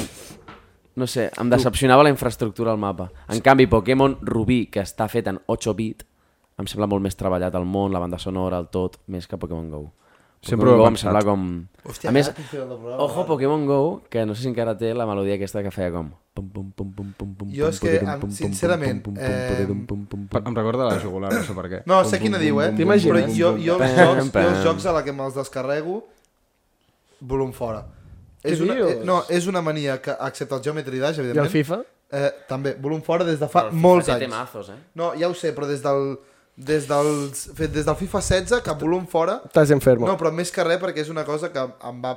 S1: No sé, em decepcionava la infraestructura al mapa. En canvi, Pokémon Rubí, que està fet en 8-bit, em sembla molt més treballat el món, la banda sonora, el tot, més que Pokémon GO. Pokémon
S6: Sempre ho he
S1: Go em
S6: pensat.
S1: sembla com... Hòstia, a més,
S2: ara t'he fet el programa, eh.
S1: ojo Pokémon GO, que no sé si encara té la melodia aquesta que feia com... Pum, pum, pum, pum, pum, pum,
S2: Jo és
S1: pum,
S2: que,
S1: pum,
S2: em-
S1: pum, pum,
S2: sincerament,
S1: pum, pum,
S2: eh,
S1: pum, pum, pum, pum, pum.
S6: Em recorda la jugular, no sé per què.
S2: No, sé quina diu, eh?
S5: T'imagines?
S2: Però jo, jo, els
S1: Pam,
S2: jocs, jo
S1: pam.
S2: els jocs a la que me'ls descarrego, volum fora.
S5: Què
S2: És una,
S5: dius?
S2: eh, no, és una mania que, excepte el Geometry Dash,
S5: I el
S2: evidentment,
S5: FIFA?
S2: eh, també, volum fora des de fa molts
S1: Té
S2: anys.
S1: temazos, eh?
S2: No, ja ho sé, però des del, des del, fet des del FIFA 16 cap volum fora...
S5: Estàs enfermo.
S2: No, però més que res perquè és una cosa que em va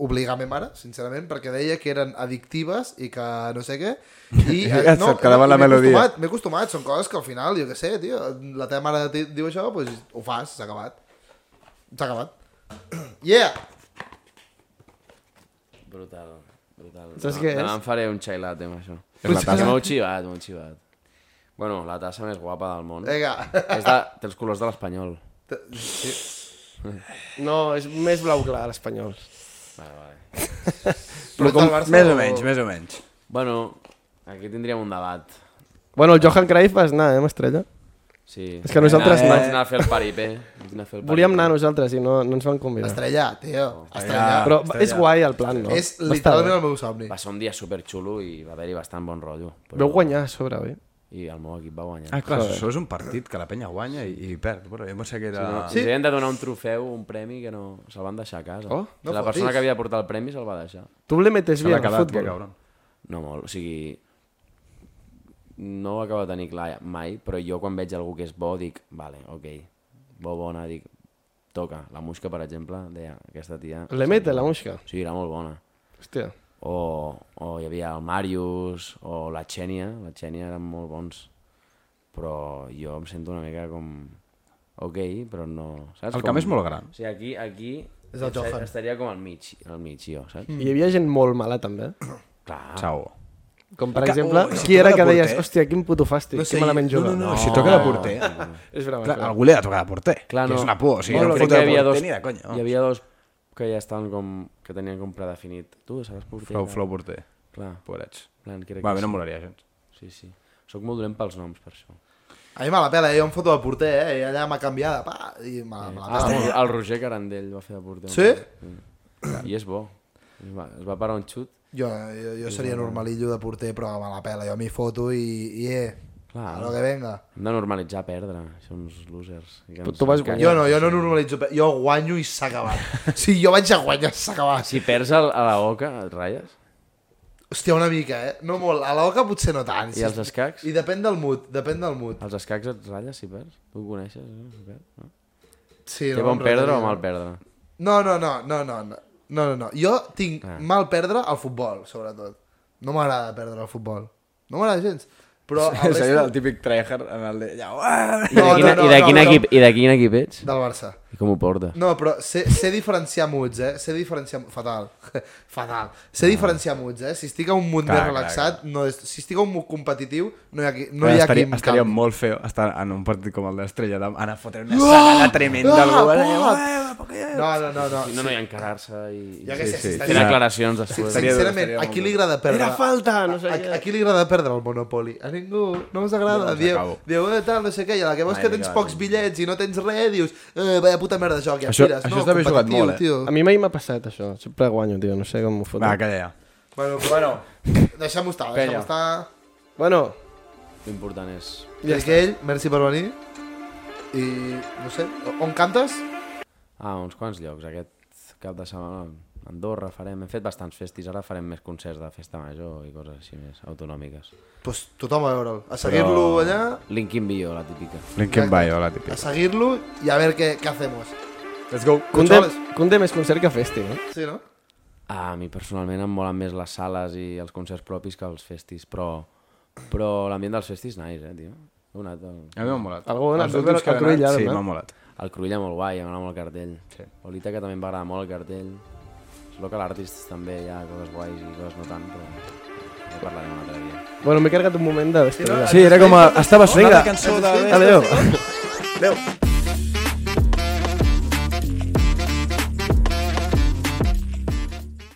S2: obligar a mi mare, sincerament, perquè deia que eren addictives i que no sé què. I,
S6: Ja se't quedava la
S2: i m'he
S6: melodia.
S2: acostumat, M'he acostumat, són coses que al final, jo què sé, tio, la teva mare ti- diu això, doncs ho fas, s'ha acabat. S'ha acabat. Yeah!
S1: Brutal, brutal.
S5: Saps
S1: Demà-
S5: què és?
S1: Demà em faré un chai latte amb això.
S6: És la tassa.
S1: M'heu xivat, m'heu xivat. Bueno, la tassa més guapa del món.
S5: Eh.
S2: Vinga.
S1: És de, té els colors de l'espanyol.
S2: Sí.
S5: No, és més blau clar, l'espanyol.
S1: Vale, vale.
S2: Però
S6: Com,
S2: el Barça
S6: més o
S2: o-
S6: menys, més o menys.
S1: Bueno, aquí tindríem un debat.
S5: Bueno, el Johan Cruyff vas anar, eh, amb estrella?
S1: Sí.
S5: És que nosaltres
S1: Vaig anar-
S5: no.
S1: Vaig anar a fer el paripé. Vaig anar a fer el
S5: Volíem anar
S1: paripé.
S5: nosaltres i no, no ens van convidar.
S2: Estrellar, tio.
S6: Ah,
S2: Estrellar.
S5: Però
S6: està
S5: és
S6: allà.
S5: guai el plan, no?
S2: És
S5: Va estar
S2: literalment
S5: bé.
S2: el meu somni.
S1: Va ser un dia superxulo i va haver-hi bastant bon rotllo. Però...
S5: Veu guanyar a sobre, oi?
S1: I el meu equip va guanyar.
S6: Ah, clar, això és un partit que la penya guanya i, i perd. Però jo pensava que era...
S1: Sí. Ens havien de donar un trofeu, un premi, que no... Se'l van deixar a casa.
S5: Oh,
S2: no
S1: la
S2: fotis.
S1: persona que havia de portar el premi se'l va deixar.
S5: Tu le metes
S6: Se
S5: bien
S6: l'ha
S5: al
S6: quedat, que
S5: futbol.
S6: cabron.
S1: No molt, o sigui... No ho acaba de tenir clar mai, però jo quan veig algú que és bo dic, vale, ok, bo, bona, dic, toca. La Musca, per exemple, deia, aquesta tia...
S5: Le mete la musca.
S1: Sí, era molt bona.
S5: Hòstia.
S1: o, o hi havia el Marius, o la Xènia, la Xènia eren molt bons, però jo em sento una mica com... Ok, però no... Saps?
S6: El camp és molt gran.
S1: O sigui, aquí, aquí
S2: És el Johan.
S1: estaria com al mig, al mig jo, saps? Mm.
S5: Hi havia gent molt mala, també.
S1: Clar.
S6: Sau.
S5: Com, per
S6: Ca-
S5: exemple,
S6: oh, si
S5: qui era
S6: toca
S5: que
S6: de
S5: deies,
S6: porter.
S5: hòstia, quin puto fàstic,
S2: No
S5: no
S2: sé,
S5: sé, que malament
S2: no,
S5: juga.
S6: No, no, si toca de porter.
S5: És broma,
S6: Clar,
S5: és broma.
S6: algú li ha de tocar de porter.
S1: Clar,
S6: que
S1: no.
S6: és una por, o sigui,
S1: Bueno,
S6: no, no
S1: crec
S6: fot de
S1: que hi havia
S6: porter
S1: dos,
S6: ni de conya.
S1: Hi havia dos que ja estaven com... que tenien com predefinit. Tu seràs porter.
S6: Flow,
S1: tal.
S6: flow porter.
S1: Clar,
S6: Pobrets.
S1: en plan, crec
S6: Va, a mi
S1: que
S6: no em molaria gens.
S1: sí. sí, sí. Soc molt dolent pels noms, per això.
S2: A mi me la pela, eh? jo em foto de porter, eh? I allà m'ha canviada, pa, i me, me la
S1: Ah,
S2: pela.
S1: el, el Roger Carandell va fer de porter.
S2: Sí?
S1: I és bo. Es va, es va parar un xut.
S2: Jo, jo, jo seria normalillo de porter, però me la pela, jo m'hi foto i, i eh,
S1: Clar.
S2: a lo que venga.
S1: Hem de normalitzar perdre. Som uns losers. I que
S5: Tu-
S1: ens
S5: tu vas
S1: encallen.
S2: Jo no, jo no normalitzo, pe- jo guanyo i s'ha acabat. Sí, jo vaig a guanyar, s'ha acabat.
S1: Si perds el, a la oca, et ratlles?
S2: Hòstia, una mica, eh? No molt, a la oca potser no tant.
S1: I els escacs?
S2: I depèn del mood, depèn del mood.
S1: Els escacs et ratlles si perds? Tu ho coneixes? eh? Si perds, no?
S2: Sí,
S1: Té bon
S2: em
S1: perdre o
S2: retaria.
S1: mal perdre?
S2: No, no, no, no, no, no, no, no, no. Jo tinc ah.
S1: Ah.
S2: mal perdre al futbol, sobretot. No m'agrada perdre al futbol. No m'agrada gens. Però el
S6: Seria
S2: resto...
S6: el típic tryhard en el de... Ja, uah!
S1: I de
S2: No,
S1: quin, e-
S2: no, no,
S1: i de
S2: no,
S1: quin,
S2: no.
S1: equip, i de quin equip ets?
S2: Del Barça.
S1: I com ho portes?
S2: No, però sé, sé diferenciar moods, eh? Sé diferenciar... Fatal. Fatal. Sé diferenciar moods, eh? Si estic a un mood
S6: Ah. Clar,
S2: més
S6: clar,
S2: relaxat, no és... si estic a un mood competitiu, no hi ha qui, no
S6: Clar,
S2: hi ha
S6: estaria,
S2: qui em
S6: estaria
S2: canvi.
S6: molt feo estar en un partit com el d'Estrella d'Am, anar a fotre una sagada tremenda
S2: Ah,
S6: al gol. eh,
S2: pot!
S6: ué, ué, ué.
S2: No, no, no, no.
S1: Si no, no hi ha encarar-se i...
S2: Jo què sé,
S6: Sí,
S2: si
S6: sí.
S1: Fent
S2: estaria...
S1: aclaracions després.
S6: Estaria dur,
S2: Sincerament,
S6: estaria
S2: a
S6: molt
S2: qui
S6: dur.
S2: li agrada perdre?
S5: Era falta, no sé
S2: a,
S5: què.
S2: a qui li agrada perdre el Monopoli? A ningú, no us agrada.
S6: No,
S2: dieu,
S6: s'acabo.
S2: dieu, eh, tal, no sé què, i a la que veus
S6: Ai,
S2: que tens
S6: mira,
S2: pocs bitllets i no tens res, dius, eh, vaya puta merda de joc, ja
S6: Això-
S2: tires.
S6: això
S2: no,
S6: és d'haver jugat
S2: competitiu,
S6: molt, eh?
S2: tio.
S5: A mi mai m'ha passat això. Sempre guanyo, tio, no sé com m'ho foto.
S6: Va, calla ja.
S2: Bueno, però bueno, deixem-ho estar, deixem-ho
S6: Penya.
S2: estar.
S5: Bueno,
S1: L'important és...
S2: Ja Aquell, merci per venir. I, no sé, on cantes?
S1: Ah, uns quants llocs. Aquest cap de setmana a Andorra farem... Hem fet bastants festis, ara farem més concerts de festa major i coses així més autonòmiques.
S2: Pues tothom a veure'l. A seguir-lo allà,
S1: Linkin Bio, la típica.
S6: Linkin Bio, la
S2: a
S6: típica.
S2: seguir-lo i a veure què, què hacemos.
S6: Let's go.
S5: Condé,
S2: Consoles.
S5: Condé més concert que festi, no?
S2: Sí, no?
S1: A mi personalment em molen més les sales i els concerts propis que els festis, però, però l'ambient dels festis nice, eh, tio? Heu anat al,
S6: A mi m'ha molat.
S5: Algú, no?
S6: Els
S5: Tu
S6: últims
S5: veus
S6: que
S5: que
S6: he
S5: tu
S6: anat,
S5: ja,
S6: sí,
S5: no?
S6: m'ha molat.
S1: al Cruïlla molt guai, em agrada molt el cartell.
S6: Sí.
S1: Olita, que també em va agradar molt el cartell. És lo que l'artist també hi ha coses guais i coses no tant, però ja parlarem un altre dia.
S5: Bueno, m'he carregat un moment de...
S2: Sí, no?
S5: despedida.
S6: Sí, era com a... Estava
S5: Vinga.
S6: sonant la cançó de...
S5: Adéu.
S6: Adéu.